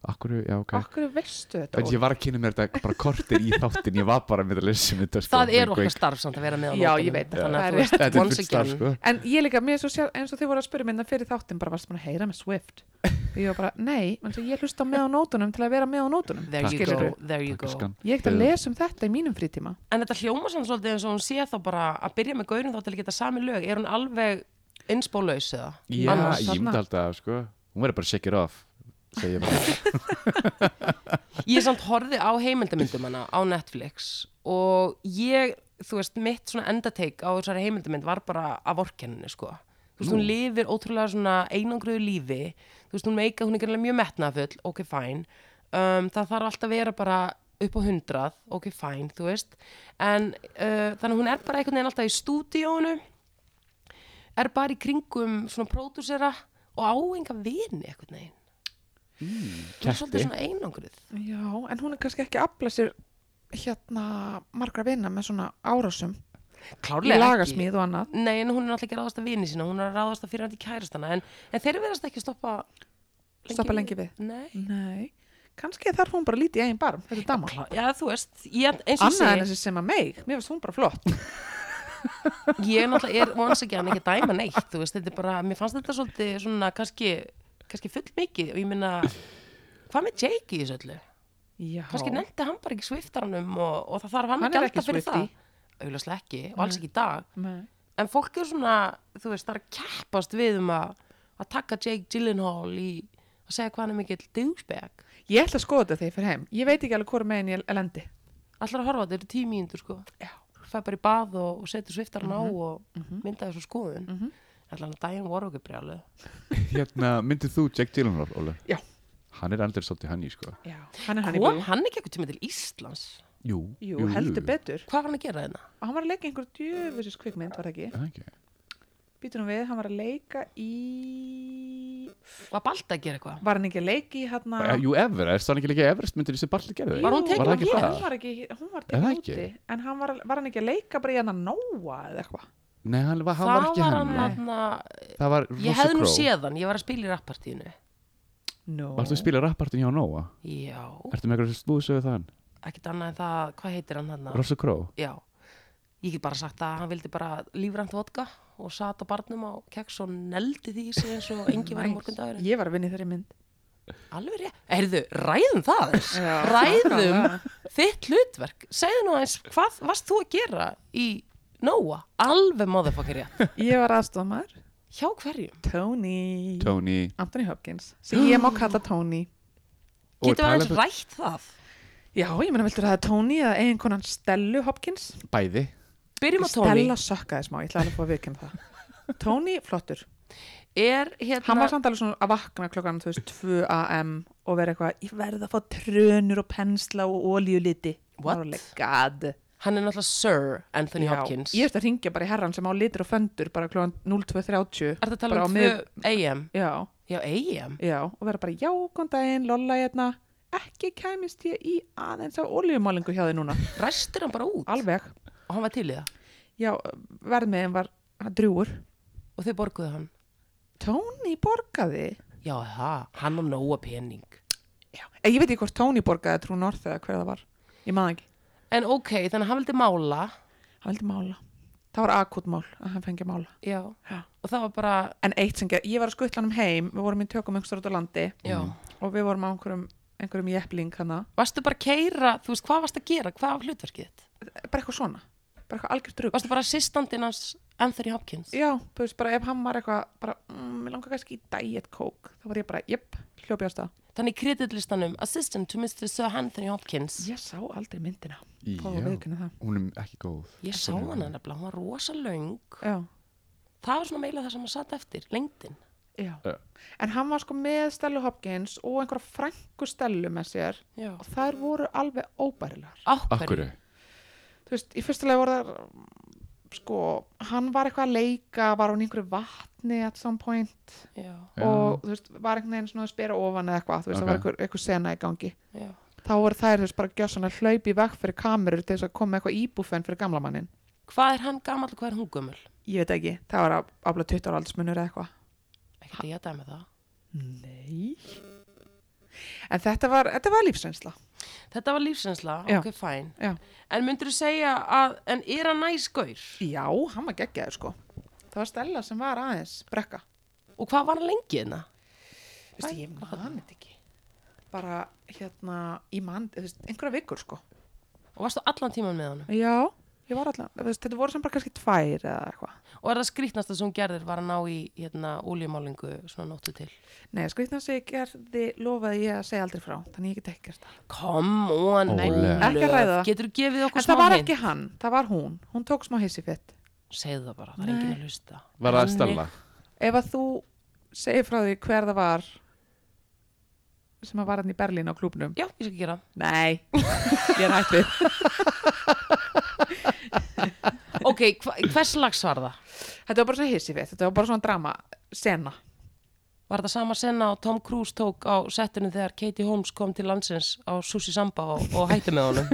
[SPEAKER 2] Akkur, já, ok
[SPEAKER 3] Akkur veistu þetta?
[SPEAKER 2] En ég var að kynna mér þetta bara kortir í þáttin Ég var bara með að lesa um þetta sko,
[SPEAKER 1] það er
[SPEAKER 2] Gauk.
[SPEAKER 1] okkar starf samt að vera með á
[SPEAKER 3] Já,
[SPEAKER 1] nótunum.
[SPEAKER 3] ég veit það.
[SPEAKER 1] þannig
[SPEAKER 3] Það
[SPEAKER 1] að
[SPEAKER 3] er
[SPEAKER 1] þú veist,
[SPEAKER 2] Þetta er
[SPEAKER 1] once
[SPEAKER 2] fullt starf
[SPEAKER 1] again
[SPEAKER 2] sko
[SPEAKER 3] En ég líka, mér er svo sjálf, eins og þið voru að spyrja minna fyrir þáttin, bara varst búin að heyra með Swift. Og Ég var bara, nei, menn svo ég hlusta á með á nótunum til að vera með á nótunum.
[SPEAKER 1] there you go,
[SPEAKER 3] Skilurðu?
[SPEAKER 1] there you
[SPEAKER 2] Takk,
[SPEAKER 1] go
[SPEAKER 2] elskan.
[SPEAKER 3] Ég ekkert að lesa um þetta í mínum frítíma.
[SPEAKER 1] en þetta hljóma svona svolítið eins og hún sé þá bara að byrja með gaurin þá til að geta sami lög er hún alveg innspólaus eða
[SPEAKER 2] Já,
[SPEAKER 3] Annars
[SPEAKER 2] ég
[SPEAKER 3] þarna.
[SPEAKER 2] myndi alltaf sko Hún verður bara að shake it off Segja bara
[SPEAKER 1] ég samt horfið á heimildamyndum hana á Netflix og ég, þú veist, mitt svona endateik á þessari heimildamynd var bara af orkenninni, sko. Þú veist, hún lifir ótrúlega svona einangruðu lífi, þú veist, hún meika, hún er gerðilega mjög metnafull, ok, fæn, um, það þarf alltaf að vera bara upp á hundrað, ok, fæn, þú veist, en uh, þannig að hún er bara einhvern veginn alltaf í stúdíónu, er bara í kringum svona pródúsera og á enga vini einhvern veginn. Hún er
[SPEAKER 2] Kerti
[SPEAKER 1] svolítið svona einangruð.
[SPEAKER 3] Já, en hún er kannski ekki að afla sér hérna margra vinna með svona árásum. Í
[SPEAKER 1] Klárlega ekki.
[SPEAKER 3] lagasmíð og annað.
[SPEAKER 1] Nei, en hún er náttúrulega ekki að ráðast að vini sína, hún er að ráðast að fyrir hann til kærastana, en, en þeir verðast ekki að stoppa
[SPEAKER 3] Stoppa lengi við.
[SPEAKER 1] Nei.
[SPEAKER 3] Nei, kannski þarf hún bara lítið í eigin barm, þetta er dama.
[SPEAKER 1] Klá, já, þú veist, ég, eins og
[SPEAKER 3] Annað en
[SPEAKER 1] ég
[SPEAKER 3] þessi sem að meig, mér finnst hún bara flott.
[SPEAKER 1] segi, ég náttúrulega er once again ekki að dæma neitt, þú veist, þetta er bara, mér fannst þetta svolítið svona kannski, kannski full mikið og ég minna, hvað með Jake í þessu öllu?
[SPEAKER 3] Já.
[SPEAKER 1] Kannski nefndi hann bara ekki sviftaranum og, og það þarf hann, að
[SPEAKER 3] Hann er
[SPEAKER 1] gjalda
[SPEAKER 3] ekki
[SPEAKER 1] fyrir
[SPEAKER 3] Swiftie.
[SPEAKER 1] það. Auðvitað ekki, og alls ekki í dag.
[SPEAKER 3] Nei.
[SPEAKER 1] En fólk er svona, þú veist, það er að keppast við um að, að taka Jake Gyllenhaal í að segja hvað hann er mikill douchebag.
[SPEAKER 3] Ég ætla að skoða þetta þegar ég fyrir heim. Ég veit ekki alveg hvora megin ég lendi.
[SPEAKER 1] Allar að horfa, á þetta eru tíu mínútur sko.
[SPEAKER 3] Já. Mhm,
[SPEAKER 1] Fæ bara í bað og, og setur sviftaran á og mynda þessu skoðun. Mm -hmm. Allar að daginn voru okkur brjálu.
[SPEAKER 2] Hérna, myndið þú Jack Gyllenhaal, Óli?
[SPEAKER 3] Já.
[SPEAKER 2] Hann er aldrei svolítið hann í sko
[SPEAKER 3] Já. Hann er hann í
[SPEAKER 1] Kom
[SPEAKER 3] búið.
[SPEAKER 1] hann ekki eitthvað tíma til Íslands?
[SPEAKER 2] Jú,
[SPEAKER 3] Jú, heldur betur.
[SPEAKER 1] Hvað var hann að gera hérna?
[SPEAKER 3] Og hann var að leika í einhverju djöfusis kvikmynd, var það ekki?
[SPEAKER 2] Er það ekki?
[SPEAKER 3] Býtur hún við, hann var að leika í...
[SPEAKER 1] Var Balta að gera eitthvað?
[SPEAKER 3] Var hann ekki að leika í hérna...
[SPEAKER 2] Ah. Jú, Everest, var hann ekki líka Everest myndir sem Bartli gerði?
[SPEAKER 1] Var hún tekin
[SPEAKER 2] Var það ekki
[SPEAKER 1] af
[SPEAKER 2] það?
[SPEAKER 3] Hún var ekki, hún var
[SPEAKER 2] Er það
[SPEAKER 3] tekin
[SPEAKER 2] ekki?
[SPEAKER 3] úti. En hann var, var hann ekki að leika bara í hérna Nóa eða eitthvað?
[SPEAKER 2] Nei, hann var, hann var ekki
[SPEAKER 1] var
[SPEAKER 2] hann.
[SPEAKER 1] hann
[SPEAKER 2] Það var
[SPEAKER 1] að,
[SPEAKER 2] Russell
[SPEAKER 1] ég hefði nú
[SPEAKER 2] Crowe.
[SPEAKER 1] séð hann, ég var að spila í rappartínu.
[SPEAKER 3] No.
[SPEAKER 2] Varstu að spila rappartin hjá Nóa?
[SPEAKER 1] Já,
[SPEAKER 2] Ertu með eitthvað slúðsögu þann?
[SPEAKER 1] ekkert annað en það, hvað heitir hann hann?
[SPEAKER 2] Russell Crowe?
[SPEAKER 1] Já, ég get bara sagt að hann vildi bara lífrænt vodka og sat á barnum á keks og neldi því í sig eins og engi var morgundagurinn.
[SPEAKER 3] Ég var að vinna í þeirri mynd.
[SPEAKER 1] Alveg rétt. Heyrðu, ræðum það aðeins.
[SPEAKER 3] Já,
[SPEAKER 1] ræðum
[SPEAKER 3] nákvæmlega.
[SPEAKER 1] þitt hlutverk. Segðu nú aðeins, hvað varst þú að gera í Nóa? Alveg motherfucker rétt.
[SPEAKER 3] Ég var aðstofamæður.
[SPEAKER 1] Hjá hverjum?
[SPEAKER 3] Tony.
[SPEAKER 2] Tony.
[SPEAKER 3] Anthony Hopkins. Sem ég má kalla Tony.
[SPEAKER 2] Og
[SPEAKER 1] Getum við aðeins
[SPEAKER 3] um-
[SPEAKER 2] talandi-
[SPEAKER 1] rætt það?
[SPEAKER 3] Já, ég meina, viltu það Tony eða eiginkonan Stellu Hopkins?
[SPEAKER 2] Bæði.
[SPEAKER 1] Byrjum á Tony.
[SPEAKER 3] Stella sökkaði smá, ég ætla alveg að fá að viðkynna það Tony, flottur
[SPEAKER 1] Er hérna...
[SPEAKER 3] Hann var samt alveg svona að vakna klokkan þú veist, 2 am og vera eitthvað Ég verð að fá trönur og pensla og oljuliti
[SPEAKER 1] What?
[SPEAKER 3] God
[SPEAKER 1] Hann er náttúrulega Sir Anthony
[SPEAKER 3] Já,
[SPEAKER 1] Hopkins.
[SPEAKER 3] Ég veist að ringja bara í herran sem á litur og föndur bara klokkan 02.30
[SPEAKER 1] Er það að tala
[SPEAKER 3] bara á
[SPEAKER 1] um
[SPEAKER 3] mið-
[SPEAKER 1] 2 AM?
[SPEAKER 3] Já,
[SPEAKER 1] Já, AM?
[SPEAKER 3] já, og vera bara já, góðan daginn, lolla hérna Ekki kæmist ég í aðeins á oljumálingu hjá þið núna
[SPEAKER 1] Ræstur hann bara út?
[SPEAKER 3] Alveg
[SPEAKER 1] Og hann var til í það?
[SPEAKER 3] Já, verðmiðin var hann drjúur
[SPEAKER 1] Og þau borguðu hann?
[SPEAKER 3] Tony borgaði
[SPEAKER 1] Já, það. Hann á Nóa pening.
[SPEAKER 3] Já. Eh, Ég veit ekki hvort Tony borgaði True North eða hver það var. Ég maður ekki.
[SPEAKER 1] En ok, þannig að hann vildi mála.
[SPEAKER 3] Hann vildi mála. Það var akut mál að hann fengi að mála.
[SPEAKER 1] Já.
[SPEAKER 3] Já.
[SPEAKER 1] Og það var bara...
[SPEAKER 3] En eitt sem gerði, ég var að skuttla hann heim, við vorum í tökum einhverjum út á landi
[SPEAKER 1] Já.
[SPEAKER 3] og við vorum á einhverjum, einhverjum jeppling hana.
[SPEAKER 1] Varstu bara að keira, þú veist, hvað varstu að gera, hvað var hlutverkið þitt?
[SPEAKER 3] Bara eitthvað svona. Bara eitthvað algjört drug.
[SPEAKER 1] Varstu bara assistantinn hans Anthony Hopkins?
[SPEAKER 3] Já, þú veist, bara ef hann var eitthvað, bara, mm, mér langar kannski í Diet Coke. Þá var ég bara, jöpp, hljópi á stað.
[SPEAKER 1] Þannig kreditlistanum, assistant to Mr. Sir Anthony Hopkins.
[SPEAKER 3] Ég sá aldrei myndina.
[SPEAKER 2] Já.
[SPEAKER 3] Fá að viðurkenna það.
[SPEAKER 2] Hún er ekki góð.
[SPEAKER 1] Ég sá
[SPEAKER 2] Sorry.
[SPEAKER 1] hana nefnilega, hún var rosa löng.
[SPEAKER 3] Já,
[SPEAKER 1] Það var svona meila það sem hann satt eftir, lengdin.
[SPEAKER 3] já.
[SPEAKER 2] Já.
[SPEAKER 3] En hann var sko með Stellu Hopkins og einhverja frængu Stellu með sér
[SPEAKER 1] Já.
[SPEAKER 3] og þær voru alveg óbærilegar.
[SPEAKER 1] Ákverju.
[SPEAKER 2] Akkurru.
[SPEAKER 3] þú veist, í fyrstulega voru það sko, hann var eitthvað að leika var hún í einhverju vatni at some point
[SPEAKER 1] Já,
[SPEAKER 2] Já.
[SPEAKER 3] og þú veist, var einhvern veginn svona að spera ofan eða eitthvað, þú veist,
[SPEAKER 2] Ok.
[SPEAKER 3] það var einhver, einhver sena í gangi
[SPEAKER 1] já.
[SPEAKER 3] þá voru þær, þú veist, bara gjössanlega hlaupi í vekk fyrir kamerur til þess að koma með eitthvað íbúfenn fyrir gamla mannin.
[SPEAKER 1] Hvað er hann gamall og hvað er hún gömul?
[SPEAKER 3] Ég veit ekki, það var aflega 20 ára aldsmunur eða eitthvað.
[SPEAKER 1] Ekkert að ég að dæma það.
[SPEAKER 3] Nei. en þetta var, þetta var lífsreynsla
[SPEAKER 1] Þetta var lífsreynsla,
[SPEAKER 3] Já.
[SPEAKER 1] ok, fæn.
[SPEAKER 3] já.
[SPEAKER 1] En myndur þú segja að, en er hann næs gaur?
[SPEAKER 3] já, hann var geggjaður sko það var Stella sem var aðeins brekka
[SPEAKER 1] Og hvað var hann lengi hérna?
[SPEAKER 3] Veistu, ég man þetta ekki bara hérna í mann einhverja vikur sko
[SPEAKER 1] Og varstu allan tíman með honum?
[SPEAKER 3] já, ég var allan, þú veist, þetta voru sem bara kannski tvær eða eitthvað
[SPEAKER 1] Og er það skrýtnasta sem hún gerðir var að ná í, hérna, óljumálingu svona nóttu til?
[SPEAKER 3] Nei, skrýtna sem ég gerði lofaði ég að segja aldrei frá, þannig ég get ekki gert það.
[SPEAKER 1] Come on,
[SPEAKER 2] Óleg.
[SPEAKER 3] Ekki að ræða það.
[SPEAKER 1] Getur þú gefið okkur
[SPEAKER 3] En það
[SPEAKER 1] smá
[SPEAKER 3] var
[SPEAKER 1] hint?
[SPEAKER 3] ekki hann, það var hún, hún tók smá hissi fett.
[SPEAKER 1] Segðu það bara, það er enginn að hlusta.
[SPEAKER 2] Var það Stella?
[SPEAKER 3] Ef að þú segir frá því hver það var sem að var hann í Berlín á klúbnum.
[SPEAKER 1] Já, ég skal gera. það.
[SPEAKER 3] Nei, ég er hætt við.
[SPEAKER 1] Ok, hva, hvers lags var það?
[SPEAKER 3] Þetta var bara svona hissi fett, þetta var bara svona drama, sena.
[SPEAKER 1] Var þetta sama senna og Tom Cruise tók á settinu þegar Katie Holmes kom til landsins á Susi Samba og, og hætti með honum?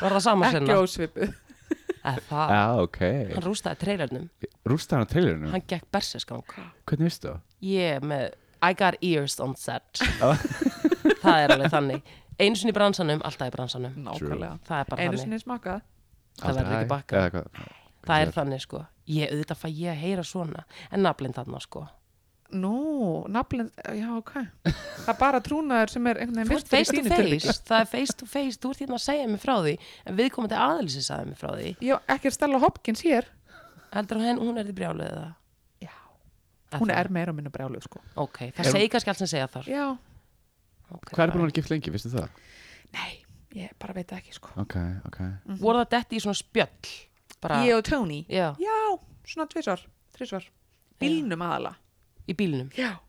[SPEAKER 1] Var það sama senna?
[SPEAKER 3] Ekki ósvipuð.
[SPEAKER 1] Eða það,
[SPEAKER 2] Já, Ah, ok.
[SPEAKER 1] Ah. hann rústaði treylernum,
[SPEAKER 2] Rústa hann á trailerinum?
[SPEAKER 1] hann gekk berserskang.
[SPEAKER 2] Hvernig veistu það?
[SPEAKER 1] Ég með I got ears on set. það er alveg þannig. Einu sinni í bransanum, alltaf í bransanum.
[SPEAKER 3] Nákvæmlega.
[SPEAKER 1] Það er bara
[SPEAKER 3] Einu
[SPEAKER 1] þannig.
[SPEAKER 3] sinni smakað.
[SPEAKER 1] Það
[SPEAKER 2] Aldrei
[SPEAKER 1] verður ekki
[SPEAKER 2] hæ?
[SPEAKER 1] bakkað.
[SPEAKER 2] Eða hvað?
[SPEAKER 1] Það er þannig sko. Ég auðvitað fæ ég að heyra svona. En naflind þarna sko.
[SPEAKER 3] Nú, nafnlinn, já, ok. Það er bara trúnaður sem er einhvern veginn
[SPEAKER 1] Þú ert
[SPEAKER 3] virtur í
[SPEAKER 1] face to
[SPEAKER 3] sínu tilviki.
[SPEAKER 1] face. Það er face to face. Þú ert hérna að segja mér frá því. En viðkomandi aðilsi sagði mér frá því.
[SPEAKER 3] Já, ekki er Stella Hopkins hér.
[SPEAKER 1] Heldur hún, hún er því brjáluð eða?
[SPEAKER 3] Já, hún er meira og minna brjáluð sko.
[SPEAKER 1] Ok, það segir kannski allt sem segja þar.
[SPEAKER 3] Já,
[SPEAKER 1] Okay,
[SPEAKER 2] Hvað er búin
[SPEAKER 1] fine.
[SPEAKER 2] að vera gift lengi, veistu það?
[SPEAKER 3] nei, ég bara veit það ekki sko.
[SPEAKER 2] Ok, ok.
[SPEAKER 1] Voru það detti í svona spjöll? Bara,
[SPEAKER 3] Ég og Tony.
[SPEAKER 1] Já,
[SPEAKER 3] Já, svona tvisvar, þrisvar. Bílnum aðala.
[SPEAKER 1] í bílnum.
[SPEAKER 3] Já.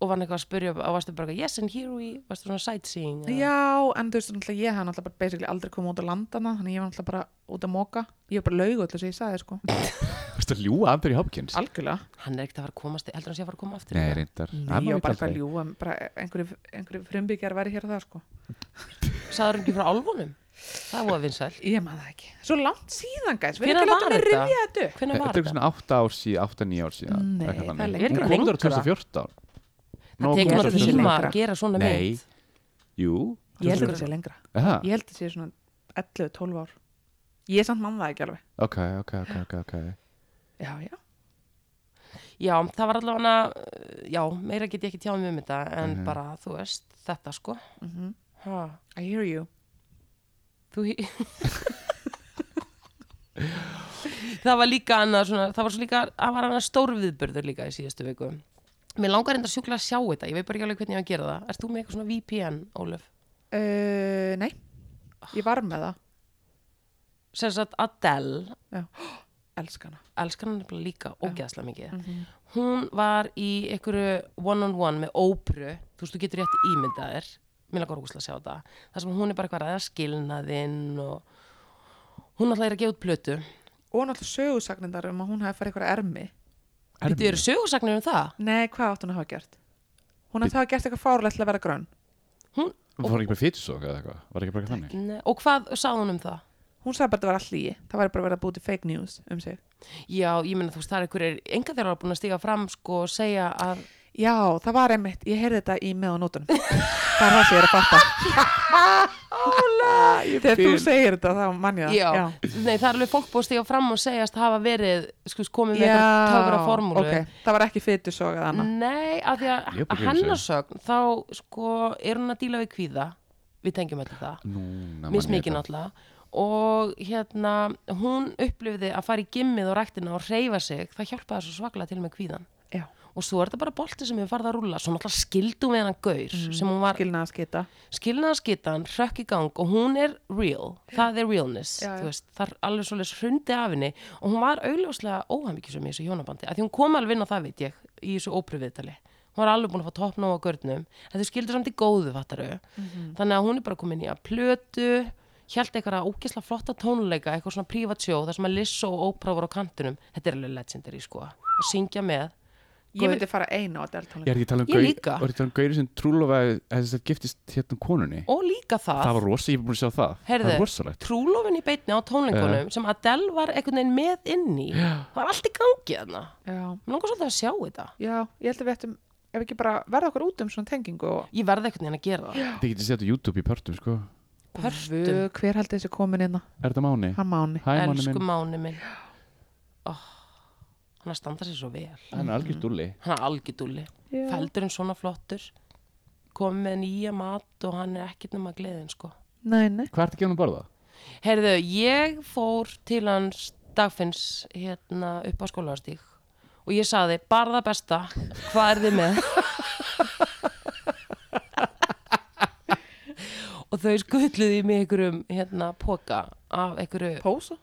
[SPEAKER 1] Og var hann eitthvað að spyrja og varstu bara eitthvað, yes and here we, varstu svona sightseeing? eða?
[SPEAKER 3] Já, en þú veist, náttúrulega, ég hef náttúrulega bara basically aldrei komið út á landana, þannig ég var náttúrulega bara út að móka. Ég var bara laug öllu sem ég sagði, sko.
[SPEAKER 2] Veistu að ljúa Anthony Hopkins?
[SPEAKER 3] Algjörlega.
[SPEAKER 1] Hann er ekkert að fara að komast, heldur hann sé að fara að koma aftur?
[SPEAKER 2] Nei, reyndar.
[SPEAKER 3] Nei,
[SPEAKER 2] Hann
[SPEAKER 3] ég
[SPEAKER 2] var
[SPEAKER 3] var bara
[SPEAKER 2] veit
[SPEAKER 3] eitthvað að
[SPEAKER 2] aldrei.
[SPEAKER 3] ljúa, bara einhverju, einhverju frumbyggjar væri hér og það, sko.
[SPEAKER 1] Saður hann ekki frá álfunum? Það voru vinsæl.
[SPEAKER 3] Ég maður það ekki. Svo langt síðan, gæs.
[SPEAKER 1] Hvenær var
[SPEAKER 3] Við erum ekki
[SPEAKER 1] þetta?
[SPEAKER 3] látið að rifja þetta upp.
[SPEAKER 1] Hvernig
[SPEAKER 2] Þetta
[SPEAKER 1] var
[SPEAKER 2] er eitthvað
[SPEAKER 1] þetta?
[SPEAKER 2] svona 8 ár síðan, 8-9 ár síðan.
[SPEAKER 3] Nei,
[SPEAKER 2] eitthvað
[SPEAKER 3] það er
[SPEAKER 2] þannig.
[SPEAKER 3] lengra.
[SPEAKER 2] Hún kom þar
[SPEAKER 1] Lengra.
[SPEAKER 2] 2014.
[SPEAKER 1] Það tekur
[SPEAKER 2] Nóvember
[SPEAKER 3] Nóvember
[SPEAKER 1] alltaf tíma
[SPEAKER 2] 2014.
[SPEAKER 1] að gera svona
[SPEAKER 2] Nei,
[SPEAKER 1] mynd.
[SPEAKER 2] jú.
[SPEAKER 3] Ég held að þetta sé lengra.
[SPEAKER 2] Aha,
[SPEAKER 3] Ég held að þetta sé svona 11-12 ár. Ég samt mann það ekki alveg.
[SPEAKER 2] ok, ok, ok, ok, ok.
[SPEAKER 3] Já, já.
[SPEAKER 1] Já, það var allavega, uh, já, meira get ég ekki tjáð mjög um þetta, en
[SPEAKER 2] Mhm.
[SPEAKER 1] bara, þú veist, þetta sko. Ha,
[SPEAKER 3] I hear you.
[SPEAKER 1] þú... það var líka annað svona, það var svo líka, það var annað stórviðburður líka í síðustu viku. Mér langar enda sjúkla að sjá þetta, ég veit bara ekki alveg hvernig ég á að gera það. Erst þú með eitthvað svona VPN, Ólöf?
[SPEAKER 3] Uh, nei, ég var með það.
[SPEAKER 1] Sér satt Adele,
[SPEAKER 3] Elskana.
[SPEAKER 1] elskar hann nefnilega líka ógeðslega mikið hún var í einhverju one on one með óbru þú veist, þú getur rétt ímyndað þér mér lakar ógustlega að sjá það þar sem hún er bara eitthvað að ræða skilnaðinn og hún alltaf er að gefa út plötu
[SPEAKER 3] Og náttúrulega sögursagnindar um að hún hafi farið eitthvað ermi.
[SPEAKER 1] Þetta eru sögursagnir um það
[SPEAKER 3] Nei, hvað átt hún að hafa gert? Hún átti að hafa gert eitthvað fárlegt til að vera grönn.
[SPEAKER 1] hún,
[SPEAKER 2] Hún fór ekki með fytusók eða eitthvað? Var ekki bara eitthvað þannig?
[SPEAKER 1] ne, og hvað sagði hún um það?
[SPEAKER 3] Hún sagði bara að það var allt lígi. Það væri bara verið að búti fake news um sig.
[SPEAKER 1] Já, ég meina þú veist, það er einhverjir enga þeirra búin að stíga fram sko og segja að
[SPEAKER 3] Já, það var einmitt. Ég heyrði þetta í með á nótunum. það er það sem ég er að fatta. Óla! Þegar þú segir þetta, þá mann ég það.
[SPEAKER 1] Já, Nei, það er alveg fólk búið að stíga fram og segjast hafa verið, sko, komið með
[SPEAKER 3] Já,
[SPEAKER 1] einhverja formúlu
[SPEAKER 3] ok. Það var ekki fytusog eða annað.
[SPEAKER 1] Nei, af því
[SPEAKER 2] Ég er
[SPEAKER 1] að
[SPEAKER 2] bara að
[SPEAKER 1] hennarsögn þá sko er hún að díla við kvíða við tengjum öll það,
[SPEAKER 2] Núna,
[SPEAKER 1] mis mikið náttúrulega og hérna hún upplifði að fara í gimmið og ræktina og reyfa sig, það hjálpaði svo svaklega til með kvíðan
[SPEAKER 3] Já,
[SPEAKER 1] og svo er þetta bara bolti sem við farið að rúlla svo náttúrulega skildum við hennan gaur
[SPEAKER 2] Mm,
[SPEAKER 1] sem hún var
[SPEAKER 3] skilnaða skita.
[SPEAKER 1] skilnaðarskitan, hrökk í gang og hún er real, það er realness
[SPEAKER 3] Já, já.
[SPEAKER 1] þú veist, það er alveg svolítið hrundi af henni og hún var augljóslega óhæmyggjusum í þessu hjónabandi, af því hún kom alveg inn á það veit ég, í þessu ópröfiðtali hún var alveg búin að fá toppná á görnum en þau skildu samt í góðu fattaru
[SPEAKER 3] Mhm.
[SPEAKER 1] þannig að hún er bara komin í að plötu hjælt eitthvað ógeðslega flotta tónuleika eitthvað svona prívat sjó, þar sem að Lizzo og Oprah voru á kantinum, þetta er alveg legendary sko að syngja með
[SPEAKER 3] Ég myndi fara eina á deltónleika.
[SPEAKER 2] Ég er ekki að tala um
[SPEAKER 1] Ég
[SPEAKER 2] gau-
[SPEAKER 1] líka.
[SPEAKER 2] Ég er ekki að tala um gauri sem trúlofaði þess að giftist hérna konunni.
[SPEAKER 1] og líka það,
[SPEAKER 2] Það var rosa, ég er búin að sjá það. Það
[SPEAKER 1] Herðu,
[SPEAKER 2] er rosalegt.
[SPEAKER 1] trúlofin í beitni á tónleikunum sem Adele var einhvern veginn með inn í það var allt í gangi þarna
[SPEAKER 3] Já.
[SPEAKER 1] mér langar svolítið að sjá þetta
[SPEAKER 3] Já, ég held að við ættum ef ekki bara verða okkur út um svona tengingu og
[SPEAKER 1] Ég verði einhvern veginn að gera það.
[SPEAKER 2] Þið getið setja YouTube í pörtum, sko
[SPEAKER 1] Pörtun,
[SPEAKER 3] Guð, hver haldið þessi komin inn
[SPEAKER 2] Er þetta Máni?
[SPEAKER 3] hann máni
[SPEAKER 2] Hæ, Máni
[SPEAKER 1] elsku
[SPEAKER 2] minn
[SPEAKER 1] máni minn. Oh, hann að standa sér svo vel.
[SPEAKER 2] Hann er algjör dúlli
[SPEAKER 1] Hann er algjörðulli. Feldurinn svona flottur. Komið með nýja mat og hann er ekkert nema gleðin, sko.
[SPEAKER 3] nei, nei.
[SPEAKER 2] Hvað ertu að gefa hann að borða?
[SPEAKER 1] Herðu, ég fór til hans dagfinns hérna upp á skólaðarstík og ég saði, bara það besta, hvað er þið með? og þau skutluði mig einhverjum hérna póka af einhverju
[SPEAKER 3] Pósa?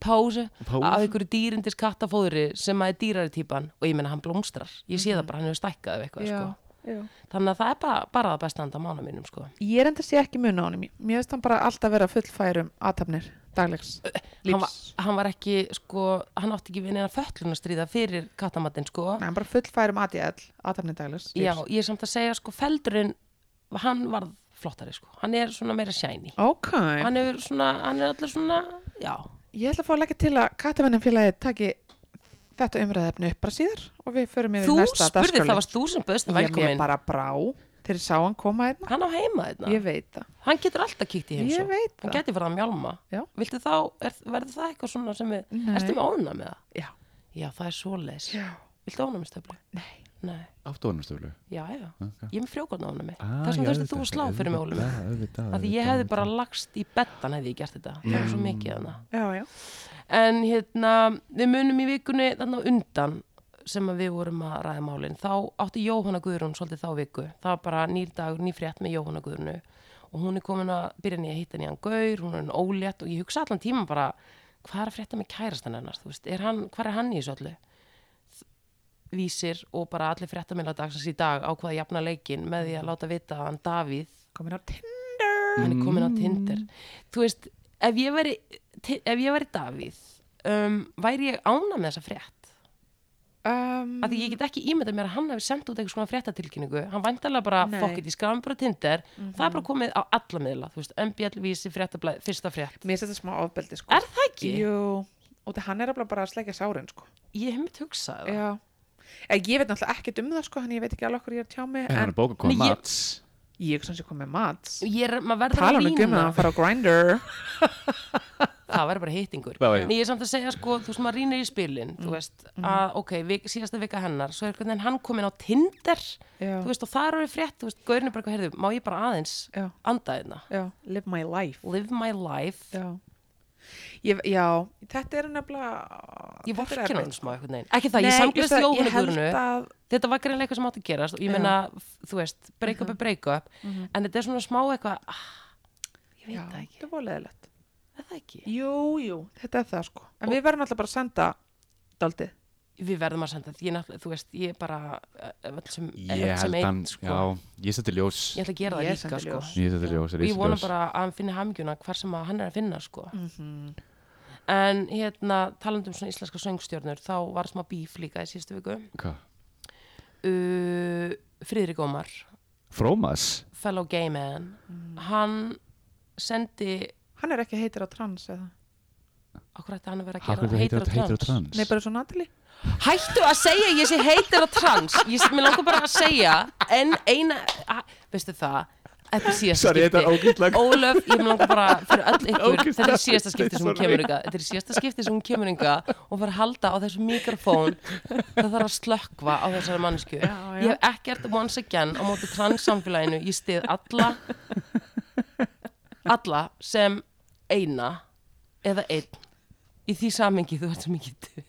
[SPEAKER 1] pásu,
[SPEAKER 2] Pásu?
[SPEAKER 1] af einhverju dýrindis kattafóðri sem að er dýrari típan og ég meina hann blómstrar, ég sé það bara, hann hefur stækkað ef eitthvað, sko.
[SPEAKER 3] já.
[SPEAKER 1] Þannig að það er bara, bara það besta handa mánu mínum, sko.
[SPEAKER 3] Ég er enda sé ekki mun á honum Mér mér finnst hann bara alltaf vera fullfærum aðtapnir daglegs
[SPEAKER 1] hann var,
[SPEAKER 3] lífs
[SPEAKER 1] hann var ekki, sko, hann átti ekki við neina föllun að stríða fyrir kattamatinn, sko.
[SPEAKER 3] Nei, hann bara fullfærum aðtapnir aðtapnir daglegs lífs.
[SPEAKER 1] Já, ég er samt að segja, sko, feldurinn, hann varð flottari, sko. Hann er svona meira shiny.
[SPEAKER 3] Ok,
[SPEAKER 1] Hann er svona, hann er allir svona, já.
[SPEAKER 3] ég ætla að fá að leggja til að kattavennum félagi taki þetta umræðefni upp bara síðar og við förum yfir
[SPEAKER 1] Þú
[SPEAKER 3] í næsta
[SPEAKER 1] spurði, það varst þú sem bauðst
[SPEAKER 3] Ég mér
[SPEAKER 1] velkomin.
[SPEAKER 3] bara brá þegar ég sá hann koma hérna
[SPEAKER 1] Hann á heima þetta.
[SPEAKER 3] Ég veit það,
[SPEAKER 1] Hann getur alltaf kíkt í
[SPEAKER 3] ég
[SPEAKER 1] heimsó.
[SPEAKER 3] veit
[SPEAKER 1] Hann
[SPEAKER 3] það
[SPEAKER 1] getur farið að mjálma.
[SPEAKER 3] Já.
[SPEAKER 1] Viltu þá, er, verður það eitthvað svona sem við,
[SPEAKER 3] Nei.
[SPEAKER 1] erstu með óna með það?
[SPEAKER 3] Já.
[SPEAKER 1] Já, það er svoleiðis.
[SPEAKER 3] Já,
[SPEAKER 1] Viltu óna með stöflu?
[SPEAKER 3] nei
[SPEAKER 1] Nei.
[SPEAKER 2] Áttu honum stöflu
[SPEAKER 1] Já, já.
[SPEAKER 2] Ok.
[SPEAKER 1] Ég er með frjókorn óna með.
[SPEAKER 2] Ah,
[SPEAKER 1] Þess
[SPEAKER 2] já,
[SPEAKER 1] vegna þurfti þú
[SPEAKER 2] auðvitað,
[SPEAKER 1] að slá fyrir mig, Ólum.
[SPEAKER 2] auðvitað, auðvitað,
[SPEAKER 1] að því ég
[SPEAKER 2] auðvitað,
[SPEAKER 1] hefði bara lagst í bettan hefði ég gert þetta, það var svo mikið þarna
[SPEAKER 3] Já, já,
[SPEAKER 1] en hérna, við munum í vikunni þarna á undan sem að við vorum að ræða málin þá átti Jóhanna Guðrún svolítið þá viku það var bara nýr dag, nýr frétt með Jóhanna Guðrunu og hún er komin að byrja nýja að hitta nýjan gaur, hún er enn ólétt og ég hugsa allan tíman bara, hvað er að frétta með kærastan hennar, þú veist, er hann, hvað er hann í þessu öllu vísir og bara allir fréttamilna dagsins í dag ákvaða að jafna leikin með því að láta vita að hann Davíð
[SPEAKER 3] komin á Tinder
[SPEAKER 1] hann er komin á Tinder þú veist, ef ég væri ti- ef ég væri Davíð um, væri ég ána með þessa frétt
[SPEAKER 3] um,
[SPEAKER 1] af því ég get ekki ímyndað mér að hann hefur sendt út eitthvað svona fréttatilkynningu hann væntalega bara
[SPEAKER 3] Nei. Mhm.
[SPEAKER 1] fokkit í skafan bara á Tinder það er bara komið á alla miðla þú veist, MBL vísi fréttablaði, fyrsta frétt
[SPEAKER 3] Mér finnst þetta smá ofbeldi sko
[SPEAKER 1] er það ekki?
[SPEAKER 3] Jú, og það hann er alveg bara að sleggja sárin sko.
[SPEAKER 1] ég hef mitt hugsað það
[SPEAKER 3] Já Ég, ég veit náttúrulega ekkert um það sko, hann ég veit ekki alveg okkur ég er að tjá mig
[SPEAKER 2] En hann
[SPEAKER 3] en
[SPEAKER 2] er bókað koma
[SPEAKER 1] Nei, ég-
[SPEAKER 2] mats
[SPEAKER 3] ég ekki sanns ég kom með mats
[SPEAKER 1] ég er, maður verður
[SPEAKER 3] tala
[SPEAKER 1] að
[SPEAKER 3] hann ekki um
[SPEAKER 1] lína
[SPEAKER 3] það að fara á Grindr
[SPEAKER 1] það væri bara hittingur
[SPEAKER 2] Það væri-
[SPEAKER 1] en ég er samt að segja sko, þú veist maður rýnir í spilin
[SPEAKER 3] Mm.
[SPEAKER 1] þú veist, að ok, vik, síðasta vika hennar svo er hvernig hann komin á Tinder
[SPEAKER 3] Já.
[SPEAKER 1] þú veist, og það er orðið frétt, þú veist, gaurin er bara herðu, má ég bara aðeins
[SPEAKER 3] Já.
[SPEAKER 1] anda þeirna
[SPEAKER 3] Já, live my life
[SPEAKER 1] live my life
[SPEAKER 3] Já, ég, já þetta er nefnilega
[SPEAKER 1] ég
[SPEAKER 3] þetta er
[SPEAKER 1] vorkir hann
[SPEAKER 3] erfitt. sko.
[SPEAKER 1] smá einhvern veginn ekki það, ég
[SPEAKER 3] Nei,
[SPEAKER 1] samglaðist
[SPEAKER 3] veistu það,
[SPEAKER 1] Jóhannu Guðrunu
[SPEAKER 3] Ég held að
[SPEAKER 1] þetta var greinlega eitthvað sem átti að gerast og ég
[SPEAKER 3] Já. Mhm.
[SPEAKER 1] meina, f- þú veist, break up er break up en þetta er svona smá eitthvað ah, ég veit
[SPEAKER 3] Já,
[SPEAKER 1] það ekki,
[SPEAKER 3] þetta er voleðilegt
[SPEAKER 1] er það ekki
[SPEAKER 3] Jú, jú, þetta er það sko En við verðum alltaf bara að senda daldið
[SPEAKER 1] við verðum að senda, ég, náttúrulega- þú veist, ég bara eh, öll sem,
[SPEAKER 2] Ég
[SPEAKER 1] öll sem
[SPEAKER 2] held
[SPEAKER 1] einn,
[SPEAKER 2] hann,
[SPEAKER 1] sko.
[SPEAKER 2] já, ég seti ljós
[SPEAKER 1] ég ætla að gera
[SPEAKER 3] Ég
[SPEAKER 1] það líka
[SPEAKER 3] sendi
[SPEAKER 1] sko.
[SPEAKER 3] ljós.
[SPEAKER 2] Ég seti ljós,
[SPEAKER 1] og
[SPEAKER 2] ég
[SPEAKER 1] ég
[SPEAKER 2] seti
[SPEAKER 1] vona
[SPEAKER 2] ljós
[SPEAKER 1] bara að hann finni hamgjuna hvar sem að hann er að finna sko. en hérna talandum svona íslenska söngstjörnur þá var smá bíf líka í síðustu viku
[SPEAKER 2] Hvað?
[SPEAKER 1] uh, Friðrik Ómar
[SPEAKER 2] Frómas?
[SPEAKER 1] fellow gay man hann sendi
[SPEAKER 3] Hann er ekki heitir á trans eða
[SPEAKER 1] okkur ætti hann að vera að
[SPEAKER 2] Hvað
[SPEAKER 1] gera
[SPEAKER 2] heitir þetta heitir á
[SPEAKER 1] trans
[SPEAKER 2] trans?
[SPEAKER 3] Nei, bara svo Natalie
[SPEAKER 1] hættu að segja ég sé heitir á trans ég mér langar bara að segja en eina, að, veistu það þetta er síðasta
[SPEAKER 2] Sorry, þetta er
[SPEAKER 1] skipti.
[SPEAKER 2] ógeðslega-
[SPEAKER 1] Ólöf, ég mér langar bara fyrir öll ykkur,
[SPEAKER 2] Ógeðslega
[SPEAKER 1] þetta er síðasta skipti sem hún
[SPEAKER 2] sorry.
[SPEAKER 1] kemur ynga þetta er síðasta skipti sem hún kemur ynga og fyrir að halda á þessu mikrofón það þarf að slökkva á þessari mannsku
[SPEAKER 3] Já, já.
[SPEAKER 1] ég hef ekkert once again á móti transsamfélaginu, ég stið alla alla sem eina eða einn í því samengi þú ert svo mikið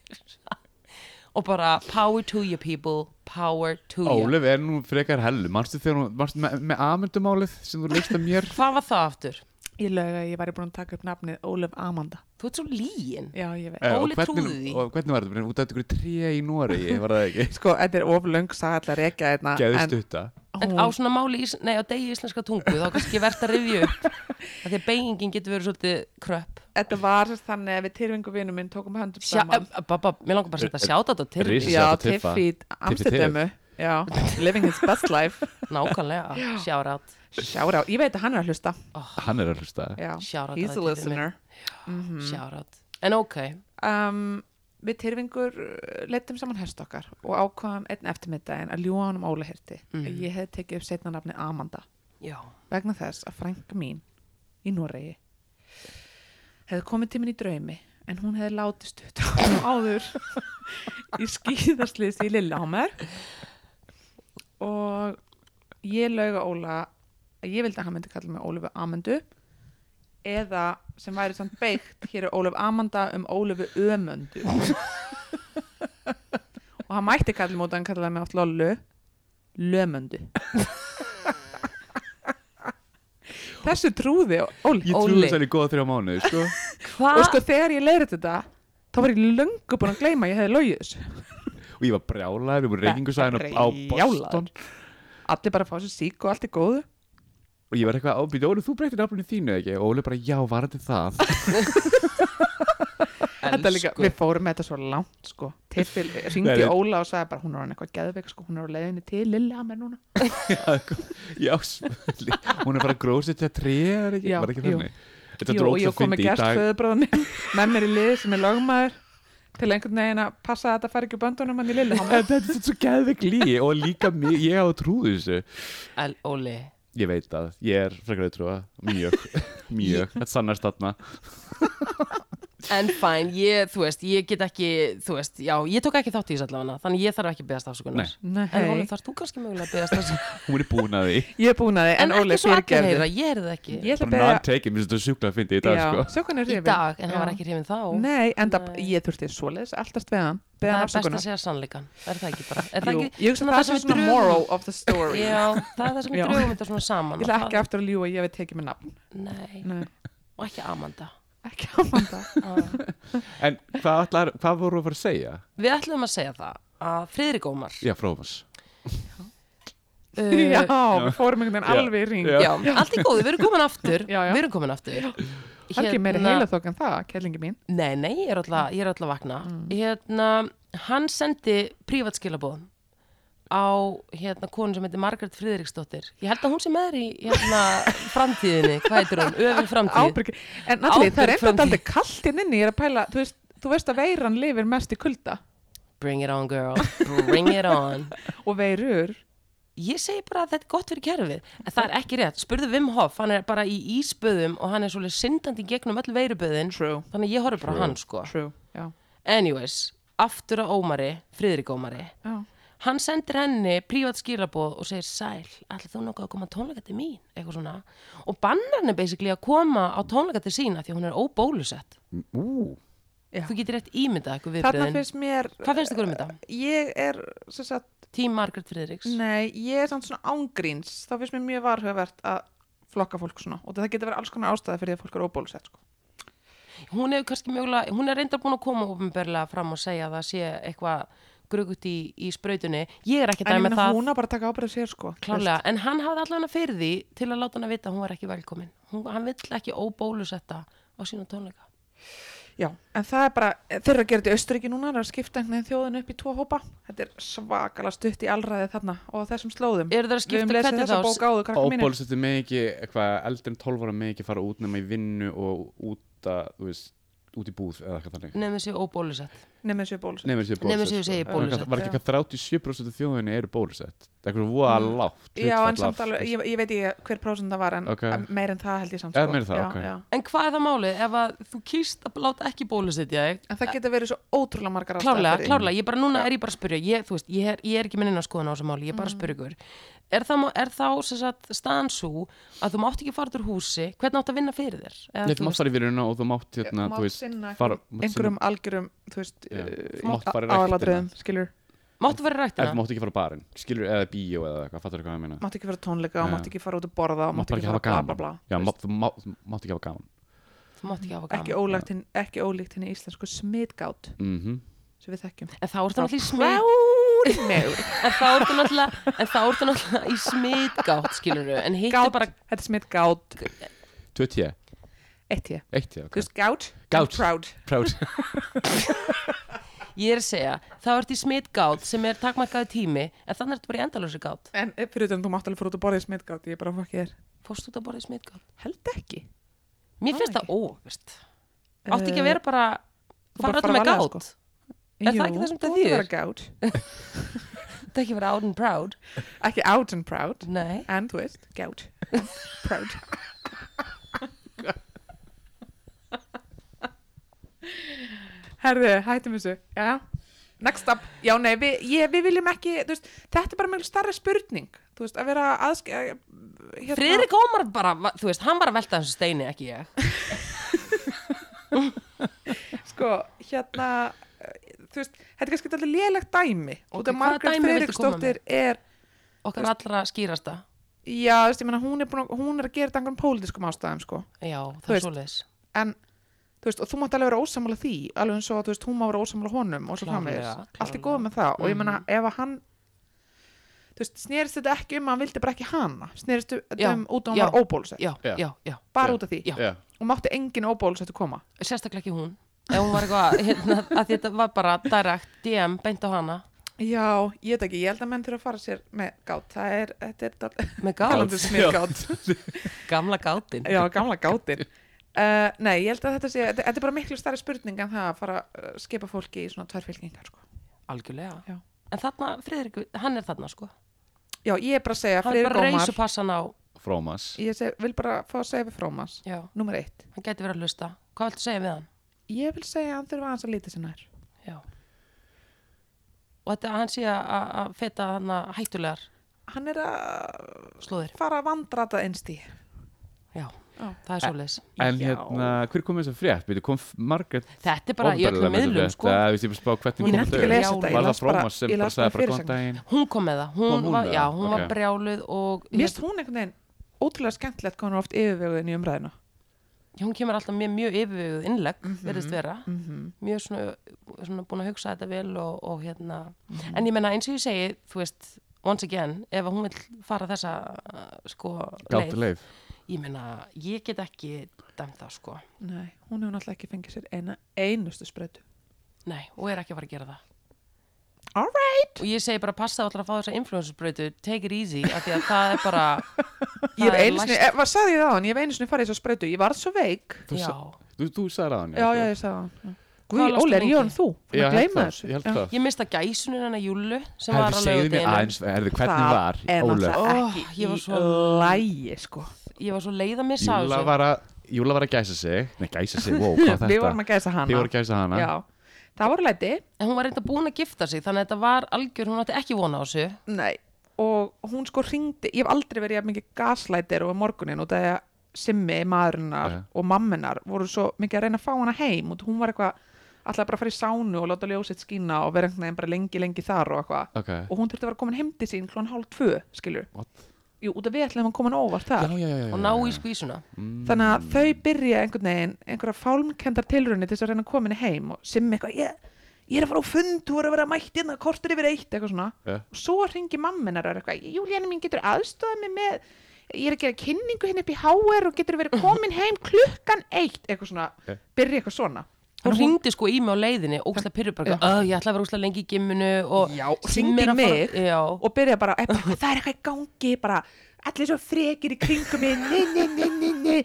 [SPEAKER 1] og bara power to you people power to you
[SPEAKER 2] Ólef er nú frekar hellu Manstu þegar hún, manstu með, með amendumálið sem þú leikst að mér?
[SPEAKER 1] hvað var það aftur?
[SPEAKER 3] Ég lög að ég væri búin að taka upp nafnið Ólef Amanda
[SPEAKER 1] þú ert svo líin
[SPEAKER 3] Já, ég veit
[SPEAKER 2] Eh, og
[SPEAKER 1] Óli
[SPEAKER 2] hvernig-
[SPEAKER 1] trúði því.
[SPEAKER 2] Og hvernig var þetta? Bara Út af ykkur tré í Noregi, var það ekki?
[SPEAKER 3] Sko, þetta er oflöng sagði að rekja hérna
[SPEAKER 2] Geðu
[SPEAKER 3] en
[SPEAKER 2] stutta
[SPEAKER 1] en á svona máli, ís, nei á degi íslenska tungu þá kannski verðt að rifja upp af því að beigingin getur verið svolítið kröpp
[SPEAKER 3] Þetta var sem sagt þannig að við Tyrfingu vinum minn tókum höndum
[SPEAKER 1] Sjá,
[SPEAKER 3] saman
[SPEAKER 1] eh, babba, mér langar bara að setja sjátt á þetta til
[SPEAKER 2] Risa.
[SPEAKER 1] því,
[SPEAKER 3] Já,
[SPEAKER 2] Tiff- Tiffa.
[SPEAKER 3] Tiffi Amsterdömu Já, living his best life
[SPEAKER 1] nákvæmlega, sjárat
[SPEAKER 3] Sjára, ég veit að hann er að hlusta
[SPEAKER 2] Hann er að hlusta
[SPEAKER 3] Já,
[SPEAKER 1] Shout out að
[SPEAKER 3] he's a
[SPEAKER 1] Tiffi
[SPEAKER 3] listener
[SPEAKER 1] sjárat, en ok
[SPEAKER 3] um, við Tyrfingur leittum saman hest okkar og ákvaðum einn eftirmiddaginn að ljúa honum Óla hirti
[SPEAKER 1] Mhm.
[SPEAKER 3] ég hef tekið upp setna nafni Amanda
[SPEAKER 1] Já.
[SPEAKER 3] vegna þess að frænka mín í Noregi hefði komið til minn í draumi en hún hefði látið stutt áður í skýðarsliðs í Lillehammer og ég lauga Óla að ég vildi að hann myndi kalla mig Ólifu Amandu eða sem væri samt beikt hér er Ólifu Amanda um Ólifu Ömöndu og hann mætti kalla mig út að hann kallaði mig oft Lollu Lömöndu þessu trúði Óli
[SPEAKER 2] Ég trúi
[SPEAKER 1] Óli.
[SPEAKER 2] þess að hann er góða þrjá mánuði, sko
[SPEAKER 1] Hvað?
[SPEAKER 3] og sko þegar ég leiði þetta þá var ég löngu búin að gleyma að ég hefði lögið þessu
[SPEAKER 2] Og ég var brjálaður, við vorum reykingursæðan á Boston
[SPEAKER 3] Brjálaður. allir bara fá sér sík og allt er góðu
[SPEAKER 2] Og ég var eitthvað ábyrði, Óli, þú breytir nafninu þínu eða ekki Og Óli bara, já, var þetta það
[SPEAKER 3] Þetta líka,
[SPEAKER 1] Elsku.
[SPEAKER 3] við fórum með þetta svo langt sko Tiffil ringdi
[SPEAKER 2] Nei, nei.
[SPEAKER 3] Óla og sagði bara hún er hann eitthvað geðveik sko, hún er á leiðinni til Lilla að mér núna
[SPEAKER 2] Já, svolítið. hún er bara grósið til að tréa eða ekki,
[SPEAKER 3] Já,
[SPEAKER 2] var ekki
[SPEAKER 3] jú.
[SPEAKER 2] þannig Þetta
[SPEAKER 3] Jú,
[SPEAKER 2] drók
[SPEAKER 3] og
[SPEAKER 2] svo
[SPEAKER 3] ég kom með
[SPEAKER 2] fyndi í
[SPEAKER 3] gerst
[SPEAKER 2] dag
[SPEAKER 3] föðubráðanum með mér í liði sem er lögmaður til einhvern veginn að passa að þetta fari ekki úr böndunum hann í Lilla
[SPEAKER 2] En Þetta er svo geðveik lí og líka mig, ég hafa trúið þessu
[SPEAKER 1] El, Óli.
[SPEAKER 2] Ég veit að, ég er frekar að trúa, mjög, mjög, þetta sannast þarna
[SPEAKER 1] En fæn, ég, þú veist, ég get ekki, þú veist, já, ég tók ekki þátt í þessu allavega, þannig ég þarf ekki að beðast afsökunar.
[SPEAKER 2] Nei.
[SPEAKER 1] En Óli,
[SPEAKER 3] Nei,
[SPEAKER 1] þarfst þú kannski mögulega að beðast afsökunar?
[SPEAKER 2] Hún er búin að því,
[SPEAKER 3] ég er búin að þið
[SPEAKER 1] en
[SPEAKER 3] en Óli
[SPEAKER 1] ekki svo allir heyra,
[SPEAKER 3] fyrirgerði
[SPEAKER 1] ég er það ekki.
[SPEAKER 3] Ég ætla að
[SPEAKER 2] bara
[SPEAKER 3] beða
[SPEAKER 2] not taken, mér finnst þetta sjúkla að fyndi í dag,
[SPEAKER 3] Já,
[SPEAKER 2] sko
[SPEAKER 3] sjá hvernig
[SPEAKER 1] Í
[SPEAKER 3] hrifin.
[SPEAKER 1] dag, en hann var
[SPEAKER 3] Já.
[SPEAKER 1] ekki hrifin þá.
[SPEAKER 3] Nei, en
[SPEAKER 1] Nei.
[SPEAKER 3] ég þurfti svoleiðis alltast við hann
[SPEAKER 1] það
[SPEAKER 3] beðið hann
[SPEAKER 1] er best að
[SPEAKER 3] afsökunar
[SPEAKER 1] segja sannleikan. Er það ekki bara? Er það
[SPEAKER 3] Jú,
[SPEAKER 1] ekki,
[SPEAKER 3] Ég hugsa
[SPEAKER 1] svona
[SPEAKER 3] að það
[SPEAKER 1] sem
[SPEAKER 3] sem
[SPEAKER 1] við
[SPEAKER 3] svona
[SPEAKER 1] drögum-
[SPEAKER 3] moral of the story
[SPEAKER 1] Já, það er það sem
[SPEAKER 3] Já.
[SPEAKER 1] við drögum þetta svona saman.
[SPEAKER 3] Ég ætla ekki
[SPEAKER 1] að...
[SPEAKER 3] aftur Mm. að ljúa að ég hef tekið mér nafn
[SPEAKER 1] það- Nei,
[SPEAKER 3] Nei,
[SPEAKER 1] og ekki Amanda.
[SPEAKER 3] ekki Amanda
[SPEAKER 1] Ah.
[SPEAKER 2] En hvað, allar, hvað voru að fara að segja?
[SPEAKER 1] Við ætlum að segja það að Friðrik Ómar
[SPEAKER 2] Já, frómas
[SPEAKER 1] uh,
[SPEAKER 3] Já, við fórum
[SPEAKER 2] Já.
[SPEAKER 3] einhvern veginn alveg í ring
[SPEAKER 2] Já.
[SPEAKER 1] já, allt í góðu, við erum komin aftur
[SPEAKER 3] Já, já.
[SPEAKER 1] Við erum komin aftur Hérna-
[SPEAKER 3] Það er ekki meira heila þók en það, kellingi mín
[SPEAKER 1] Nei, nei, ég er alltaf, ég er alltaf vakna
[SPEAKER 3] Mm.
[SPEAKER 1] Hérna, hann sendi prívatskilabóðum á hérna konu sem heitir Margaret Friðriksdóttir Ég held að hún sem er í hérna framtíðinni, hvað heitir hún? Öfum framtíð
[SPEAKER 3] Ábyrg, en allir, það er
[SPEAKER 1] Ábyrg
[SPEAKER 3] einmitt
[SPEAKER 1] framtíð.
[SPEAKER 3] aldrei kallt inn hérna inni Ég er að pæla, þú veist, þú veist að veiran lifir mest í kulda
[SPEAKER 1] Bring it on girl, bring it on
[SPEAKER 3] Og veirur,
[SPEAKER 1] Ég segi bara að þetta er gott fyrir kerfið en það er ekki rétt, spurðu Wim Hof hann er bara í ísböðum og hann er svolítið syndandi í gegnum öll veiruböðin
[SPEAKER 3] True.
[SPEAKER 1] þannig að ég horf bara á hann sko
[SPEAKER 3] true Já,
[SPEAKER 1] Anyways, aftur á Ómari, Friðrik Ómari
[SPEAKER 3] já
[SPEAKER 1] Hann sendir henni prívat skilabóð og segir Sæl, ætla þú nokkuð að koma á tónleika til mín eitthvað svona og bannar henni basically að koma á tónleika til sína því að hún er óbólusett
[SPEAKER 2] Ú,
[SPEAKER 3] Já.
[SPEAKER 1] Þú getur rétt ímyndað eitthvað
[SPEAKER 3] Þarna
[SPEAKER 1] viðbröðin
[SPEAKER 3] finnst mér,
[SPEAKER 1] Hvað finnst ykkur um þetta?
[SPEAKER 3] ég er, sem sagt,
[SPEAKER 1] Tím Margaret Friðriks
[SPEAKER 3] Nei, ég er samt svona ángríns þá finnst mér mjög varhugavert að flokka fólk svona og það getur verið alls konar ástæði fyrir því að fólk er óbólusett sko.
[SPEAKER 1] Hún hefur kannski mögulega, hún er reyndar búin að koma ofinberlega fram og segja að það sé eitthvað grugut í, í sprautunni Ég er ekki að
[SPEAKER 3] en ég
[SPEAKER 1] dæma
[SPEAKER 3] meina
[SPEAKER 1] það
[SPEAKER 3] hún á bara að taka ábyrðið sér sko
[SPEAKER 1] Klálega, en hann hafði allan að fyrir því til að láta hann að vita að hún var ekki velkomin. Hún, hann vill ekki óbólusetta á sína tónleika.
[SPEAKER 3] Já, en það er bara, þeir eru að gera þetta í Östuríki núna það er að skipta einhvern veginn þjóðinu upp í tvo hópa þetta er svakalega stutt í alræði þarna og á þessum slóðum
[SPEAKER 1] Eru þeir að skipta
[SPEAKER 3] Við höfum
[SPEAKER 1] hvernig
[SPEAKER 3] lesið þessa
[SPEAKER 1] þá?
[SPEAKER 3] bók áður, krakka mínir
[SPEAKER 2] óbólusettu mig ekki, eitthvað, eldri en 12 ára mig ekki fara út nema í vinnu og út að, þú veist, út í búð eða eitthvað
[SPEAKER 3] Mm.
[SPEAKER 2] þannig
[SPEAKER 1] Nefnir séu óbólusett.
[SPEAKER 3] Nefnir sér bólusett
[SPEAKER 2] Nefnir séu
[SPEAKER 1] Nema
[SPEAKER 2] bólusett
[SPEAKER 1] séu segir
[SPEAKER 2] sko.
[SPEAKER 1] bólusett,
[SPEAKER 2] Var ekki
[SPEAKER 3] já.
[SPEAKER 2] eitthvað 37% af þjóðinni eru bólusett Það er eitthvað voða lágt
[SPEAKER 3] Mm. Já,
[SPEAKER 2] hlutfall
[SPEAKER 3] en samt
[SPEAKER 2] af-
[SPEAKER 3] alveg, ég, ég veit ekki hver prósent það var en
[SPEAKER 2] Ok.
[SPEAKER 3] okay. meir en það held ég samt
[SPEAKER 2] Eða
[SPEAKER 3] sko.
[SPEAKER 2] meira en það,
[SPEAKER 3] já,
[SPEAKER 2] ok.
[SPEAKER 3] já.
[SPEAKER 1] En hvað er það málið ef að þú kýst að láta ekki bólusetja þig?
[SPEAKER 3] En það getur verið svo ótrúlega margar ástæður
[SPEAKER 1] Klárlega,
[SPEAKER 3] fyrir því.
[SPEAKER 1] klárlega, ég bara núna er ég bara að spyrja, ég, þú veist, ég er, ég er ekki með neina skoðan á þessu máli, ég er
[SPEAKER 3] Mm.
[SPEAKER 1] bara að spyrja ykkur. Er, það, má- er þá sem sagt, staðan svo að þú mátt ekki fara út úr húsi, hvernig átt að vinna fyrir þér? Eða,
[SPEAKER 2] Nei,
[SPEAKER 1] þú
[SPEAKER 2] þú mátt
[SPEAKER 1] veist,
[SPEAKER 2] fara í vinnuna og þú mátt hérna,
[SPEAKER 3] mátt
[SPEAKER 2] þú veist,
[SPEAKER 3] sinna
[SPEAKER 2] fara- mátt
[SPEAKER 3] einhverjum algjörum þú veist,
[SPEAKER 2] Já.
[SPEAKER 3] uh,
[SPEAKER 2] Mátt fara í ræktina.
[SPEAKER 3] aðalatriðum skilur,
[SPEAKER 1] máttu fara í
[SPEAKER 2] sinna- en þú
[SPEAKER 1] rættina?
[SPEAKER 2] mátt ekki fara á barinn, skilur, eða bíó eða eitthvað, fattur hvað ég meina
[SPEAKER 3] mátt ekki fara á tónleika
[SPEAKER 2] Já.
[SPEAKER 3] og mátt ekki fara út að borða og
[SPEAKER 2] Mátt bara ekki hafa
[SPEAKER 3] fara
[SPEAKER 2] gaman.
[SPEAKER 3] bla bla
[SPEAKER 2] Já,
[SPEAKER 3] bla
[SPEAKER 2] mátt, þú mátt, þú mátt ekki hafa gaman
[SPEAKER 1] Þú mátt ekki hafa
[SPEAKER 3] ekki,
[SPEAKER 1] gaman.
[SPEAKER 3] ólíkt hinn, ekki ólíkt henni íslensku smitgát
[SPEAKER 2] mm
[SPEAKER 3] sem við þekkjum
[SPEAKER 1] En þá er það náttúrulega í smið.
[SPEAKER 3] smitgát
[SPEAKER 1] en þá ertu náttúrulega en þá ertu náttúrulega í smitgátt skilur við, en hitt er bara
[SPEAKER 3] þetta er smitgát
[SPEAKER 2] Tvö tjö,
[SPEAKER 3] eitt ég
[SPEAKER 2] eitt tjö,
[SPEAKER 3] þú
[SPEAKER 2] ok
[SPEAKER 3] veist gát
[SPEAKER 2] Gát.
[SPEAKER 3] and proud
[SPEAKER 2] Proud
[SPEAKER 1] ég er að segja, þá ertu í smitgátt sem er takmarkaði tími, en þannig ertu bara í endalösi gátt
[SPEAKER 3] en eh, fyrir utan þú mátt alveg fara út að borða í smitgát ég er bara fokk ég er
[SPEAKER 1] fórst út að borða í smitgátt
[SPEAKER 3] held ekki
[SPEAKER 1] mér
[SPEAKER 3] Það
[SPEAKER 1] finnst
[SPEAKER 3] ekki. Eh,
[SPEAKER 1] það óvist átti ekki að vera bara
[SPEAKER 3] Þú bara
[SPEAKER 1] fara út
[SPEAKER 3] fara
[SPEAKER 1] með
[SPEAKER 3] varlega, sko.
[SPEAKER 1] gátt Er það ekki það sem
[SPEAKER 3] þetta
[SPEAKER 1] þetta
[SPEAKER 3] þýðir?
[SPEAKER 1] þýðir?
[SPEAKER 3] Þetta er gátt.
[SPEAKER 1] Þetta ekki verið out and proud
[SPEAKER 3] Ekki out and proud,
[SPEAKER 1] Nei
[SPEAKER 3] en þú veist, gátt. proud. Herðu, hættum þessu. Já, next up. Já, nei, við, ég, við viljum ekki, þú veist, þetta er bara mjög starra spurning. Þú veist, að vera aðsk... að- Hérna,
[SPEAKER 1] Friðrik Ómar bara, va- þú veist, hann var að velta þessu steini, ekki ég
[SPEAKER 3] Sko, hérna, eh, þú veist, þetta er kannski alltaf lélegt dæmi.
[SPEAKER 1] Ok,
[SPEAKER 3] Út
[SPEAKER 1] hvaða
[SPEAKER 3] af
[SPEAKER 1] dæmi
[SPEAKER 3] Margrét
[SPEAKER 1] viltu koma með?
[SPEAKER 3] Friðriksdóttir er
[SPEAKER 1] Okkar allra skýrasta
[SPEAKER 3] Já, þú veist, ég meina, hún er, búin, að- hún er að gera þetta einhvern pólitískum ástæðum, sko.
[SPEAKER 1] Já,
[SPEAKER 3] Þú
[SPEAKER 1] það er
[SPEAKER 3] veist,
[SPEAKER 1] svoleiðis
[SPEAKER 3] En, þú veist, og þú mátt alveg vera ósammála því, alveg eins og, þú veist, hún má vera ósammála honum og svo framvegis.
[SPEAKER 1] Klárlega,
[SPEAKER 3] Allt er
[SPEAKER 1] klárlega.
[SPEAKER 3] góð með það. Og ég meina,
[SPEAKER 1] Mm.
[SPEAKER 3] ef að hann, þú veist, snerist þetta ekki um að hann vildi bara ekki hana. Snerist þetta
[SPEAKER 1] Já,
[SPEAKER 3] um út á hún
[SPEAKER 1] já.
[SPEAKER 3] var óbólusett.
[SPEAKER 1] Já,
[SPEAKER 2] Já.
[SPEAKER 1] já, já,
[SPEAKER 3] Bara
[SPEAKER 2] já.
[SPEAKER 3] út af því.
[SPEAKER 1] Já.
[SPEAKER 2] Já.
[SPEAKER 3] Og mátti engin óbólusett að koma.
[SPEAKER 1] sérstaklega ekki hún Ef hún var eitthvað, hérna, að því þetta var bara direkt DM beint á hana
[SPEAKER 3] Já, ég veit ekki, ég held að menn þurfa að fara sér með gát. Það er, þetta er, dál-
[SPEAKER 1] Með
[SPEAKER 2] Gát.
[SPEAKER 1] gát,
[SPEAKER 3] talandi um smiðgát.
[SPEAKER 1] gamla gátin
[SPEAKER 3] Já, gamla gátir uh, Nei, ég held að þetta sé, þetta, þetta er bara miklu stærri spurning en það að fara að uh, skipa fólki í svona tværfylkingar sko.
[SPEAKER 1] Algjörlega
[SPEAKER 3] Já.
[SPEAKER 1] En þarna, Friðrik, hann er þarna, sko
[SPEAKER 3] Já, ég er bara að segja
[SPEAKER 1] Hann er
[SPEAKER 3] Friðrik
[SPEAKER 1] bara
[SPEAKER 3] Ómar
[SPEAKER 1] reysu passan á
[SPEAKER 2] Frómas
[SPEAKER 3] Ég seg, vil bara fá að segja við Frómas
[SPEAKER 1] Já,
[SPEAKER 3] Númer eitt
[SPEAKER 1] hann gæti verið að hlusta Hvað viltu segja við hann?
[SPEAKER 3] Ég vil segja að hann þurfa aðeins að lítið sér nær
[SPEAKER 1] Já Og þetta, hann sé að- að að feta hann hættulegar
[SPEAKER 3] Hann er að
[SPEAKER 1] slóðir
[SPEAKER 3] fara að vandra þetta einstí
[SPEAKER 1] Já,
[SPEAKER 3] Já.
[SPEAKER 1] það er svoleiðis
[SPEAKER 2] En
[SPEAKER 3] Já.
[SPEAKER 2] hérna, hver kom þess að frétt? Býtu, kom Margrét
[SPEAKER 1] Þetta er bara í
[SPEAKER 2] opinberlega
[SPEAKER 1] öllum
[SPEAKER 2] með þessa
[SPEAKER 1] miðlum,
[SPEAKER 2] frétt?
[SPEAKER 1] sko
[SPEAKER 2] Eða, þú veist, ég bara spá hvernig
[SPEAKER 3] Ég
[SPEAKER 2] kom
[SPEAKER 3] nefndi ekki
[SPEAKER 2] þetta
[SPEAKER 3] að lesa
[SPEAKER 2] upp?
[SPEAKER 3] þetta, ég
[SPEAKER 2] Var
[SPEAKER 3] las
[SPEAKER 2] það
[SPEAKER 3] bara-
[SPEAKER 2] Frómas sem
[SPEAKER 3] ég
[SPEAKER 2] bara
[SPEAKER 3] las
[SPEAKER 2] sagði
[SPEAKER 3] bara
[SPEAKER 2] bara góðan
[SPEAKER 3] fyrirsagnir.
[SPEAKER 2] daginn
[SPEAKER 1] Hún kom með það, hún,
[SPEAKER 2] Kom hún
[SPEAKER 1] var,
[SPEAKER 2] með
[SPEAKER 1] já,
[SPEAKER 2] það?
[SPEAKER 1] hún
[SPEAKER 2] Ok.
[SPEAKER 1] var brjáluð og
[SPEAKER 3] Mér finnst hún einhvern veginn ótrúlega skemmtilegt hvað hún er oft yfirveguðin í umræðina
[SPEAKER 1] Já, hún kemur alltaf með mjög yfirveguð innlegg
[SPEAKER 3] Mhm,
[SPEAKER 1] verðist vera, mjög svona, svona búin að hugsa þetta vel og, og hérna
[SPEAKER 3] Mhm.
[SPEAKER 1] en ég menna eins og ég segi, þú veist once again, ef að hún vil fara þessa uh, sko
[SPEAKER 2] Gátt leif
[SPEAKER 1] ég menna, ég get ekki dæmt það sko,
[SPEAKER 3] Nei, hún hefur náttúrulega ekki fengið sér eina einustu spreytu
[SPEAKER 1] nei, og er ekki að fara að gera það
[SPEAKER 3] All right
[SPEAKER 1] og ég segi bara passa allra að fá þessa influencersbreytu take it easy, af því að það er bara
[SPEAKER 3] Ég
[SPEAKER 1] það
[SPEAKER 3] hef einu sinni,
[SPEAKER 1] læst-
[SPEAKER 3] eh, hvað sagði ég það hann? Ég hef einu sinni farið í þess spreytu Ég varð svo veik
[SPEAKER 2] Þú
[SPEAKER 1] Já.
[SPEAKER 2] sa- Þú, þú sagði það hann
[SPEAKER 3] Já, já, ég sagði hann.
[SPEAKER 1] Hvað
[SPEAKER 3] Guði,
[SPEAKER 1] lastu
[SPEAKER 3] Óli, er
[SPEAKER 1] lengi?
[SPEAKER 3] ég hann þú? Fyrir að
[SPEAKER 2] ég held
[SPEAKER 3] gleyma
[SPEAKER 2] það,
[SPEAKER 3] þessu.
[SPEAKER 2] hérna, ég held
[SPEAKER 3] Já.
[SPEAKER 2] það
[SPEAKER 1] Ég mista gæsunin hennar Júlu sem var
[SPEAKER 2] Herðu,
[SPEAKER 1] að
[SPEAKER 2] segðu mér
[SPEAKER 1] lögudeginu
[SPEAKER 2] aðeins, herðu, hvernig var
[SPEAKER 3] er
[SPEAKER 2] Ólöf?
[SPEAKER 3] náttúrulega
[SPEAKER 1] Ó,
[SPEAKER 3] ekki
[SPEAKER 1] ég var
[SPEAKER 3] í
[SPEAKER 1] svo-
[SPEAKER 3] lægi, sko.
[SPEAKER 1] Ég var svo leið að missa af
[SPEAKER 2] Júla
[SPEAKER 1] þessu
[SPEAKER 2] var að, Júla var að gæsa sig Nei, gæsa sig, wow, hvað er þetta?
[SPEAKER 3] Við vorum að gæsa hana.
[SPEAKER 2] Þið voru að gæsa hana
[SPEAKER 3] Já. Það voru læti.
[SPEAKER 1] En hún var reynda búin að gifta sig þannig að þetta var algjör, hún átti ekki vona á þessu
[SPEAKER 3] Nei. Og hún sko ringdi, ég hef aldrei verið jafn mikið gaslætir og morgunin út af því að Simmi, maðurinnar
[SPEAKER 2] Jæja.
[SPEAKER 3] og mamminar voru svo mikið að reyna að fá hana heim og hún var eitthvað alltaf bara að fara í sánu og láta ljósið skína og vera einhvern veginn bara lengi, lengi þar og eitthvað
[SPEAKER 2] Ok,
[SPEAKER 3] og hún þurfti að vera komin heim til sín klón hálf tvö, skilur
[SPEAKER 2] What?
[SPEAKER 3] Jú, út af við ætlum að koma hann óvart þar
[SPEAKER 2] já, já, já, já, já.
[SPEAKER 1] og ná í skvísuna
[SPEAKER 3] þannig að þau byrja einhvern veginn einhverja fálmkendar tilrunni til þess að reyna að koma henni heim og simmi eitthvað ég, ég er að fara á fund, þú er að vera mætt inn að kortur yfir eitt eitthvað svona
[SPEAKER 2] Já.
[SPEAKER 3] og svo ringi mamminar og er eitthvað Júlíana mín getur aðstofað mig með ég er að gera kynningu hérna upp í HR og getur verið komin heim klukkan eitt eitthvað svona,
[SPEAKER 2] Já.
[SPEAKER 3] byrja eitthvað svona
[SPEAKER 1] Hún ringdi sko í mig á leiðinni, ógstlega pyrrubarka oh, Ég ætla að vera ógstlega lengi í gimminu og
[SPEAKER 3] Já,
[SPEAKER 1] Simmi
[SPEAKER 3] hringdi
[SPEAKER 1] er að
[SPEAKER 3] í
[SPEAKER 1] fara-
[SPEAKER 3] mig.
[SPEAKER 1] Já,
[SPEAKER 3] og byrja bara, er bara eitthvað, það er eitthvað í gangi bara, allir svo frekir í kringum mig, nei, nei, nei, nei, nei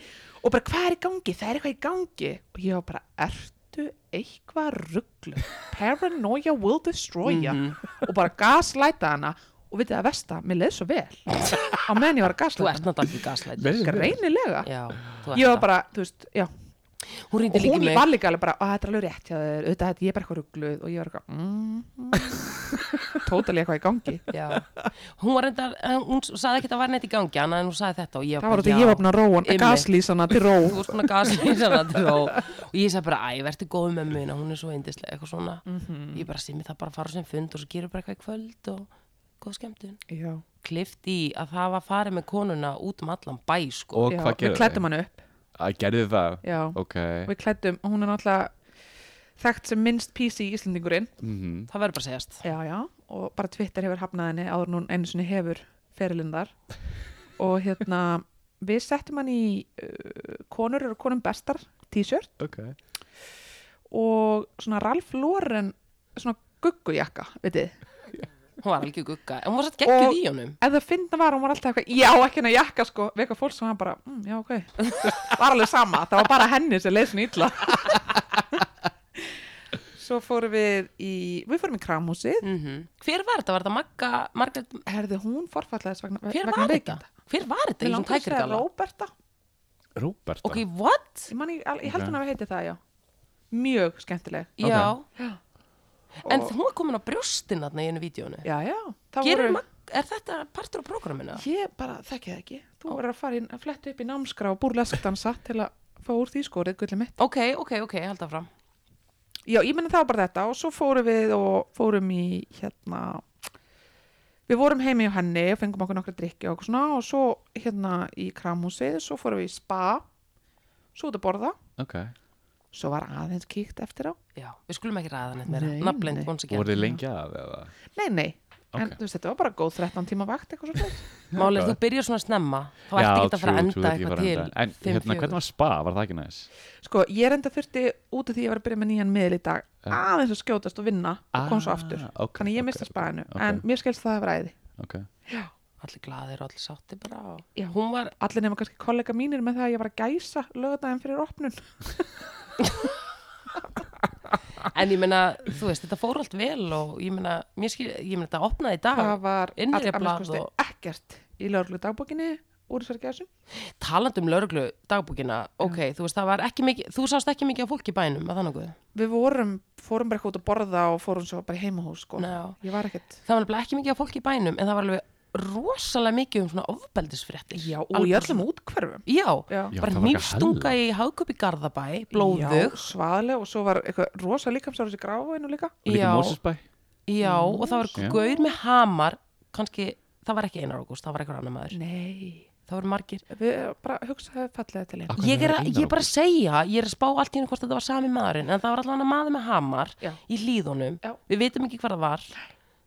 [SPEAKER 3] og bara, hvað er í gangi, það er eitthvað í gangi og ég var bara, ertu eitthvað rugglu, paranoia will destroy ya
[SPEAKER 1] Mhm.
[SPEAKER 3] og bara gaslæta hana og vitið það versta, mér leið svo vel á meðan ég var að
[SPEAKER 1] þú
[SPEAKER 3] gaslæta
[SPEAKER 1] ert
[SPEAKER 3] hana
[SPEAKER 1] náttúrulega ekki gaslætt
[SPEAKER 2] Leið svo vel.
[SPEAKER 3] greinilega,
[SPEAKER 1] Já, þú ert
[SPEAKER 3] ég var
[SPEAKER 1] það
[SPEAKER 3] bara, þú veist, já
[SPEAKER 1] Hún
[SPEAKER 3] og
[SPEAKER 1] ringdi líka
[SPEAKER 3] hún
[SPEAKER 1] í mig
[SPEAKER 3] var líka alveg bara, að þetta er alveg rétt hjá þér, auðvitað þetta ég er bara eitthvað ruggluð og ég var eitthvað, mm, totally eitthvað í gangi
[SPEAKER 1] Já. Hún var reynda, hún saði ekki að það var neitt í gangi annað en hún saði þetta og ég
[SPEAKER 3] Það var út
[SPEAKER 1] bara,
[SPEAKER 3] að ég
[SPEAKER 1] já.
[SPEAKER 3] opna róan,
[SPEAKER 1] einmitt.
[SPEAKER 3] gaslýsana til ró
[SPEAKER 1] þú ert svona gaslýsanatur og, og ég sagði bara, æ, verður góð með muna hún er svo eindislega, eitthvað svona
[SPEAKER 3] Mhm.
[SPEAKER 1] ég bara simmi það bara að fara á sem fund og svo gerum við bara eitthvað í kvöld og góð skemmtun
[SPEAKER 3] Já,
[SPEAKER 1] klift í að það var farið með konuna út um allan bæ, sko
[SPEAKER 2] Og
[SPEAKER 3] já,
[SPEAKER 2] hvað
[SPEAKER 3] við
[SPEAKER 2] gerðu
[SPEAKER 3] klættum hann upp
[SPEAKER 2] Æ, gerðu það?
[SPEAKER 3] Já,
[SPEAKER 2] Ok
[SPEAKER 3] við klættum, hún er náttúrulega þekkt sem minnst PC í Íslendingurinn
[SPEAKER 2] Mhm.
[SPEAKER 1] það verður bara að segjast
[SPEAKER 3] Já, já, og bara Twitter hefur hafnað henni áður en hún einu sinni hefur ferilindar og hérna við settum hann í uh, konur eru konum bestar t-shirt
[SPEAKER 2] Ok
[SPEAKER 3] og svona Ralph Lauren svona guggujakka, veitir
[SPEAKER 1] hún var alveg gugga, en hún var satt geggjuð í honum
[SPEAKER 3] ef það finna var, hún var alltaf eitthvað já, ekki henni jakka sko, við eitthvað fólk sem var bara mm, já, ok, Þú veist, var alveg sama það var bara henni sem leið svona illa svo fórum við í, við fórum í kramhúsið
[SPEAKER 1] Mhm. Hver var þetta? Var þetta Magga, Margaret,
[SPEAKER 3] herði hún forfallaðist vegna,
[SPEAKER 1] hver
[SPEAKER 3] vegna
[SPEAKER 1] var þetta? Hver var þetta? Ég er svona
[SPEAKER 3] Við langar að segja
[SPEAKER 1] tækirgala.
[SPEAKER 3] Róberta
[SPEAKER 2] Róberta
[SPEAKER 1] Ok, what?
[SPEAKER 3] ég, man, ég, al- ég held
[SPEAKER 2] Ok.
[SPEAKER 3] hún að við heiti það, já mjög skemmtileg
[SPEAKER 1] Já. En
[SPEAKER 3] Og-
[SPEAKER 1] hún var komin á brjóstin þarna í einu vídjónu.
[SPEAKER 3] já, já, það
[SPEAKER 1] Gerir
[SPEAKER 3] voru
[SPEAKER 1] Magga, er þetta partur á prógraminu?
[SPEAKER 3] ég bara þekki það ekki þú verður að fara inn að fletta upp í námskrá og búrleskdansa til að fá úr því skórið gullið mitt
[SPEAKER 1] Ok, ok, ok, held það fram.
[SPEAKER 3] já, ég menna það var bara þetta og svo fórum við og fórum í hérna við vorum heimi hjá henni og fengum okkur nokkra drikki og okkur svona og svo hérna í kramhúsið svo fórum við í spa svo út að borða
[SPEAKER 2] Ok
[SPEAKER 3] svo var aðeins kíkt eftir á
[SPEAKER 1] Já, við skulum ekki ræða neitt meira.
[SPEAKER 3] Nei,
[SPEAKER 1] Nafnlend,
[SPEAKER 3] nei.
[SPEAKER 1] once again.
[SPEAKER 2] Voru þið lengi að eða?
[SPEAKER 3] nei, nei, en
[SPEAKER 2] Ok.
[SPEAKER 3] þú veist þetta var bara góð 13 tíma vakt eitthvað svo
[SPEAKER 1] Málið, er, þú byrjar svona snemma, þá
[SPEAKER 2] Já,
[SPEAKER 1] ert ekki að fara að
[SPEAKER 2] true, true,
[SPEAKER 1] enda
[SPEAKER 2] ekki að
[SPEAKER 1] eitthvað
[SPEAKER 2] fara að
[SPEAKER 1] til.
[SPEAKER 2] enda. En hérna, hvernig var spa? Var það ekki næs?
[SPEAKER 3] Sko, ég reynda þurfti út af því að ég var að byrja með nýjan miðl í dag
[SPEAKER 2] Já.
[SPEAKER 3] aðeins að skjótast og vinna og kom svo aftur
[SPEAKER 2] Ah, ok,
[SPEAKER 3] þannig ég
[SPEAKER 2] ok,
[SPEAKER 3] mista
[SPEAKER 2] ok,
[SPEAKER 3] spaðinu
[SPEAKER 2] ok.
[SPEAKER 3] en mér skilst það að vera æði
[SPEAKER 2] Ok
[SPEAKER 1] Allir glaðir og allir sátti bara. og-
[SPEAKER 3] Já.
[SPEAKER 1] Hún var,
[SPEAKER 3] allir nema kannski kollega mínir með það að ég var að gæsa lögadaginn fyrir opnun
[SPEAKER 1] en ég meina, þú veist, þetta fór allt vel og ég meina, mér skil, ég meina, þetta opnaði í dag.
[SPEAKER 3] það var
[SPEAKER 1] innri
[SPEAKER 3] all- að
[SPEAKER 1] blað
[SPEAKER 3] minnsta kosti
[SPEAKER 1] og-
[SPEAKER 3] ekkert í löglu dagbókinni úr þessari gæsum
[SPEAKER 1] Talandi um lauruglu dagbúkina, ok, þú veist, það var ekki mikið, þú sást ekki mikið af fólki í bænum, að þannig að
[SPEAKER 3] við vorum, fórum bara eitthvað út að borða og fórum svo bara í heimahús sko.
[SPEAKER 1] Já.
[SPEAKER 3] ég var ekkert
[SPEAKER 1] það var nefnilega ekki mikið af fólki í bænum, en það var alveg rosalega mikið um svona ofbeldisfréttir.
[SPEAKER 3] já, og
[SPEAKER 1] Alveg
[SPEAKER 3] í
[SPEAKER 1] svona-
[SPEAKER 3] öllum útkverfum
[SPEAKER 1] Já,
[SPEAKER 3] Já.
[SPEAKER 2] Já,
[SPEAKER 1] bara
[SPEAKER 2] það var ekki
[SPEAKER 1] nýfstunga
[SPEAKER 2] halla.
[SPEAKER 1] í Hagköp í Garðabæ,
[SPEAKER 3] já,
[SPEAKER 1] blóðug,
[SPEAKER 3] svaðlega og svo var eitthvað rosa líkamsáruðs í gráfinu líka
[SPEAKER 2] Og líka Mósesbæ?
[SPEAKER 1] já, og það var
[SPEAKER 2] Já.
[SPEAKER 1] gaur með hamar, kannski, það var ekki Einar Ágúst, það var eitthvað annar maður.
[SPEAKER 3] nei,
[SPEAKER 1] það voru margir
[SPEAKER 3] við bara hugsaði fallega til einu
[SPEAKER 2] Akkur
[SPEAKER 1] ég er, að,
[SPEAKER 2] Einar
[SPEAKER 1] ég er bara að
[SPEAKER 2] Ágúst?
[SPEAKER 1] segja, ég er að spá allt í henni hvort þetta var sami maðurinn en það var allavega maður með hamar
[SPEAKER 3] Já.
[SPEAKER 1] í hlýðunum,
[SPEAKER 3] Já.
[SPEAKER 1] við vitum ekki hvað það var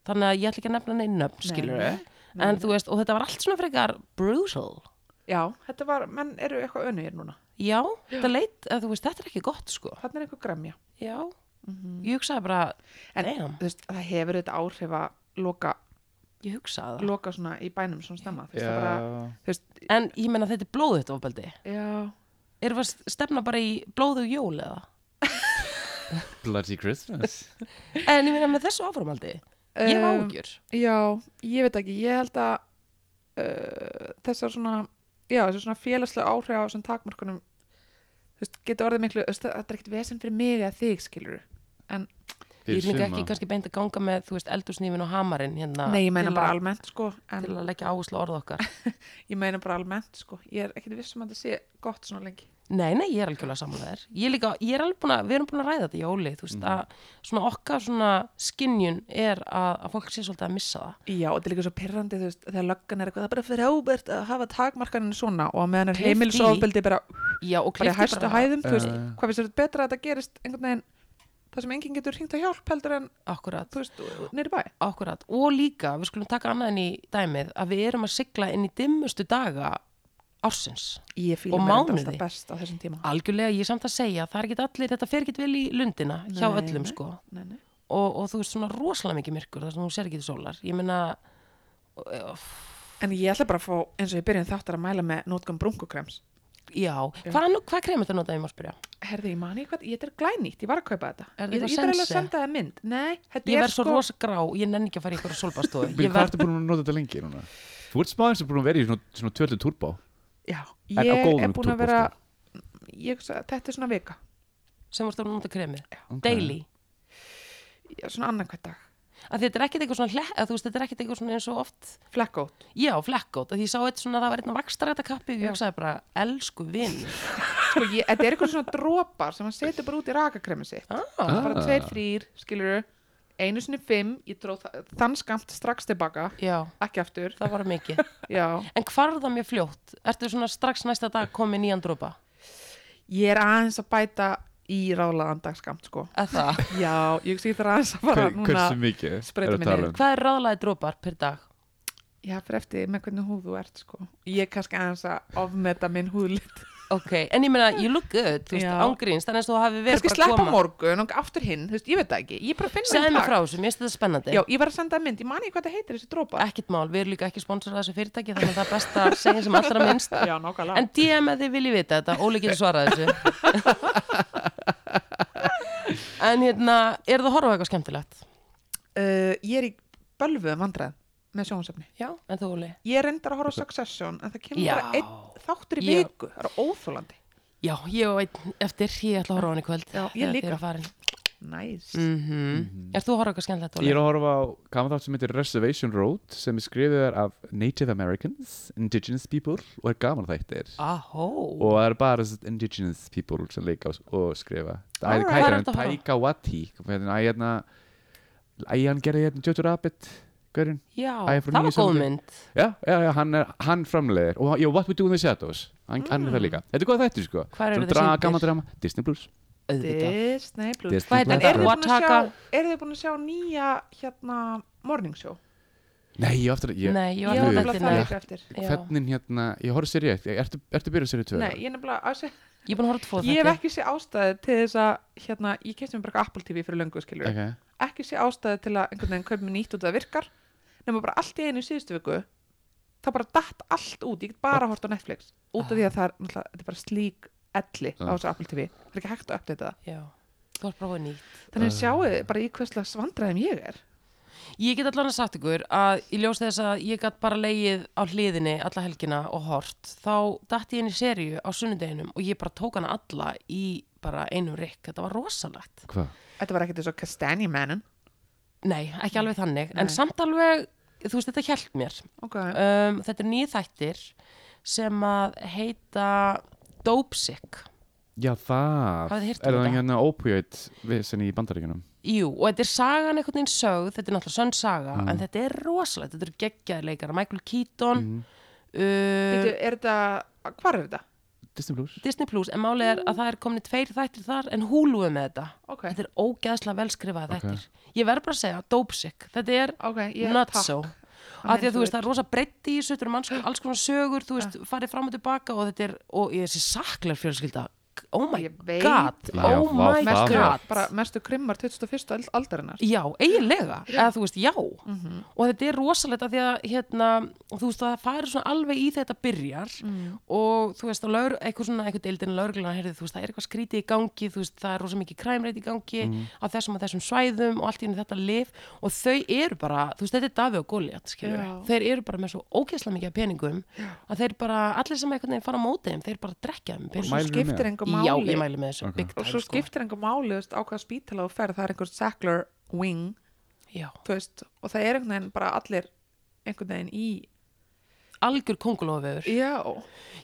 [SPEAKER 1] þannig að ég ætla ekki að nefna neinn nöfn skilur en þú veist, og þetta var allt svona frekar brutal,
[SPEAKER 3] Já, þetta var, menn eru eitthvað önugir núna.
[SPEAKER 1] já, þetta leit að þú veist, þetta er ekki gott sko
[SPEAKER 3] Þannig er eitthvað gremja.
[SPEAKER 1] já, ég hugsaði bara
[SPEAKER 3] En
[SPEAKER 1] damn,
[SPEAKER 3] þú veist, það hefur þetta áhrif að loka,
[SPEAKER 1] ég hugsaði það
[SPEAKER 3] loka svona í bænum svona stemma. Þú veist, það bara,
[SPEAKER 2] Já
[SPEAKER 3] þú veist,
[SPEAKER 1] en ég menna þetta er blóðuðt ofbeldi
[SPEAKER 3] já,
[SPEAKER 1] erum við að stefna bara í blóðu jól eða
[SPEAKER 2] Bloody Christmas
[SPEAKER 1] en ég menna með þessu áframaldi ég hef
[SPEAKER 3] Um,
[SPEAKER 1] ágjur
[SPEAKER 3] já, ég veit ekki, ég held að uh, þessar svona, já, þessar svona félagslega áhrif á þessum takmörkunum, þú veist, getur orðið miklu, þú veist, þetta er ekkit vesen fyrir mig eða þig, skilur En,
[SPEAKER 1] ég er líka ekki
[SPEAKER 2] suma.
[SPEAKER 1] kannski beint að ganga með, þú veist, eldursnýfin og hamarinn hérna
[SPEAKER 3] nei, ég meina
[SPEAKER 1] til
[SPEAKER 3] bara
[SPEAKER 1] að-
[SPEAKER 3] almennt, sko,
[SPEAKER 1] til
[SPEAKER 3] en
[SPEAKER 1] að leggja áherslu á orð okkar
[SPEAKER 3] ég meina bara almennt, sko, ég er ekkit vissum að þetta sé gott svona lengi.
[SPEAKER 1] Nei, nei, ég er algjörlega samanlega þér Ég er líka, ég er alveg búin að, við erum búin að ræða þetta í óli Þú veist, að svona okkar svona skinjun er að, að fólk sé svolítið að missa það
[SPEAKER 3] Já, og þetta er líka svo pirrandi, þú veist, þegar löggan er eitthvað, það er bara fyrir ábært að hafa takmarkaninu svona og að meðan er
[SPEAKER 1] Klippt í.
[SPEAKER 3] heimilisofbeldi bara,
[SPEAKER 1] Já, og
[SPEAKER 3] bara í
[SPEAKER 1] klippti
[SPEAKER 3] hæstu hæðum, þú veist,
[SPEAKER 2] Já, já.
[SPEAKER 3] hvað finnst þetta betra að þetta gerist einhvern veginn, það sem enginn getur hringt að hjálp heldur en,
[SPEAKER 1] Akkurat,
[SPEAKER 3] þú veist, neyri bæ.
[SPEAKER 1] akkurat Og líka, við skulum taka annað inn í dæmið að við erum að sigla inn í dimmustu daga ársins
[SPEAKER 3] Ég
[SPEAKER 1] Og
[SPEAKER 3] fýla mér þetta
[SPEAKER 1] mánuði.
[SPEAKER 3] alltaf best á þessum tíma.
[SPEAKER 1] Algjörlega, ég er samt að segja, það er ekki allir, þetta fer ekki vel í lundina hjá
[SPEAKER 3] Nei,
[SPEAKER 1] öllum,
[SPEAKER 3] nei.
[SPEAKER 1] sko
[SPEAKER 3] Nei, nei.
[SPEAKER 1] og, og þú veist svona rosalega mikið myrkur þar sem þú sér ekki til sólar ég meina
[SPEAKER 3] En ég ætla bara að fá, eins og ég byrjun þáttar að mæla með nótgum brunkukrems.
[SPEAKER 1] já, hvað nú- hvað krem ertu að nota ég má spyrja
[SPEAKER 3] Herði, ég mani hvað, ég þetta er glænýtt, ég var að kaupa þetta.
[SPEAKER 1] Er
[SPEAKER 3] ég
[SPEAKER 1] þetta
[SPEAKER 3] ég þarf alveg að
[SPEAKER 1] Sense?
[SPEAKER 3] senda það mynd. Nei, þetta
[SPEAKER 1] ég
[SPEAKER 3] er
[SPEAKER 1] verð svo
[SPEAKER 3] sko,
[SPEAKER 1] rosa grá, ég nenni ekki að fara í ykkur á sólbastofu
[SPEAKER 2] Bíl,
[SPEAKER 1] ég
[SPEAKER 2] Hvað
[SPEAKER 1] verð,
[SPEAKER 2] ertu búin að nota þetta lengi núna? Þú ert smáðins að búin að vera í svona, svona tvöldu túrbá
[SPEAKER 3] já,
[SPEAKER 2] á
[SPEAKER 3] ég
[SPEAKER 2] góðum
[SPEAKER 3] er búin að
[SPEAKER 2] túrbósta.
[SPEAKER 3] vera, ég, þetta er svona vika,
[SPEAKER 1] sem vorst að nota kremið
[SPEAKER 2] Ok.
[SPEAKER 1] daily,
[SPEAKER 3] Já, svona annan hvert dag.
[SPEAKER 1] að þetta er ekkit eitthvað svona hle- að þú veist, þetta er ekkit eitthvað svona eins og oft
[SPEAKER 3] Flekkót.
[SPEAKER 1] já, flekkót, að ég sá eitt svona það var eitthvað vakstaræta kappi, ég
[SPEAKER 3] Já.
[SPEAKER 1] hugsaði bara elsku vinn,
[SPEAKER 3] Sko, ég, þetta er eitthvað svona dropar sem hann setur bara út í rakakremi sitt.
[SPEAKER 1] ah,
[SPEAKER 3] Bara tveir, þrýr, skilur einu sinni fimm, ég dróð þa- þann skamt strax tilbaka,
[SPEAKER 1] já,
[SPEAKER 3] ekki aftur.
[SPEAKER 1] það var mikið
[SPEAKER 3] Já.
[SPEAKER 1] en hvarf það mér fljótt, ertu svona strax næsta dag komið nýjan dropa,
[SPEAKER 3] Ég er aðeins að bæta í ráðlaðan dagskamt, sko.
[SPEAKER 1] að það
[SPEAKER 3] Já, ég sé það aðeins að fara
[SPEAKER 2] Hver- Hversu
[SPEAKER 3] núna.
[SPEAKER 2] mikið
[SPEAKER 3] sprauta
[SPEAKER 2] er að
[SPEAKER 3] mig
[SPEAKER 2] tala
[SPEAKER 3] niður.
[SPEAKER 2] um?
[SPEAKER 1] hvað er ráðlaði dropar per dag
[SPEAKER 3] Já, fyrir eftir með hvernig húð þú ert, sko. Ég er kannski aðeins að ofmeta minn húðlit.
[SPEAKER 1] Ok, en ég meina, you look good, þú veist,
[SPEAKER 3] Já.
[SPEAKER 1] ángríns, þannig að þú hafi verið
[SPEAKER 3] Kannski
[SPEAKER 1] bara að
[SPEAKER 3] sleppa
[SPEAKER 1] koma.
[SPEAKER 3] morgun og aftur hinn, þú veist, ég veit það ekki. Ég bara finn
[SPEAKER 1] Segðu
[SPEAKER 3] minn
[SPEAKER 1] mig frá þessu, mér finnst þetta spennandi.
[SPEAKER 3] Já, ég var að senda það mynd, ég mani hvað það heitir þessi drópa.
[SPEAKER 1] Ekkert mál, við erum líka ekki sponsorað þessu fyrirtæki, þannig að það er best að segja sem allra minnst.
[SPEAKER 3] Já, nákvæmlega.
[SPEAKER 1] En DM að þið viljið vita þetta, Óli getur svarað þessu. en En hérna, er það að horfa á eitthvað skemmtilegt?
[SPEAKER 3] uh, ég er í bölvuðum vandræð með sjónsefni
[SPEAKER 1] Já, en þú Óli?
[SPEAKER 3] ég reyndar að horfa á Succession en það kemur
[SPEAKER 1] Já.
[SPEAKER 3] bara einn þáttur í
[SPEAKER 1] Já.
[SPEAKER 3] viku það er óþólandi
[SPEAKER 1] Já, ég og einn eftir, ég ætla að horfa á hann í kvöld
[SPEAKER 3] Já, ég
[SPEAKER 1] þegar
[SPEAKER 3] líka.
[SPEAKER 1] þið
[SPEAKER 3] Mhm.
[SPEAKER 1] eruð farin.
[SPEAKER 3] næs
[SPEAKER 1] Mm Er þú að horfa á eitthvað skemmtilegt,
[SPEAKER 2] Ég
[SPEAKER 1] Óli?
[SPEAKER 2] er að horfa á kamerþátt sem heitir Reservation Road sem er skrifið af Native Americans, Indigenous People og er gaman þættir
[SPEAKER 1] Ahó,
[SPEAKER 2] og það eru bara þessi Indigenous People sem leika og, og skrifa Það
[SPEAKER 1] Alright. Hvað er
[SPEAKER 2] er
[SPEAKER 1] þetta
[SPEAKER 2] hvað er hann?
[SPEAKER 1] að horfa á?
[SPEAKER 2] Taika Wati hérna, Æ, hérna Æ, hann gerði hérna Jojo Rabbit Hverjum?
[SPEAKER 1] já,
[SPEAKER 2] Æ, ég fór
[SPEAKER 1] það
[SPEAKER 2] nýju
[SPEAKER 1] var góð
[SPEAKER 2] sjóndi.
[SPEAKER 1] mynd.
[SPEAKER 2] Já, já, já, hann, er, hann framleiðir og já, What We Do in the Shadows hann, hann er það líka, þetta er góð þættir sko
[SPEAKER 1] Hvar Mm. eru
[SPEAKER 2] Svona
[SPEAKER 1] þeir
[SPEAKER 2] dra-
[SPEAKER 1] sýndir?
[SPEAKER 2] Gaman drama, Disney Plus
[SPEAKER 1] Auðvitað.
[SPEAKER 3] Disney Plus
[SPEAKER 2] Disney
[SPEAKER 1] Hvað
[SPEAKER 2] Plus.
[SPEAKER 3] en
[SPEAKER 1] heitir þetta?
[SPEAKER 3] eru þið búin að
[SPEAKER 1] Wataka?
[SPEAKER 3] sjá, eru þið búin að sjá nýja hérna morning show
[SPEAKER 2] Nei, ég aftur að ég,
[SPEAKER 1] Nei, ég
[SPEAKER 3] ég
[SPEAKER 1] var
[SPEAKER 3] var
[SPEAKER 2] Guð.
[SPEAKER 1] nefnilega eftir henni.
[SPEAKER 2] Ég-
[SPEAKER 3] nefnilega að það líka eftir
[SPEAKER 1] Já.
[SPEAKER 2] Hvernig hérna, ég horfði sér ég Ertu, ertu byrjað sér í tvö?
[SPEAKER 3] nei, ég er nefnilega að sé
[SPEAKER 1] Ég er búin að horfa á tvo
[SPEAKER 3] ég hef
[SPEAKER 1] þætti.
[SPEAKER 3] ekki sé ástæði til þess að hérna, ég kefti mér bara Apple TV fyrir löngu skilur
[SPEAKER 2] okay.
[SPEAKER 3] ekki sé ástæði til að einhvern veginn kaup mér nýtt og það virkar nema bara allt í einu í síðustu viku það bara datt allt út, ég get bara hort á Netflix út af því að það er, náttúrulega- þetta er bara slík elli á
[SPEAKER 2] Ah.
[SPEAKER 3] þessu Apple TV það er ekki hægt að uppdata það
[SPEAKER 1] Já, þú var bara á nýtt.
[SPEAKER 3] þannig að sjáu þið bara í hverslega svandræðum ég er
[SPEAKER 1] Ég get allan að sagt ykkur að ég ljós þess að ég gat bara leið á hliðinni alla helgina og hort þá dætti ég inn í serju á sunnudeginum og ég bara tók hana alla í bara einum rikk. Þetta var rosalegt.
[SPEAKER 2] Hvað?
[SPEAKER 3] þetta var ekkert eins og Castanji Mannin
[SPEAKER 1] Nei, ekki alveg þannig. En
[SPEAKER 3] Nei.
[SPEAKER 1] samt alveg, þú veist, þetta hjælt mér.
[SPEAKER 3] okay.
[SPEAKER 1] Um, þetta er nýð þættir sem að heita Dope Sick.
[SPEAKER 2] Já, það
[SPEAKER 1] Hafið þið heyrt um
[SPEAKER 2] Er það
[SPEAKER 1] þetta?
[SPEAKER 2] hérna opioid vissin í bandaríkjunum?
[SPEAKER 1] Jú, og þetta er sagan einhvern veginn sögð, þetta er náttúrulega sönn saga, en
[SPEAKER 2] Mm.
[SPEAKER 1] þetta er rosalegt, þetta eru geggjaði leikara, Michael Keaton,
[SPEAKER 2] Mhm.
[SPEAKER 3] Bíddu,
[SPEAKER 1] uh,
[SPEAKER 3] er þetta, hvar er þetta?
[SPEAKER 2] Disney Plus
[SPEAKER 1] Disney Plus, en málið er að það er komin tveir þættir þar, en húlu er með þetta.
[SPEAKER 3] ok,
[SPEAKER 1] Þetta er ógeðslega velskrifaði þættir. Ég verð bara að segja, dope sick, þetta er
[SPEAKER 3] ok, ég
[SPEAKER 1] not
[SPEAKER 3] takk
[SPEAKER 1] so.
[SPEAKER 3] Amen,
[SPEAKER 1] Af því að
[SPEAKER 3] þú
[SPEAKER 1] þú veist, það
[SPEAKER 3] veit. Ah.
[SPEAKER 1] er rosa breytti í þessu, þetta eru manns- alls konar sögur, þú veist, farið fram og tilbaka og þetta er, og ég þessi saklar fjölskylda, oh my
[SPEAKER 3] Ég veit.
[SPEAKER 1] god,
[SPEAKER 2] Já,
[SPEAKER 1] oh
[SPEAKER 2] vá,
[SPEAKER 1] my god.
[SPEAKER 2] það var-
[SPEAKER 3] mestu, bara mestu krimmar 21. öld- aldarinnar
[SPEAKER 1] Já, eiginlega, eða þú veist, já
[SPEAKER 3] Mhm.
[SPEAKER 1] og þetta er rosalegt að því að hérna, þú veist, það færi svona alveg í þetta byrjar
[SPEAKER 3] Mm.
[SPEAKER 1] og þú veist, að lögur, eitthvað svona, eitthvað deildin lögurlega, heyrðu, þú veist, það er eitthvað skrítið í gangi þú veist, það er rosa mikið kræmreit í gangi á þessum og þessum svæðum og allt í henni þetta lif og þau eru bara, þú veist, þetta er Davi og Goliat, skilur
[SPEAKER 3] Já.
[SPEAKER 1] þeir eru bara með svo ógeðslega mikið af peningum að þeir bara, allir sem eitthvað neginn fara á móti þeim, þeir bara drekja þeim
[SPEAKER 3] og svo
[SPEAKER 2] Mælirðu með?
[SPEAKER 3] skiptir engum
[SPEAKER 1] Já,
[SPEAKER 3] máli
[SPEAKER 1] ég mæli með þessu,
[SPEAKER 2] Ok.
[SPEAKER 1] big time,
[SPEAKER 3] og svo
[SPEAKER 1] sko.
[SPEAKER 3] skiptir einhver máli þú veist, á hvaða spítala þú ferð það er einhver Sackler wing
[SPEAKER 1] Já.
[SPEAKER 3] þú veist, og það er einhvern veginn bara allir einhvern veginn í
[SPEAKER 1] Algjör kongulófur
[SPEAKER 3] já,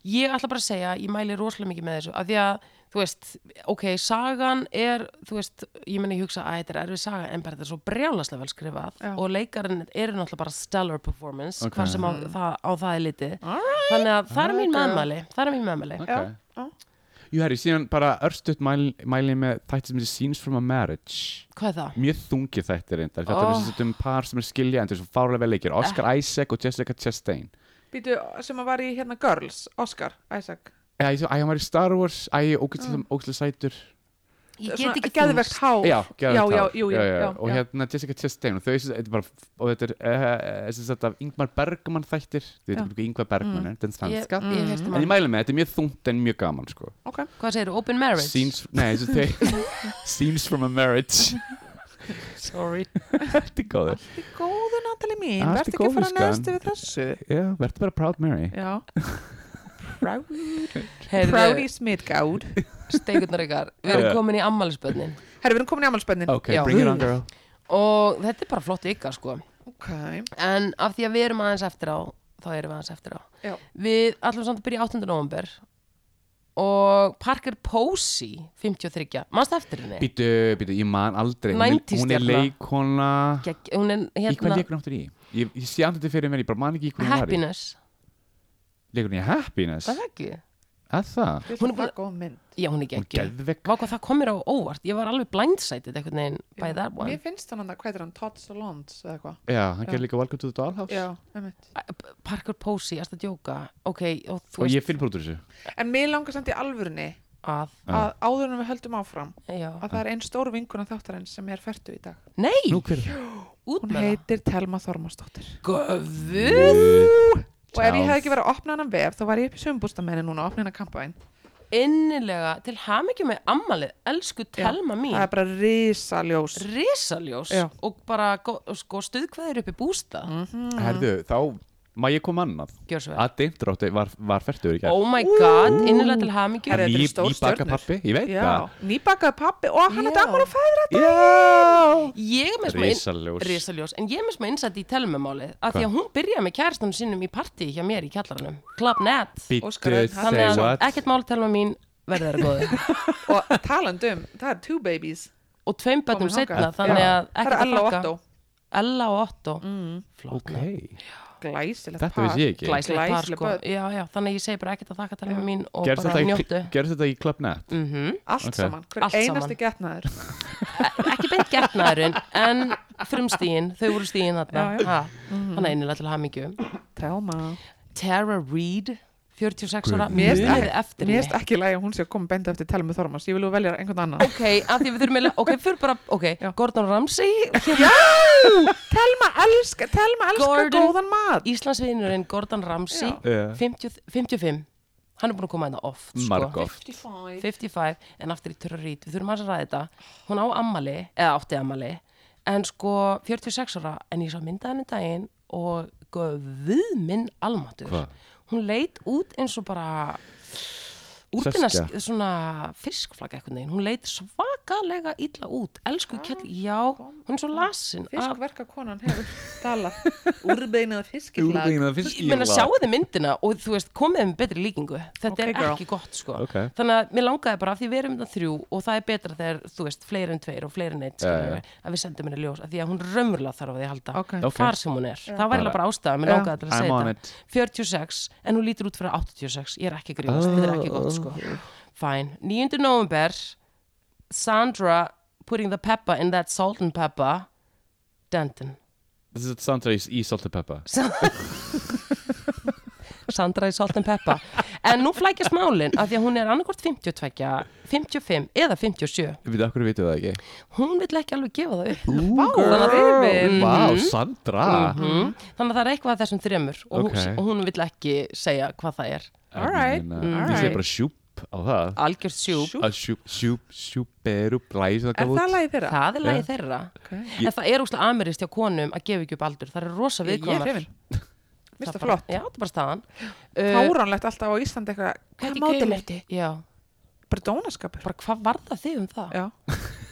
[SPEAKER 1] Ég ætla bara að segja, ég mæli rosalega mikið með þessu af því að, þú veist, ok, sagan er, þú veist, ég meni hugsa að þetta er erfið saga en bara þetta er svo brjálaslega vel skrifað
[SPEAKER 3] Já.
[SPEAKER 1] og leikarinn eru náttúrulega bara stellar performance,
[SPEAKER 2] Ok.
[SPEAKER 1] hvað sem á, það, á það er litið
[SPEAKER 3] Alright.
[SPEAKER 1] þannig að það er mín
[SPEAKER 3] Alright, girl.
[SPEAKER 1] meðmæli það er mín meðmæli
[SPEAKER 2] Ok.
[SPEAKER 3] já, já.
[SPEAKER 2] Jú, herri, síðan bara örstuðt mæli, mæli með þætti sem heitir Scenes from a Marriage
[SPEAKER 1] Hvað er það?
[SPEAKER 2] Mjög þungið þættir reyndar Þetta
[SPEAKER 1] Oh.
[SPEAKER 2] er sem sagt um par sem er skilja en þeir eru svo fárlega vel leikir Oscar Isaac og Jessica Chastain
[SPEAKER 3] Býtu, sem að var í hérna Girls, Oscar, Isaac
[SPEAKER 2] Æ, ég- æ, hann var í Star Wars Æ, ógæslega sætur
[SPEAKER 1] Ég get ekki
[SPEAKER 3] geðvegt hár
[SPEAKER 2] Já,
[SPEAKER 3] já,
[SPEAKER 2] geðveikt
[SPEAKER 3] já,
[SPEAKER 2] hár.
[SPEAKER 3] jú, já, já, já,
[SPEAKER 2] Og hérna Jessica Chastain og þau, þetta er bara, og þetta er eh, eh, sem sagt af Ingmar Bergman þættir Þau veitum ekki hvað Ingmar Bergman er, þetta er
[SPEAKER 1] Ég,
[SPEAKER 2] svenska
[SPEAKER 1] ég hefst um
[SPEAKER 2] En ég mæli með, þetta er mjög þungt en mjög gaman sko.
[SPEAKER 3] ok,
[SPEAKER 1] Hvað segir þú? Open marriage?
[SPEAKER 2] Scenes, nei, þessu þeir Scenes from a marriage
[SPEAKER 1] Sorry
[SPEAKER 2] Þetta er góður
[SPEAKER 3] allt í góðu Natalie mín,
[SPEAKER 2] Allt í
[SPEAKER 3] verð ekki að
[SPEAKER 2] góðu,
[SPEAKER 3] fara
[SPEAKER 2] skan.
[SPEAKER 3] neðst yfir þessu
[SPEAKER 2] Já, verður bara proud Mary
[SPEAKER 3] já Proud,
[SPEAKER 1] Heyrðu,
[SPEAKER 3] Proudy Smidgáud
[SPEAKER 1] steikurnar ykkar Við erum
[SPEAKER 2] Já.
[SPEAKER 1] komin í ammælisbönnin
[SPEAKER 3] Herri, við erum komin í amalspennin
[SPEAKER 2] Ok,
[SPEAKER 1] Já.
[SPEAKER 2] bring it on girl
[SPEAKER 1] og þetta er bara flott ykkar sko
[SPEAKER 3] ok,
[SPEAKER 1] en af því að við erum aðeins eftir á þá erum við aðeins eftir á
[SPEAKER 3] já,
[SPEAKER 1] við allum samt að byrja 8. november og Parker Posey 53, mannst eftir henni
[SPEAKER 2] Býtu, býtu, ég man aldrei Hún er-
[SPEAKER 1] 90s
[SPEAKER 2] Hún er
[SPEAKER 1] stjarna.
[SPEAKER 2] leikona
[SPEAKER 1] Gegg, hún er
[SPEAKER 2] Í hvað
[SPEAKER 1] hérna
[SPEAKER 2] leikur áttur í? Ég, ég sé andrið fyrir mér, ég bara man ekki í hvað hún var í
[SPEAKER 1] Happiness,
[SPEAKER 2] Leikur hún í Happiness?
[SPEAKER 1] það er ekki
[SPEAKER 2] Að það?
[SPEAKER 3] við
[SPEAKER 1] Hún er
[SPEAKER 3] erum bara góð mynd
[SPEAKER 1] já hún er
[SPEAKER 2] Hún
[SPEAKER 1] gegg
[SPEAKER 2] geðvegg
[SPEAKER 1] Vá hvað það kom mér á óvart, ég var alveg blindsided einhvern veginn by that one
[SPEAKER 3] mér finnst hann að hvað er hann, Todd Solondz eða eitthvað
[SPEAKER 2] Já, hann
[SPEAKER 3] Já.
[SPEAKER 2] gerði líka Welcome to the Dollhouse
[SPEAKER 3] já, einmitt
[SPEAKER 1] Parker Posey, erstu að djóka ok, og þú
[SPEAKER 2] Og
[SPEAKER 1] veist
[SPEAKER 2] ég finn brútur þessu
[SPEAKER 3] En mér langar samt í alvörunni
[SPEAKER 1] að
[SPEAKER 2] Já.
[SPEAKER 3] að áður en við höldum áfram
[SPEAKER 1] já.
[SPEAKER 3] að það er einn stór vinkuna þáttarins sem er ferdu í dag.
[SPEAKER 1] nei,
[SPEAKER 2] Nú hver
[SPEAKER 1] út
[SPEAKER 3] Hún
[SPEAKER 1] með það
[SPEAKER 3] heitir Telma Þormarsdóttir.
[SPEAKER 1] göfuð
[SPEAKER 3] Og ef ég hef ekki verið að opna hennan vef þá var ég upp í sömbústamenni núna að opna hennan kampavæn.
[SPEAKER 1] innilega til hamingju með ammalið, elsku Telma mín
[SPEAKER 3] það er bara risaljós
[SPEAKER 1] risaljós
[SPEAKER 3] Já.
[SPEAKER 1] og bara go- sko, stuðkveður upp í bústa
[SPEAKER 3] Mm.
[SPEAKER 2] Herðu, þá má ég koma annað
[SPEAKER 1] Gjörðu svo vel.
[SPEAKER 2] Að dimdráttu var, var færtur í gær
[SPEAKER 1] oh my god, innilega til hamingju
[SPEAKER 3] Herra, þetta eru
[SPEAKER 2] Ný-
[SPEAKER 3] stór
[SPEAKER 2] nýbakað
[SPEAKER 3] stjörnur.
[SPEAKER 2] pabbi, ég veit
[SPEAKER 3] Já,
[SPEAKER 2] það.
[SPEAKER 3] nýbakaði pappi og hann er
[SPEAKER 1] Já.
[SPEAKER 3] daman og fæðir þetta
[SPEAKER 2] Já
[SPEAKER 1] ég er með smá
[SPEAKER 2] Risaljós.
[SPEAKER 1] risaljós en ég er með smá innsætt í telmumálið að því að hún byrjaði með kærastanum sínum í partí hjá mér í kjallaranum, Club Net
[SPEAKER 2] Býttu,
[SPEAKER 3] Óskar Örn, hann
[SPEAKER 2] say
[SPEAKER 1] þannig að
[SPEAKER 2] what
[SPEAKER 1] ekkert mál telma mín verður þeirra góði
[SPEAKER 3] og talandum, það er two babies
[SPEAKER 1] og tveim bönnum
[SPEAKER 3] Komin
[SPEAKER 1] setna
[SPEAKER 3] þangað.
[SPEAKER 1] þannig
[SPEAKER 3] Já.
[SPEAKER 1] að
[SPEAKER 3] það er
[SPEAKER 1] ekkert
[SPEAKER 3] Ella
[SPEAKER 1] að
[SPEAKER 3] og
[SPEAKER 1] flakka.
[SPEAKER 3] Otto Mm.
[SPEAKER 1] Ella og Otto
[SPEAKER 2] Ok,
[SPEAKER 3] glæsilegt
[SPEAKER 2] þetta vissi ég ekki
[SPEAKER 1] glæsilegt par
[SPEAKER 3] Glæsileg
[SPEAKER 1] sko.
[SPEAKER 3] börn.
[SPEAKER 1] já, já, þannig að ég segi bara ekkert að þakka telma mín og
[SPEAKER 2] Gerst
[SPEAKER 1] bara
[SPEAKER 2] þetta,
[SPEAKER 1] njóttu
[SPEAKER 2] í- gerðist þetta í Club Net?
[SPEAKER 1] mm
[SPEAKER 3] allt
[SPEAKER 2] Ok.
[SPEAKER 3] saman, hver
[SPEAKER 1] Allt saman.
[SPEAKER 3] einasti getnaður
[SPEAKER 1] ekki beint getnaðurinn en frumstíin, þau voru stíin þarna
[SPEAKER 3] Já, Mhm. já.
[SPEAKER 1] Ha, þannig einnilega til hamingju
[SPEAKER 3] Telma
[SPEAKER 1] Tara Reid 46
[SPEAKER 2] Guð
[SPEAKER 1] ára,
[SPEAKER 2] minn.
[SPEAKER 1] munið
[SPEAKER 3] mér erst
[SPEAKER 1] eftir
[SPEAKER 3] ekki,
[SPEAKER 1] mér
[SPEAKER 3] er ekki lægi að hún sé að koma benda eftir Telma Þormans, ég vil þú velja einhvern annan
[SPEAKER 1] ok, af því við þurfum eiginlega- ok, fyrir bara, ok,
[SPEAKER 3] Já.
[SPEAKER 1] Gordon Ramsay
[SPEAKER 3] Já, Telma elska, Telma elska
[SPEAKER 1] Gordon-
[SPEAKER 3] góðan mat
[SPEAKER 1] Íslandsviðinurinn Gordon Ramsay
[SPEAKER 2] Já.
[SPEAKER 1] 50, 55 hann er búin að koma hérna oft
[SPEAKER 2] Marg
[SPEAKER 1] sko.
[SPEAKER 2] oft
[SPEAKER 1] 55 en aftur í Tara Reid, við þurfum aðeins að ræða þetta hún á ammali, eða átti ammali en sko 46 ára en ég sá mynda henni um daginn og guð minn almatur
[SPEAKER 2] Hvað?
[SPEAKER 1] hún leit út eins og bara úrbina
[SPEAKER 2] Seskja.
[SPEAKER 1] svona fiskflagg eitthvað neginn, hún leit svakalega illa út, elsku
[SPEAKER 3] Ah,
[SPEAKER 1] kjall, já hún er svo lasin af,
[SPEAKER 3] fiskverka konan hefur talað úrbeinað fiskilag
[SPEAKER 2] Úrbegin að
[SPEAKER 1] ég meina sjáu þið myndina og þú veist, komið þeim betri líkingu þetta
[SPEAKER 3] Ok,
[SPEAKER 1] er
[SPEAKER 3] girl.
[SPEAKER 1] ekki gott sko
[SPEAKER 2] Ok.
[SPEAKER 1] þannig að mér langaði bara af því við erum þetta þrjú og það er betra þegar, þú veist, fleiri en tveir og fleiri en eitt, skilur
[SPEAKER 2] já.
[SPEAKER 1] að við sendum henni ljós, af því að hún raumurlega þarf á því að halda
[SPEAKER 3] Ok.
[SPEAKER 2] Ok.
[SPEAKER 1] hvar sem hún er, það var
[SPEAKER 2] Bara-
[SPEAKER 1] eiginlega bara ástæða mér
[SPEAKER 3] Já.
[SPEAKER 1] langaði til að
[SPEAKER 2] I'm
[SPEAKER 1] segja
[SPEAKER 2] on
[SPEAKER 1] þetta 46, en hún lítur út fyrir 86 ég er ekki að grínast, þetta er ekki gott sko
[SPEAKER 3] Oh.
[SPEAKER 1] fæn, 9. november Sandra putting the pepper in that salt and pepper Denton
[SPEAKER 2] This is Sandra í, í Salt and Pepper
[SPEAKER 1] Sandra í salt and pepper en nú flækjast málin af því að hún er annarkvort 52, 55 eða 57,
[SPEAKER 2] Við veitum, okkur veitum við það ekki
[SPEAKER 1] hún vill ekki alveg gefa það upp
[SPEAKER 2] Ooh, Mm-hmm.
[SPEAKER 3] þannig að við erum-
[SPEAKER 2] Vá, Sandra
[SPEAKER 1] Mhm. þannig að það er eitthvað af þessum þremur og,
[SPEAKER 2] Ok.
[SPEAKER 1] hún, og hún vill ekki segja hvað það er
[SPEAKER 3] All right, all
[SPEAKER 2] Ég sé
[SPEAKER 3] right.
[SPEAKER 2] uh, bara sjúp á það
[SPEAKER 1] algjörð sjúp,
[SPEAKER 3] Sjúp.
[SPEAKER 2] Að Sjúp, sjúp, sjúp er upp Læs það
[SPEAKER 3] er
[SPEAKER 2] gaf
[SPEAKER 3] það
[SPEAKER 2] út
[SPEAKER 3] lagið þeirra?
[SPEAKER 1] það er lagi
[SPEAKER 2] Já.
[SPEAKER 1] þeirra
[SPEAKER 3] Okay.
[SPEAKER 1] en það er úrslega amirist hjá konum að gefa ekki upp aldur það er rosa
[SPEAKER 3] Ég er
[SPEAKER 1] viðkvæmar
[SPEAKER 3] hrifin
[SPEAKER 1] Það
[SPEAKER 3] Mér finnst það
[SPEAKER 1] bara-
[SPEAKER 3] flott
[SPEAKER 1] já, það er bara staðan
[SPEAKER 3] Fáránlegt alltaf á Íslandi eitthvað Hvað mótil eftir?
[SPEAKER 1] já,
[SPEAKER 3] Bara dónaskapur
[SPEAKER 1] bara hvað var það þig um það?
[SPEAKER 3] Já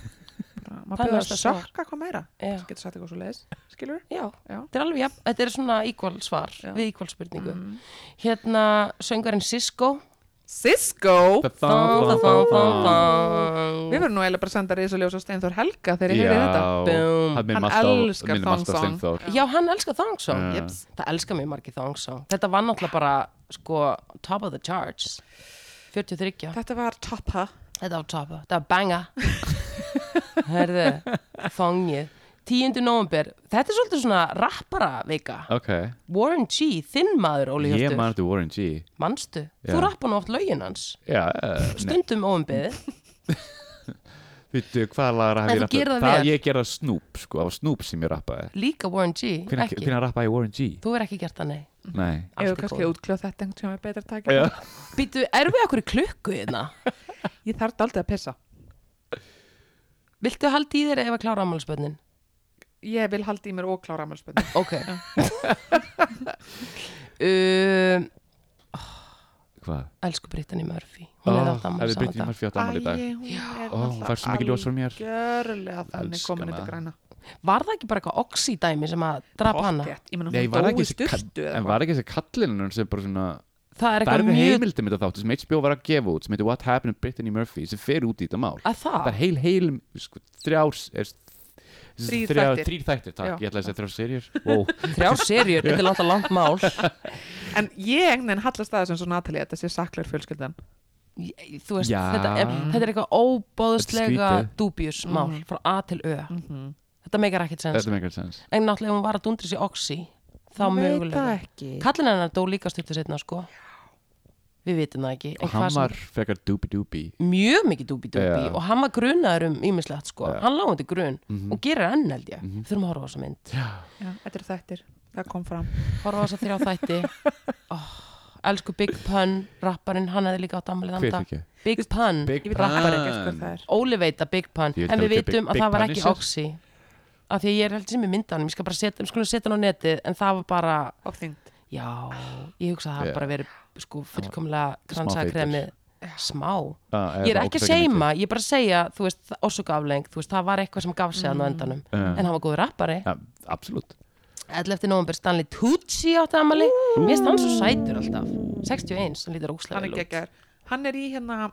[SPEAKER 3] Bara,
[SPEAKER 1] Það er
[SPEAKER 3] Maður byrður
[SPEAKER 1] næsta
[SPEAKER 3] að
[SPEAKER 1] svar.
[SPEAKER 3] sökka hvað meira
[SPEAKER 1] Já.
[SPEAKER 3] Getur sagt eitthvað svo leiðis Skilur við?
[SPEAKER 1] Já,
[SPEAKER 3] Já.
[SPEAKER 1] þetta er alveg, já, þetta er svona íkvál svar
[SPEAKER 3] Já. Mhm.
[SPEAKER 1] við íkvál spurningu hérna, söngurinn Sisko
[SPEAKER 3] Cisco
[SPEAKER 2] Ah,
[SPEAKER 1] Þang, þang, þang, þang,
[SPEAKER 3] Við
[SPEAKER 1] þang.
[SPEAKER 3] verðum nú eiginlega bara að senda risaljós á Steinþór Helga þegar ég
[SPEAKER 2] Já,
[SPEAKER 3] heyri þetta
[SPEAKER 1] Boom.
[SPEAKER 2] hann
[SPEAKER 3] Hann
[SPEAKER 2] minnum alltaf
[SPEAKER 3] elskar
[SPEAKER 2] minnum alltaf
[SPEAKER 3] Þang Song.
[SPEAKER 2] Steinþór
[SPEAKER 1] Já, hann elskar Thongsong
[SPEAKER 2] Já.
[SPEAKER 1] Jeps. Það elskar mjög margir Thongsong Þetta var náttúrulega bara, sko, top of the charts 43
[SPEAKER 3] Þetta var Toppa
[SPEAKER 1] Þetta var top, þetta var banga Herðu, Thongið 10. november, þetta er svolítið svona rappara vika
[SPEAKER 2] Ok,
[SPEAKER 1] Warren G, þinn maður, Óli
[SPEAKER 2] ég
[SPEAKER 1] Hjörtur
[SPEAKER 2] man eftir Warren G
[SPEAKER 1] Manstu,
[SPEAKER 2] Já.
[SPEAKER 1] þú rappa nú oft lögin hans
[SPEAKER 2] Já, eh, nei,
[SPEAKER 1] Stundum óumbeðið
[SPEAKER 2] veitu, hvað lagar hef
[SPEAKER 1] En
[SPEAKER 2] ég
[SPEAKER 1] þú gerir
[SPEAKER 2] rappað?
[SPEAKER 1] það
[SPEAKER 2] Það
[SPEAKER 1] vel.
[SPEAKER 2] ég gerði Snoop, sko, það var Snoop sem ég rappaði
[SPEAKER 1] Líka Warren G,
[SPEAKER 2] Hvenær
[SPEAKER 1] ekki
[SPEAKER 2] hvenær rappaði ég Warren G?
[SPEAKER 1] Þú er ekki gert það, nei
[SPEAKER 2] Nei
[SPEAKER 1] Allt
[SPEAKER 3] Ef
[SPEAKER 1] í
[SPEAKER 3] við kannski
[SPEAKER 1] góðu.
[SPEAKER 3] útkljóð þetta einhvern tíma er betra að
[SPEAKER 2] Já.
[SPEAKER 3] taka
[SPEAKER 1] Býtu, erum við okkur í klukku hérna?
[SPEAKER 3] Ég þarf daldið að pissa
[SPEAKER 1] Viltu haldi í þér ef að klára ammálspönnin?
[SPEAKER 3] Ég vil halda í mér og klára ammálspönni
[SPEAKER 1] Ok um,
[SPEAKER 2] Hvað?
[SPEAKER 1] Elsku Brittany Murphy Hún hefði átt ammál saman dag
[SPEAKER 2] Ah, Murphy átt ammali í dag Ó, hún fær svo mikið ljós frá mér.
[SPEAKER 3] Gjörlega þannig
[SPEAKER 2] Elska
[SPEAKER 3] komin
[SPEAKER 2] hana.
[SPEAKER 3] þetta græna
[SPEAKER 1] Var það ekki bara eitthvað oxidæmi sem að drap hana?
[SPEAKER 3] Pottþétt. Ég meina
[SPEAKER 2] Nei,
[SPEAKER 3] hún
[SPEAKER 2] var
[SPEAKER 3] dói
[SPEAKER 2] ekki
[SPEAKER 3] í styrtu
[SPEAKER 2] þessi En var ekki þessi kallinn hennar sem bara svona
[SPEAKER 1] Það er
[SPEAKER 2] Það er
[SPEAKER 1] eitthvað
[SPEAKER 2] með
[SPEAKER 1] mjög
[SPEAKER 2] heimildum þetta þáttu sem HBO var að gefa út sem heitir What Happened to Brittany Murphy sem fer út í þetta mál
[SPEAKER 1] Að það?
[SPEAKER 2] Það er heil, heil, sko, þrjár er,
[SPEAKER 3] Þrír þættir.
[SPEAKER 2] Þrýr þættir, takk,
[SPEAKER 3] Já.
[SPEAKER 2] ég ætla að segja þrjár serjur Wow,
[SPEAKER 1] Þrjár serjur, þetta er langt að langt mál
[SPEAKER 3] En ég einhvern veginn hallast aðeins eins og Natalie þetta sé saklar fjölskyldan
[SPEAKER 1] Ég- Þú veist,
[SPEAKER 2] Já.
[SPEAKER 1] þetta er, þetta er eitthvað óbóðslega
[SPEAKER 2] Þetta er skrítið.
[SPEAKER 1] dúbjus mál
[SPEAKER 3] Mhm.
[SPEAKER 1] frá A til Ö Þetta meikar ekkert sens
[SPEAKER 2] þetta með einhvern sens
[SPEAKER 1] En náttúrulega ef hún var að dundri sér oxi Þá
[SPEAKER 3] Ég veit það
[SPEAKER 1] mögulega
[SPEAKER 3] ekki
[SPEAKER 1] Kallin hennar dó líka stuttu setna sko Við vitum það ekki En
[SPEAKER 2] Og
[SPEAKER 1] hvað
[SPEAKER 2] hann
[SPEAKER 1] sem-
[SPEAKER 2] var frekar dooby-dooby
[SPEAKER 1] mjög mikið dúbi-dúbi
[SPEAKER 2] Já. Mhm.
[SPEAKER 1] og hann var grunaður um ímislegt sko, hann lág undir grun og gerir enn held ég, við þurfum að horfa á þessa mynd
[SPEAKER 3] Já, Þetta er þættir, það kom fram
[SPEAKER 1] horfa á þessa þrjá þætti oh, elsku Big Pun, rapparinn, hann hefði líka átt afmælið þann
[SPEAKER 2] Hver
[SPEAKER 1] dag.
[SPEAKER 2] fyrir ekki?
[SPEAKER 1] Big Pun,
[SPEAKER 2] Big
[SPEAKER 3] Ég veit bara
[SPEAKER 2] Pun.
[SPEAKER 3] ekki allt hvað það er
[SPEAKER 1] Óli veit að Big Pun,
[SPEAKER 2] Ég veit
[SPEAKER 1] en við
[SPEAKER 2] alveg hver
[SPEAKER 1] vitum
[SPEAKER 2] Big-
[SPEAKER 1] að það
[SPEAKER 2] Big
[SPEAKER 1] var
[SPEAKER 2] Pun
[SPEAKER 1] ekki
[SPEAKER 2] er.
[SPEAKER 1] Oxy. Af því að ég er heldur sem ég mynda hann, ég skal bara setja, skulum setja hann á netið, en það var bara,
[SPEAKER 3] Ofþyngd
[SPEAKER 1] já, ég hugsa að það
[SPEAKER 2] Já.
[SPEAKER 1] yeah. bara verið sko fullkomlega
[SPEAKER 2] feitur.
[SPEAKER 1] kransakremið. Smá.
[SPEAKER 2] Ah,
[SPEAKER 1] Ég er
[SPEAKER 2] bara
[SPEAKER 1] ekki að
[SPEAKER 2] ógeðslega mikið.
[SPEAKER 1] seima, ég er bara að segja, þú veist, orsukafleng, þú veist, það var eitthvað sem gaf sig hann á endanum.
[SPEAKER 2] Já.
[SPEAKER 1] En hann var góður rappari.
[SPEAKER 2] Ja, absolutt
[SPEAKER 1] 11. november Stanley Tucci átti amali Mér finnst hann svo sætur alltaf 61, hann lítur
[SPEAKER 3] Hann er
[SPEAKER 1] óslega vel út
[SPEAKER 3] geggar Hann er í hérna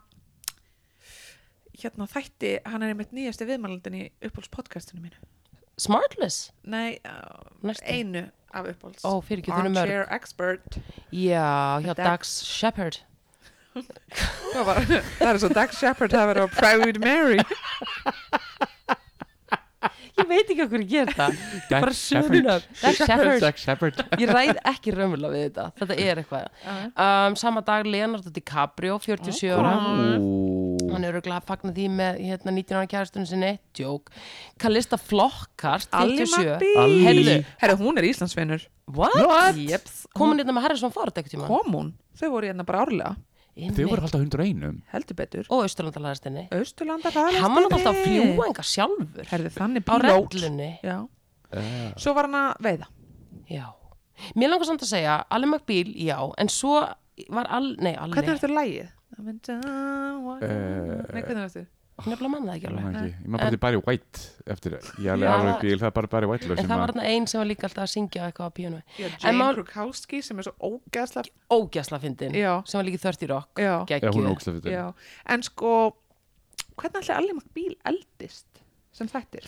[SPEAKER 3] Hérna þætti Hann er einmitt nýjasti viðmælandin í uppbólspodcastinu mínu
[SPEAKER 1] Smartless?
[SPEAKER 3] Nei, uh,
[SPEAKER 1] Næstu.
[SPEAKER 3] einu af uppbóls
[SPEAKER 1] Ó, fyrir ekki, þau eru mörg
[SPEAKER 3] Armchair expert
[SPEAKER 1] Já, hjá
[SPEAKER 3] Dax.
[SPEAKER 1] Dax Shepard
[SPEAKER 3] Það var- það er svo Doug Shepard hafa verið á Private Mary
[SPEAKER 1] Ég veit ekki okkur ég ger það
[SPEAKER 2] Dax
[SPEAKER 1] Bara
[SPEAKER 2] Shepard.
[SPEAKER 1] söguna Dax Shepard
[SPEAKER 2] Jack Shepard
[SPEAKER 1] Ég ræð ekki raumvöla við þetta Þetta er eitthvað um, Sama dag Leonardo DiCaprio, 47 ára Hann er auðvitað að fagna því með hérna, 19 ára kærastunum sinni Joke Kalista Flokkart, 47
[SPEAKER 2] Ali.
[SPEAKER 3] Heyrðu, heyrðu, hún er Íslandsvinnur
[SPEAKER 1] What?
[SPEAKER 2] What?
[SPEAKER 3] Jeps, hún
[SPEAKER 1] Komin hérna með Harrison Ford ekkert tíma
[SPEAKER 3] kom hún Þau voru hérna bara árlega,
[SPEAKER 2] Þau voru alltaf 101
[SPEAKER 3] heldur betur
[SPEAKER 1] Og Austurlandalæðastinni
[SPEAKER 3] Östurlanda
[SPEAKER 1] Hann var náttúrulega alltaf að fljúa enga sjálfur
[SPEAKER 3] Herði þannig
[SPEAKER 1] á
[SPEAKER 3] pilot.
[SPEAKER 1] reglunni
[SPEAKER 3] Já.
[SPEAKER 2] uh,
[SPEAKER 3] Svo var hann að veiða
[SPEAKER 1] Já Mér langar samt að segja, Alli McBeal, já En svo var Alli, nei Alli
[SPEAKER 3] Hvernig er þetta lagið? I'm in town, what-
[SPEAKER 2] Eh,
[SPEAKER 3] Nei, hvernig er þetta?
[SPEAKER 1] Nefnilega manna það ekki alveg
[SPEAKER 2] Ég maður bara til Barry White eftir Ég er alveg
[SPEAKER 1] Já.
[SPEAKER 2] alveg bíl, það er bara Barry White lög
[SPEAKER 1] En
[SPEAKER 2] sem
[SPEAKER 1] það
[SPEAKER 2] að-
[SPEAKER 1] var þarna einn sem var líka alltaf að syngja eitthvað á píónu
[SPEAKER 3] Já,
[SPEAKER 1] En
[SPEAKER 3] Jane
[SPEAKER 1] mál-
[SPEAKER 3] Krukowski sem er svo ógæðsla
[SPEAKER 1] Ógjasla fyndin,
[SPEAKER 3] Já.
[SPEAKER 1] sem var líka í 30 rock
[SPEAKER 3] Já,
[SPEAKER 2] Já, hún
[SPEAKER 1] Gekkið
[SPEAKER 2] er ógstlega fyrir
[SPEAKER 3] já En sko, hvernig ætli allir makt bíl eldist sem þættir?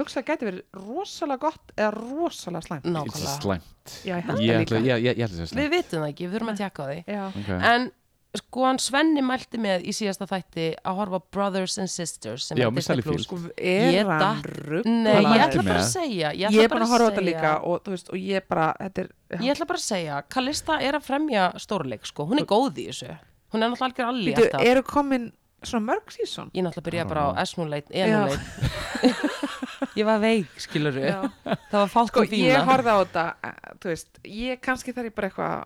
[SPEAKER 3] Hugsa að gæti verið rosalega gott eða rosalega slæmt
[SPEAKER 2] It's
[SPEAKER 1] Nákvæmlega
[SPEAKER 2] slæmt
[SPEAKER 3] Já, ég held
[SPEAKER 2] Ég
[SPEAKER 3] það
[SPEAKER 2] ætla
[SPEAKER 3] líka.
[SPEAKER 2] ég- ég- ég ætla að segja slæmt
[SPEAKER 1] Við vitum það ekki, við þurfum að tjekka á því
[SPEAKER 3] Já,
[SPEAKER 2] Ok.
[SPEAKER 1] En sko hann Svenni mælti með í síðasta þætti að horfa á Brothers and Sisters sem
[SPEAKER 2] Já,
[SPEAKER 1] er
[SPEAKER 2] með
[SPEAKER 1] Disney
[SPEAKER 2] Sally
[SPEAKER 1] Plus.
[SPEAKER 3] sko,
[SPEAKER 1] Ég
[SPEAKER 3] er hann
[SPEAKER 1] datt- Nei,
[SPEAKER 3] ruggla
[SPEAKER 1] ég
[SPEAKER 2] mælti
[SPEAKER 1] ætla bara að
[SPEAKER 2] með.
[SPEAKER 1] segja Ég
[SPEAKER 3] Ég
[SPEAKER 1] ætla
[SPEAKER 3] er búin að horfa á þetta líka og, þú veist, og ég bara, þetta er
[SPEAKER 1] Ég ætla bara að segja, Kalista er að fremja stórleik sko, hún er góð í þessu hún er náttúrulega algjör alli
[SPEAKER 3] Býtu,
[SPEAKER 1] alltaf
[SPEAKER 3] eru komin svona mörg sísón?
[SPEAKER 1] Ég náttúrulega byrja bara á S-núleit, E-núleit Ég var veik, skilur við Það var fátt
[SPEAKER 3] Sko,
[SPEAKER 1] og fína
[SPEAKER 3] ég horfði á þetta, eh, þú veist, ég kannski þarf ég bara eitthvað,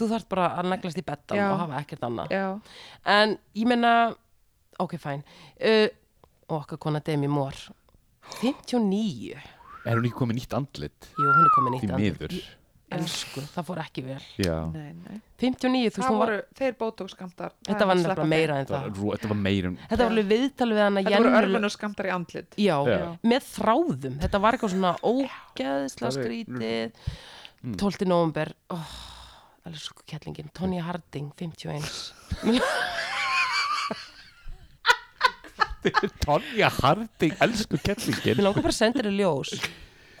[SPEAKER 1] Þú þarft bara að neglast í betan
[SPEAKER 3] Já.
[SPEAKER 1] og hafa ekkert annað
[SPEAKER 3] já,
[SPEAKER 1] En ég menna, ok, fæn uh, Okkar kona Demi Moore 59
[SPEAKER 2] Er hún ekki komið nýtt andlit?
[SPEAKER 1] Jú, hún er komin
[SPEAKER 2] Því
[SPEAKER 1] nýtt
[SPEAKER 2] miður
[SPEAKER 1] Elsku, það fór ekki vel
[SPEAKER 2] Já
[SPEAKER 3] nei, nei.
[SPEAKER 1] 59, þú veist,
[SPEAKER 3] Það
[SPEAKER 1] hún var
[SPEAKER 3] voru, þeir bótókskamtar.
[SPEAKER 1] Þetta var nefnilega meira en
[SPEAKER 2] Það
[SPEAKER 1] það
[SPEAKER 2] var rú- Þetta var meira um-
[SPEAKER 1] Þetta var alveg viðtal við hana
[SPEAKER 3] Þetta voru örmunarskamtar í andlit.
[SPEAKER 1] Já,
[SPEAKER 2] Já.
[SPEAKER 1] með þráðum Þetta var eitthvað svona ógeðslega
[SPEAKER 2] Það er- Mm.
[SPEAKER 1] skrítið 12. november oh, Elsku kettlingin, Tony Harding 51
[SPEAKER 2] Tonja Harding, elsku
[SPEAKER 1] Mér
[SPEAKER 2] kettlingin
[SPEAKER 1] langar bara að senda þér í ljós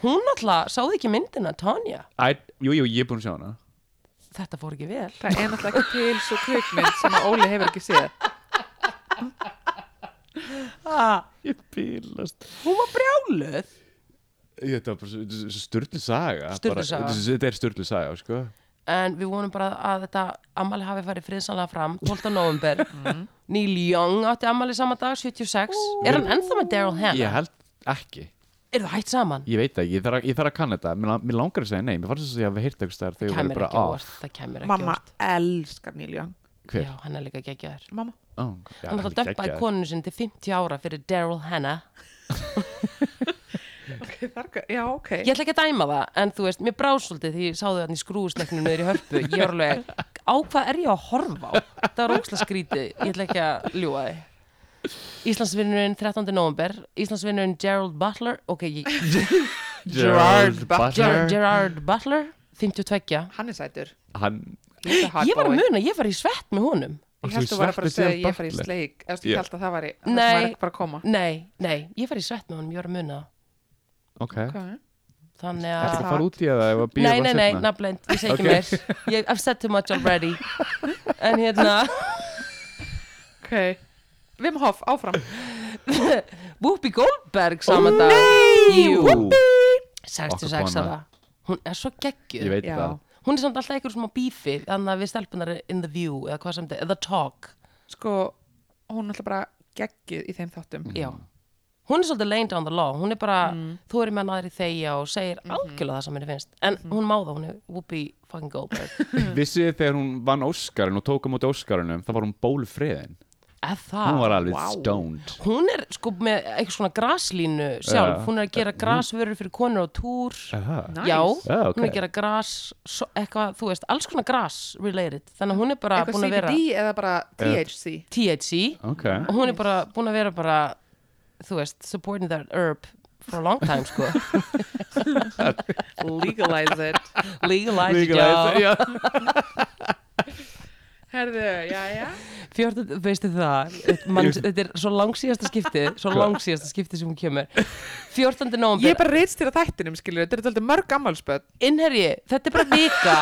[SPEAKER 1] Hún alltaf sáði ekki myndina, Tanya
[SPEAKER 2] Æ, Jú, jú, ég er búin að sjá hana
[SPEAKER 1] Þetta fór ekki vel
[SPEAKER 3] Það er náttúrulega ekki til svo kvikmynd sem að Óli hefur ekki séð.
[SPEAKER 1] ah,
[SPEAKER 2] Ég bílast
[SPEAKER 1] Hún var brjáluð
[SPEAKER 2] Þetta var bara svo- svo sturlu saga
[SPEAKER 1] Sturlu
[SPEAKER 2] bara-
[SPEAKER 1] saga.
[SPEAKER 2] Þetta þetta er sturlu saga, sko
[SPEAKER 1] En við vonum bara að þetta ammali hafi farið friðsanlega fram 12. november Neil Young átti ammali sama dag, 76 Er hann ennþá með Daryl Hannah?
[SPEAKER 2] Ég held ekki
[SPEAKER 1] Er það hætt saman?
[SPEAKER 2] Ég veit það ekki, ég þarf að, ég þarf að kanna þetta Mér, la- mér langar að segja nei, mér fannst þess að ég hafi heyrt eitthvað stær Þegar ég var
[SPEAKER 1] Kæmir
[SPEAKER 2] bara
[SPEAKER 1] ekki
[SPEAKER 2] að
[SPEAKER 1] óvart Það kæmir ekki
[SPEAKER 3] Mamma
[SPEAKER 1] óvart
[SPEAKER 3] elskar Neil Young.
[SPEAKER 2] Hver?
[SPEAKER 1] Já, hann er líka geggjaður
[SPEAKER 3] Mamma.
[SPEAKER 2] Ó, já,
[SPEAKER 1] Hann
[SPEAKER 2] hann
[SPEAKER 1] alltaf dömpaði
[SPEAKER 2] geggjaður.
[SPEAKER 1] konunni sinni til 50 ára fyrir Daryl Hannah
[SPEAKER 3] Ok, þar, já, ok.
[SPEAKER 1] Ég ætla ekki að dæma það, en þú veist, mér brá svolítið því ég sáðu þarna í skrúðusteknum niður í hörpu Ég var alveg, á hvað er ég að horfa á? Það var óksla skrítið, ég ætla ekki að ljúa þið Íslandsvinnurinn 13. november Íslandsvinnurinn Gerald Butler Ok, ég,
[SPEAKER 3] Gerard
[SPEAKER 1] Ger Gerard Butler 52
[SPEAKER 3] Hann er sætur.
[SPEAKER 2] Hann,
[SPEAKER 3] He's a hot
[SPEAKER 1] Ég var að
[SPEAKER 3] boy.
[SPEAKER 1] muna, ég var í svett með honum
[SPEAKER 3] Ég
[SPEAKER 2] Þú
[SPEAKER 3] held að þú var að fara
[SPEAKER 2] sveppir
[SPEAKER 3] að segja
[SPEAKER 2] síðan
[SPEAKER 3] ég fari í
[SPEAKER 2] Butler.
[SPEAKER 3] sleik Eftir
[SPEAKER 2] Já.
[SPEAKER 3] ég held að það var í
[SPEAKER 1] Nei.
[SPEAKER 3] Það var ekki bara að koma
[SPEAKER 1] Nei, nei, ég var í svett með honum, ég var að muna það.
[SPEAKER 2] ok Þetta
[SPEAKER 1] Þannig
[SPEAKER 2] er
[SPEAKER 1] að
[SPEAKER 2] að fara út í það ef að býða
[SPEAKER 1] Nei, nei,
[SPEAKER 2] bara
[SPEAKER 1] nei,
[SPEAKER 2] seinna?
[SPEAKER 1] nafnleint, ég segi ekki
[SPEAKER 2] Ok.
[SPEAKER 1] meir ég, I've said too much already En hérna,
[SPEAKER 3] Ok Vim Hof, áfram
[SPEAKER 1] Whoopi Goldberg saman dag Jú,
[SPEAKER 2] Okkar
[SPEAKER 1] 66
[SPEAKER 2] kona.
[SPEAKER 1] ára Hún er svo
[SPEAKER 2] Ég
[SPEAKER 1] geggjur
[SPEAKER 2] veit
[SPEAKER 3] Já.
[SPEAKER 2] það
[SPEAKER 1] Hún er samt alltaf eitthvað sem á bífi Þannig að við stelpunar in the view Eða hvað sem þetta, eða talk
[SPEAKER 2] Mm.
[SPEAKER 3] Sko, hún er alltaf bara geggið í þeim þáttum
[SPEAKER 1] Já, hún er svolítið laying down the law hún er bara, þú er í menn aðri þegja og segir algjörlega það sem henni finnst en hún má það, hún er Whoopi fucking Goldberg
[SPEAKER 2] Vissið þið þegar hún vann Óskarinn og tók á móti Óskarunum, þá var hún bólfriðin
[SPEAKER 1] eða það
[SPEAKER 2] Hún var alveg
[SPEAKER 3] vá.
[SPEAKER 2] stoned
[SPEAKER 1] hún er sko með eitthvað svona graslínu sjálf,
[SPEAKER 2] Já. Mhm.
[SPEAKER 1] hún er að gera grasvörur fyrir konur á túr
[SPEAKER 2] Aha.
[SPEAKER 3] Nice.
[SPEAKER 1] já,
[SPEAKER 2] Já, ok.
[SPEAKER 1] hún er að gera gras so, eitthvað, þú veist, alls konar gras related, þannig að hún er bara
[SPEAKER 3] Eitthvað
[SPEAKER 1] búin að vera
[SPEAKER 3] CBD eða bara THC
[SPEAKER 1] THC
[SPEAKER 2] Ok,
[SPEAKER 1] og hún er bara búin að vera bara þú veist, supporting that herb for a long time, sko
[SPEAKER 3] Legalize it
[SPEAKER 1] legalize it,
[SPEAKER 2] Legalize,
[SPEAKER 1] já
[SPEAKER 2] já.
[SPEAKER 3] Herðu, já, já
[SPEAKER 1] 14, veistu það, mann, þetta er svo langsíðasta skipti, svo langsíðasta skipti sem hún kemur 14.
[SPEAKER 3] Ég er
[SPEAKER 1] november,
[SPEAKER 3] bara reynst þér að þættinum, skilur Þetta er alltaf mörg ammálspöld
[SPEAKER 1] innherji þetta er bara vika,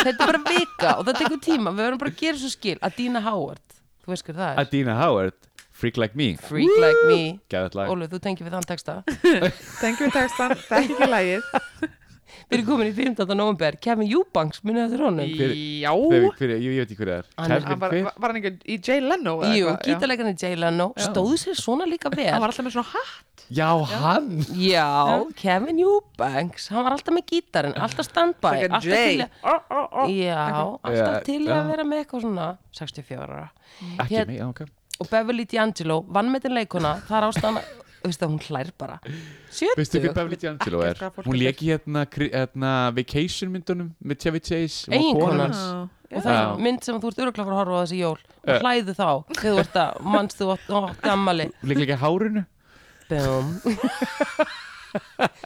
[SPEAKER 1] þetta er bara vika og það tekur tíma, við verðum bara að gera svo skil Adina Howard, þú veist hver það er
[SPEAKER 2] Adina Howard, Freak Like Me
[SPEAKER 1] Freak Like Me,
[SPEAKER 2] Gæðat lag
[SPEAKER 1] Óluf, þú tengir við þann texta
[SPEAKER 3] Thank you, textan, thank you, lagið
[SPEAKER 1] Við erum komin í 15. november, Kevin Eubanks, munið eftir honum
[SPEAKER 3] Já
[SPEAKER 2] Hver, hver, ég, ég veit ekki hver það er
[SPEAKER 1] Hann er-
[SPEAKER 2] Kevin,
[SPEAKER 3] Hann var,
[SPEAKER 2] hver?
[SPEAKER 3] var- var hann ekki í Jay Leno? eða
[SPEAKER 1] Jú,
[SPEAKER 3] eitthvað? Já.
[SPEAKER 1] gítarleikarinn Jay Leno stóðu sér svona líka
[SPEAKER 3] Hann
[SPEAKER 1] vel
[SPEAKER 3] var alltaf með svona hatt
[SPEAKER 2] Já, hann
[SPEAKER 1] Já, Kevin Eubanks hann var alltaf með gítarinn, alltaf standby
[SPEAKER 3] Like a
[SPEAKER 1] alltaf
[SPEAKER 3] Jay.
[SPEAKER 1] til að Já,
[SPEAKER 2] Já,
[SPEAKER 1] alltaf til í
[SPEAKER 2] já.
[SPEAKER 1] að vera með eitthvað svona 64 ára
[SPEAKER 2] Ekki
[SPEAKER 1] Hér-
[SPEAKER 2] mig, já, ok
[SPEAKER 1] og Beverly D'Angelo, vannmetin leikona það er ástæðan að, veistu að hún hlær bara 70
[SPEAKER 2] Veistu hver Beverly D'Angelo er?
[SPEAKER 3] Ekkert hvað fólk
[SPEAKER 2] Hún
[SPEAKER 3] er
[SPEAKER 2] lék í hérna, kri- hérna vacation myndunum með Chevy Chase Hún var
[SPEAKER 1] Eiginkona
[SPEAKER 2] konan
[SPEAKER 1] hans.
[SPEAKER 2] hans.
[SPEAKER 1] og það
[SPEAKER 2] Já.
[SPEAKER 1] er mynd sem þú ert öruglega að fara að horfa á þessi jól og hlæðu þá, þegar þú ert að mannst þú átt- átti ammali
[SPEAKER 2] Hún lék líka í hárinu
[SPEAKER 1] Bum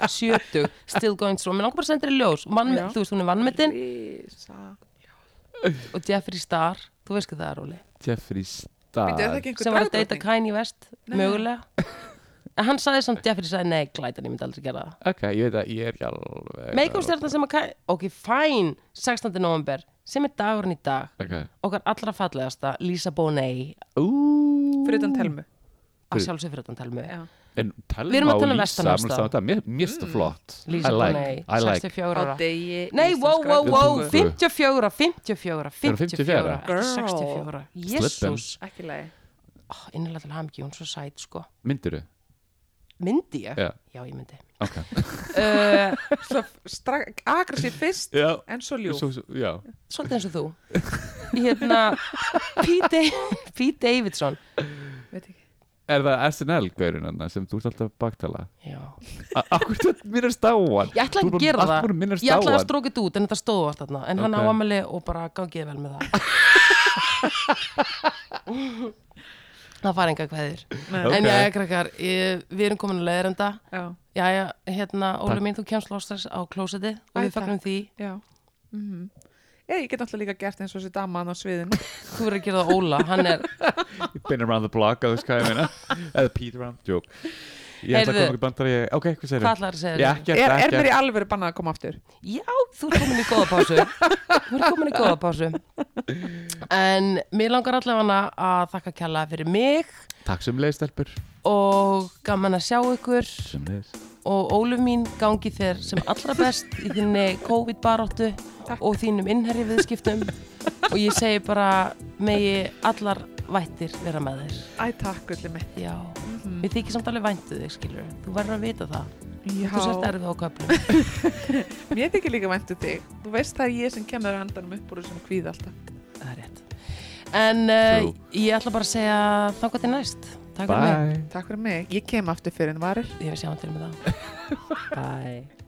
[SPEAKER 1] 70, still going strong mér langar bara að senda þér í ljós, Vann,
[SPEAKER 3] Já.
[SPEAKER 1] þú veist hún er vannmetin
[SPEAKER 3] Rísa
[SPEAKER 1] og Jeffrey Star, þú veist hvað það er Óli
[SPEAKER 2] Jeffrey Star
[SPEAKER 3] Býttu, er það ekki
[SPEAKER 1] sem
[SPEAKER 3] einhver
[SPEAKER 1] var að deyta
[SPEAKER 3] dagdrottning?
[SPEAKER 1] Kanye West mögulega en hann sagði samt Jeffrey sagði nei, glætan, ég myndi aldrei gera það
[SPEAKER 2] Ok, ég veit að ég er ekki alveg
[SPEAKER 1] meikúmstjarnan sem að Kanye, ok, fine 16. november, sem er dagurinn í dag
[SPEAKER 2] Ok
[SPEAKER 1] okkar allra fallegasta, Lisa Bonet
[SPEAKER 2] Ú
[SPEAKER 3] Fyrir utan telmu
[SPEAKER 1] að sjálfsög fyrir þann telmu
[SPEAKER 3] Já.
[SPEAKER 2] En Telma
[SPEAKER 1] Við erum að
[SPEAKER 2] og
[SPEAKER 1] tala um
[SPEAKER 2] Lísa,
[SPEAKER 1] vestanhafsstað.
[SPEAKER 2] mér finnst það- Mér mér finnst það flott
[SPEAKER 1] Mm. Lisa
[SPEAKER 2] I like,
[SPEAKER 1] Bonet,
[SPEAKER 2] I like
[SPEAKER 1] 64 ára
[SPEAKER 3] degi
[SPEAKER 1] nei, wow, wow, wow,
[SPEAKER 2] tungu.
[SPEAKER 1] 54 54, 54
[SPEAKER 2] 54?
[SPEAKER 1] ekki
[SPEAKER 3] Girl.
[SPEAKER 1] 64,
[SPEAKER 2] Slippin.
[SPEAKER 1] jésús
[SPEAKER 3] Ekki lagi
[SPEAKER 1] innilega til hamingju, hún er svo sæt sko
[SPEAKER 2] Myndirðu?
[SPEAKER 1] myndi ég?
[SPEAKER 2] Já.
[SPEAKER 1] já, ég myndi
[SPEAKER 2] Ok
[SPEAKER 1] uh,
[SPEAKER 3] Svo strak, agressív fyrst
[SPEAKER 2] Já
[SPEAKER 3] En svo ljúf
[SPEAKER 2] Svo- svo- Já
[SPEAKER 1] svolítið eins og þú hérna Pete, Da- Pete Davidson
[SPEAKER 3] Veit ekki
[SPEAKER 2] Er það SNL-gaurinn hann sem þú ert alltaf að baktala?
[SPEAKER 1] já.
[SPEAKER 2] Akkur þú minnast á hann?
[SPEAKER 1] ég ætla ekki að gera það
[SPEAKER 2] Akkur minnast
[SPEAKER 1] ég
[SPEAKER 2] á
[SPEAKER 1] ætla að
[SPEAKER 2] hann?
[SPEAKER 1] stróka þetta út en þetta stóðu allt þarna en hann á
[SPEAKER 2] Ok.
[SPEAKER 1] amali og bara gangið vel með það það fara enga hvaðir
[SPEAKER 3] Nei.
[SPEAKER 2] Ok.
[SPEAKER 1] en já, krakkar, ég, við erum komin að leiðrenda
[SPEAKER 3] Já,
[SPEAKER 1] jæja, hérna, Óli
[SPEAKER 2] Takk.
[SPEAKER 1] mín, þú kemst lóstars á klóseti og
[SPEAKER 3] Æ,
[SPEAKER 1] við fagnum því
[SPEAKER 3] já Mhm. Eða ég get alltaf líka gert eins og þessi daman á sviðinu
[SPEAKER 1] þú verður að gera það Óla, hann er
[SPEAKER 2] Been around the block, að þú veist hvað ég meina Eða Pete around, joke Ég ætla að
[SPEAKER 1] Heyrðu.
[SPEAKER 2] koma ekki bandar ég, ok, um. hvað segir
[SPEAKER 1] hvað ætlar að segja
[SPEAKER 2] Ég
[SPEAKER 1] þér?
[SPEAKER 2] ekki,
[SPEAKER 3] Er, er
[SPEAKER 2] ekki,
[SPEAKER 3] mér í
[SPEAKER 2] ekki
[SPEAKER 3] alvöru bannað að koma aftur?
[SPEAKER 1] Já, þú ert komin í góða pásu Þú ert komin í góða pásu En mér langar allavega að þakka kjalla fyrir mig
[SPEAKER 2] Takk sem leið, stelpur
[SPEAKER 1] og gaman að sjá ykkur
[SPEAKER 2] Sem leið
[SPEAKER 1] og Óluf mín gangi þér sem allra best í þinni COVID-baróttu og þínum innherri viðskiptum og ég segi bara megi allar vættir vera með þér
[SPEAKER 3] Æ, takk, gulli mitt
[SPEAKER 1] Já,
[SPEAKER 3] Mm. Mhm.
[SPEAKER 1] mér þykir samt alveg væntu þig skilur þú verður að vita það þú sért
[SPEAKER 3] Já,
[SPEAKER 1] erfið á köflum
[SPEAKER 3] mér þykir líka væntu þig Þú veist það er ég sem kemur handanum upp úr þessum kvíð alltaf
[SPEAKER 1] það er rétt en uh,
[SPEAKER 2] True.
[SPEAKER 1] ég ætla bara að segja þangað til næst takk fyrir mig
[SPEAKER 2] Bye
[SPEAKER 3] Takk fyrir mig, ég kem aftur fyrir en varir
[SPEAKER 1] ég vil sjá hann til með um það bye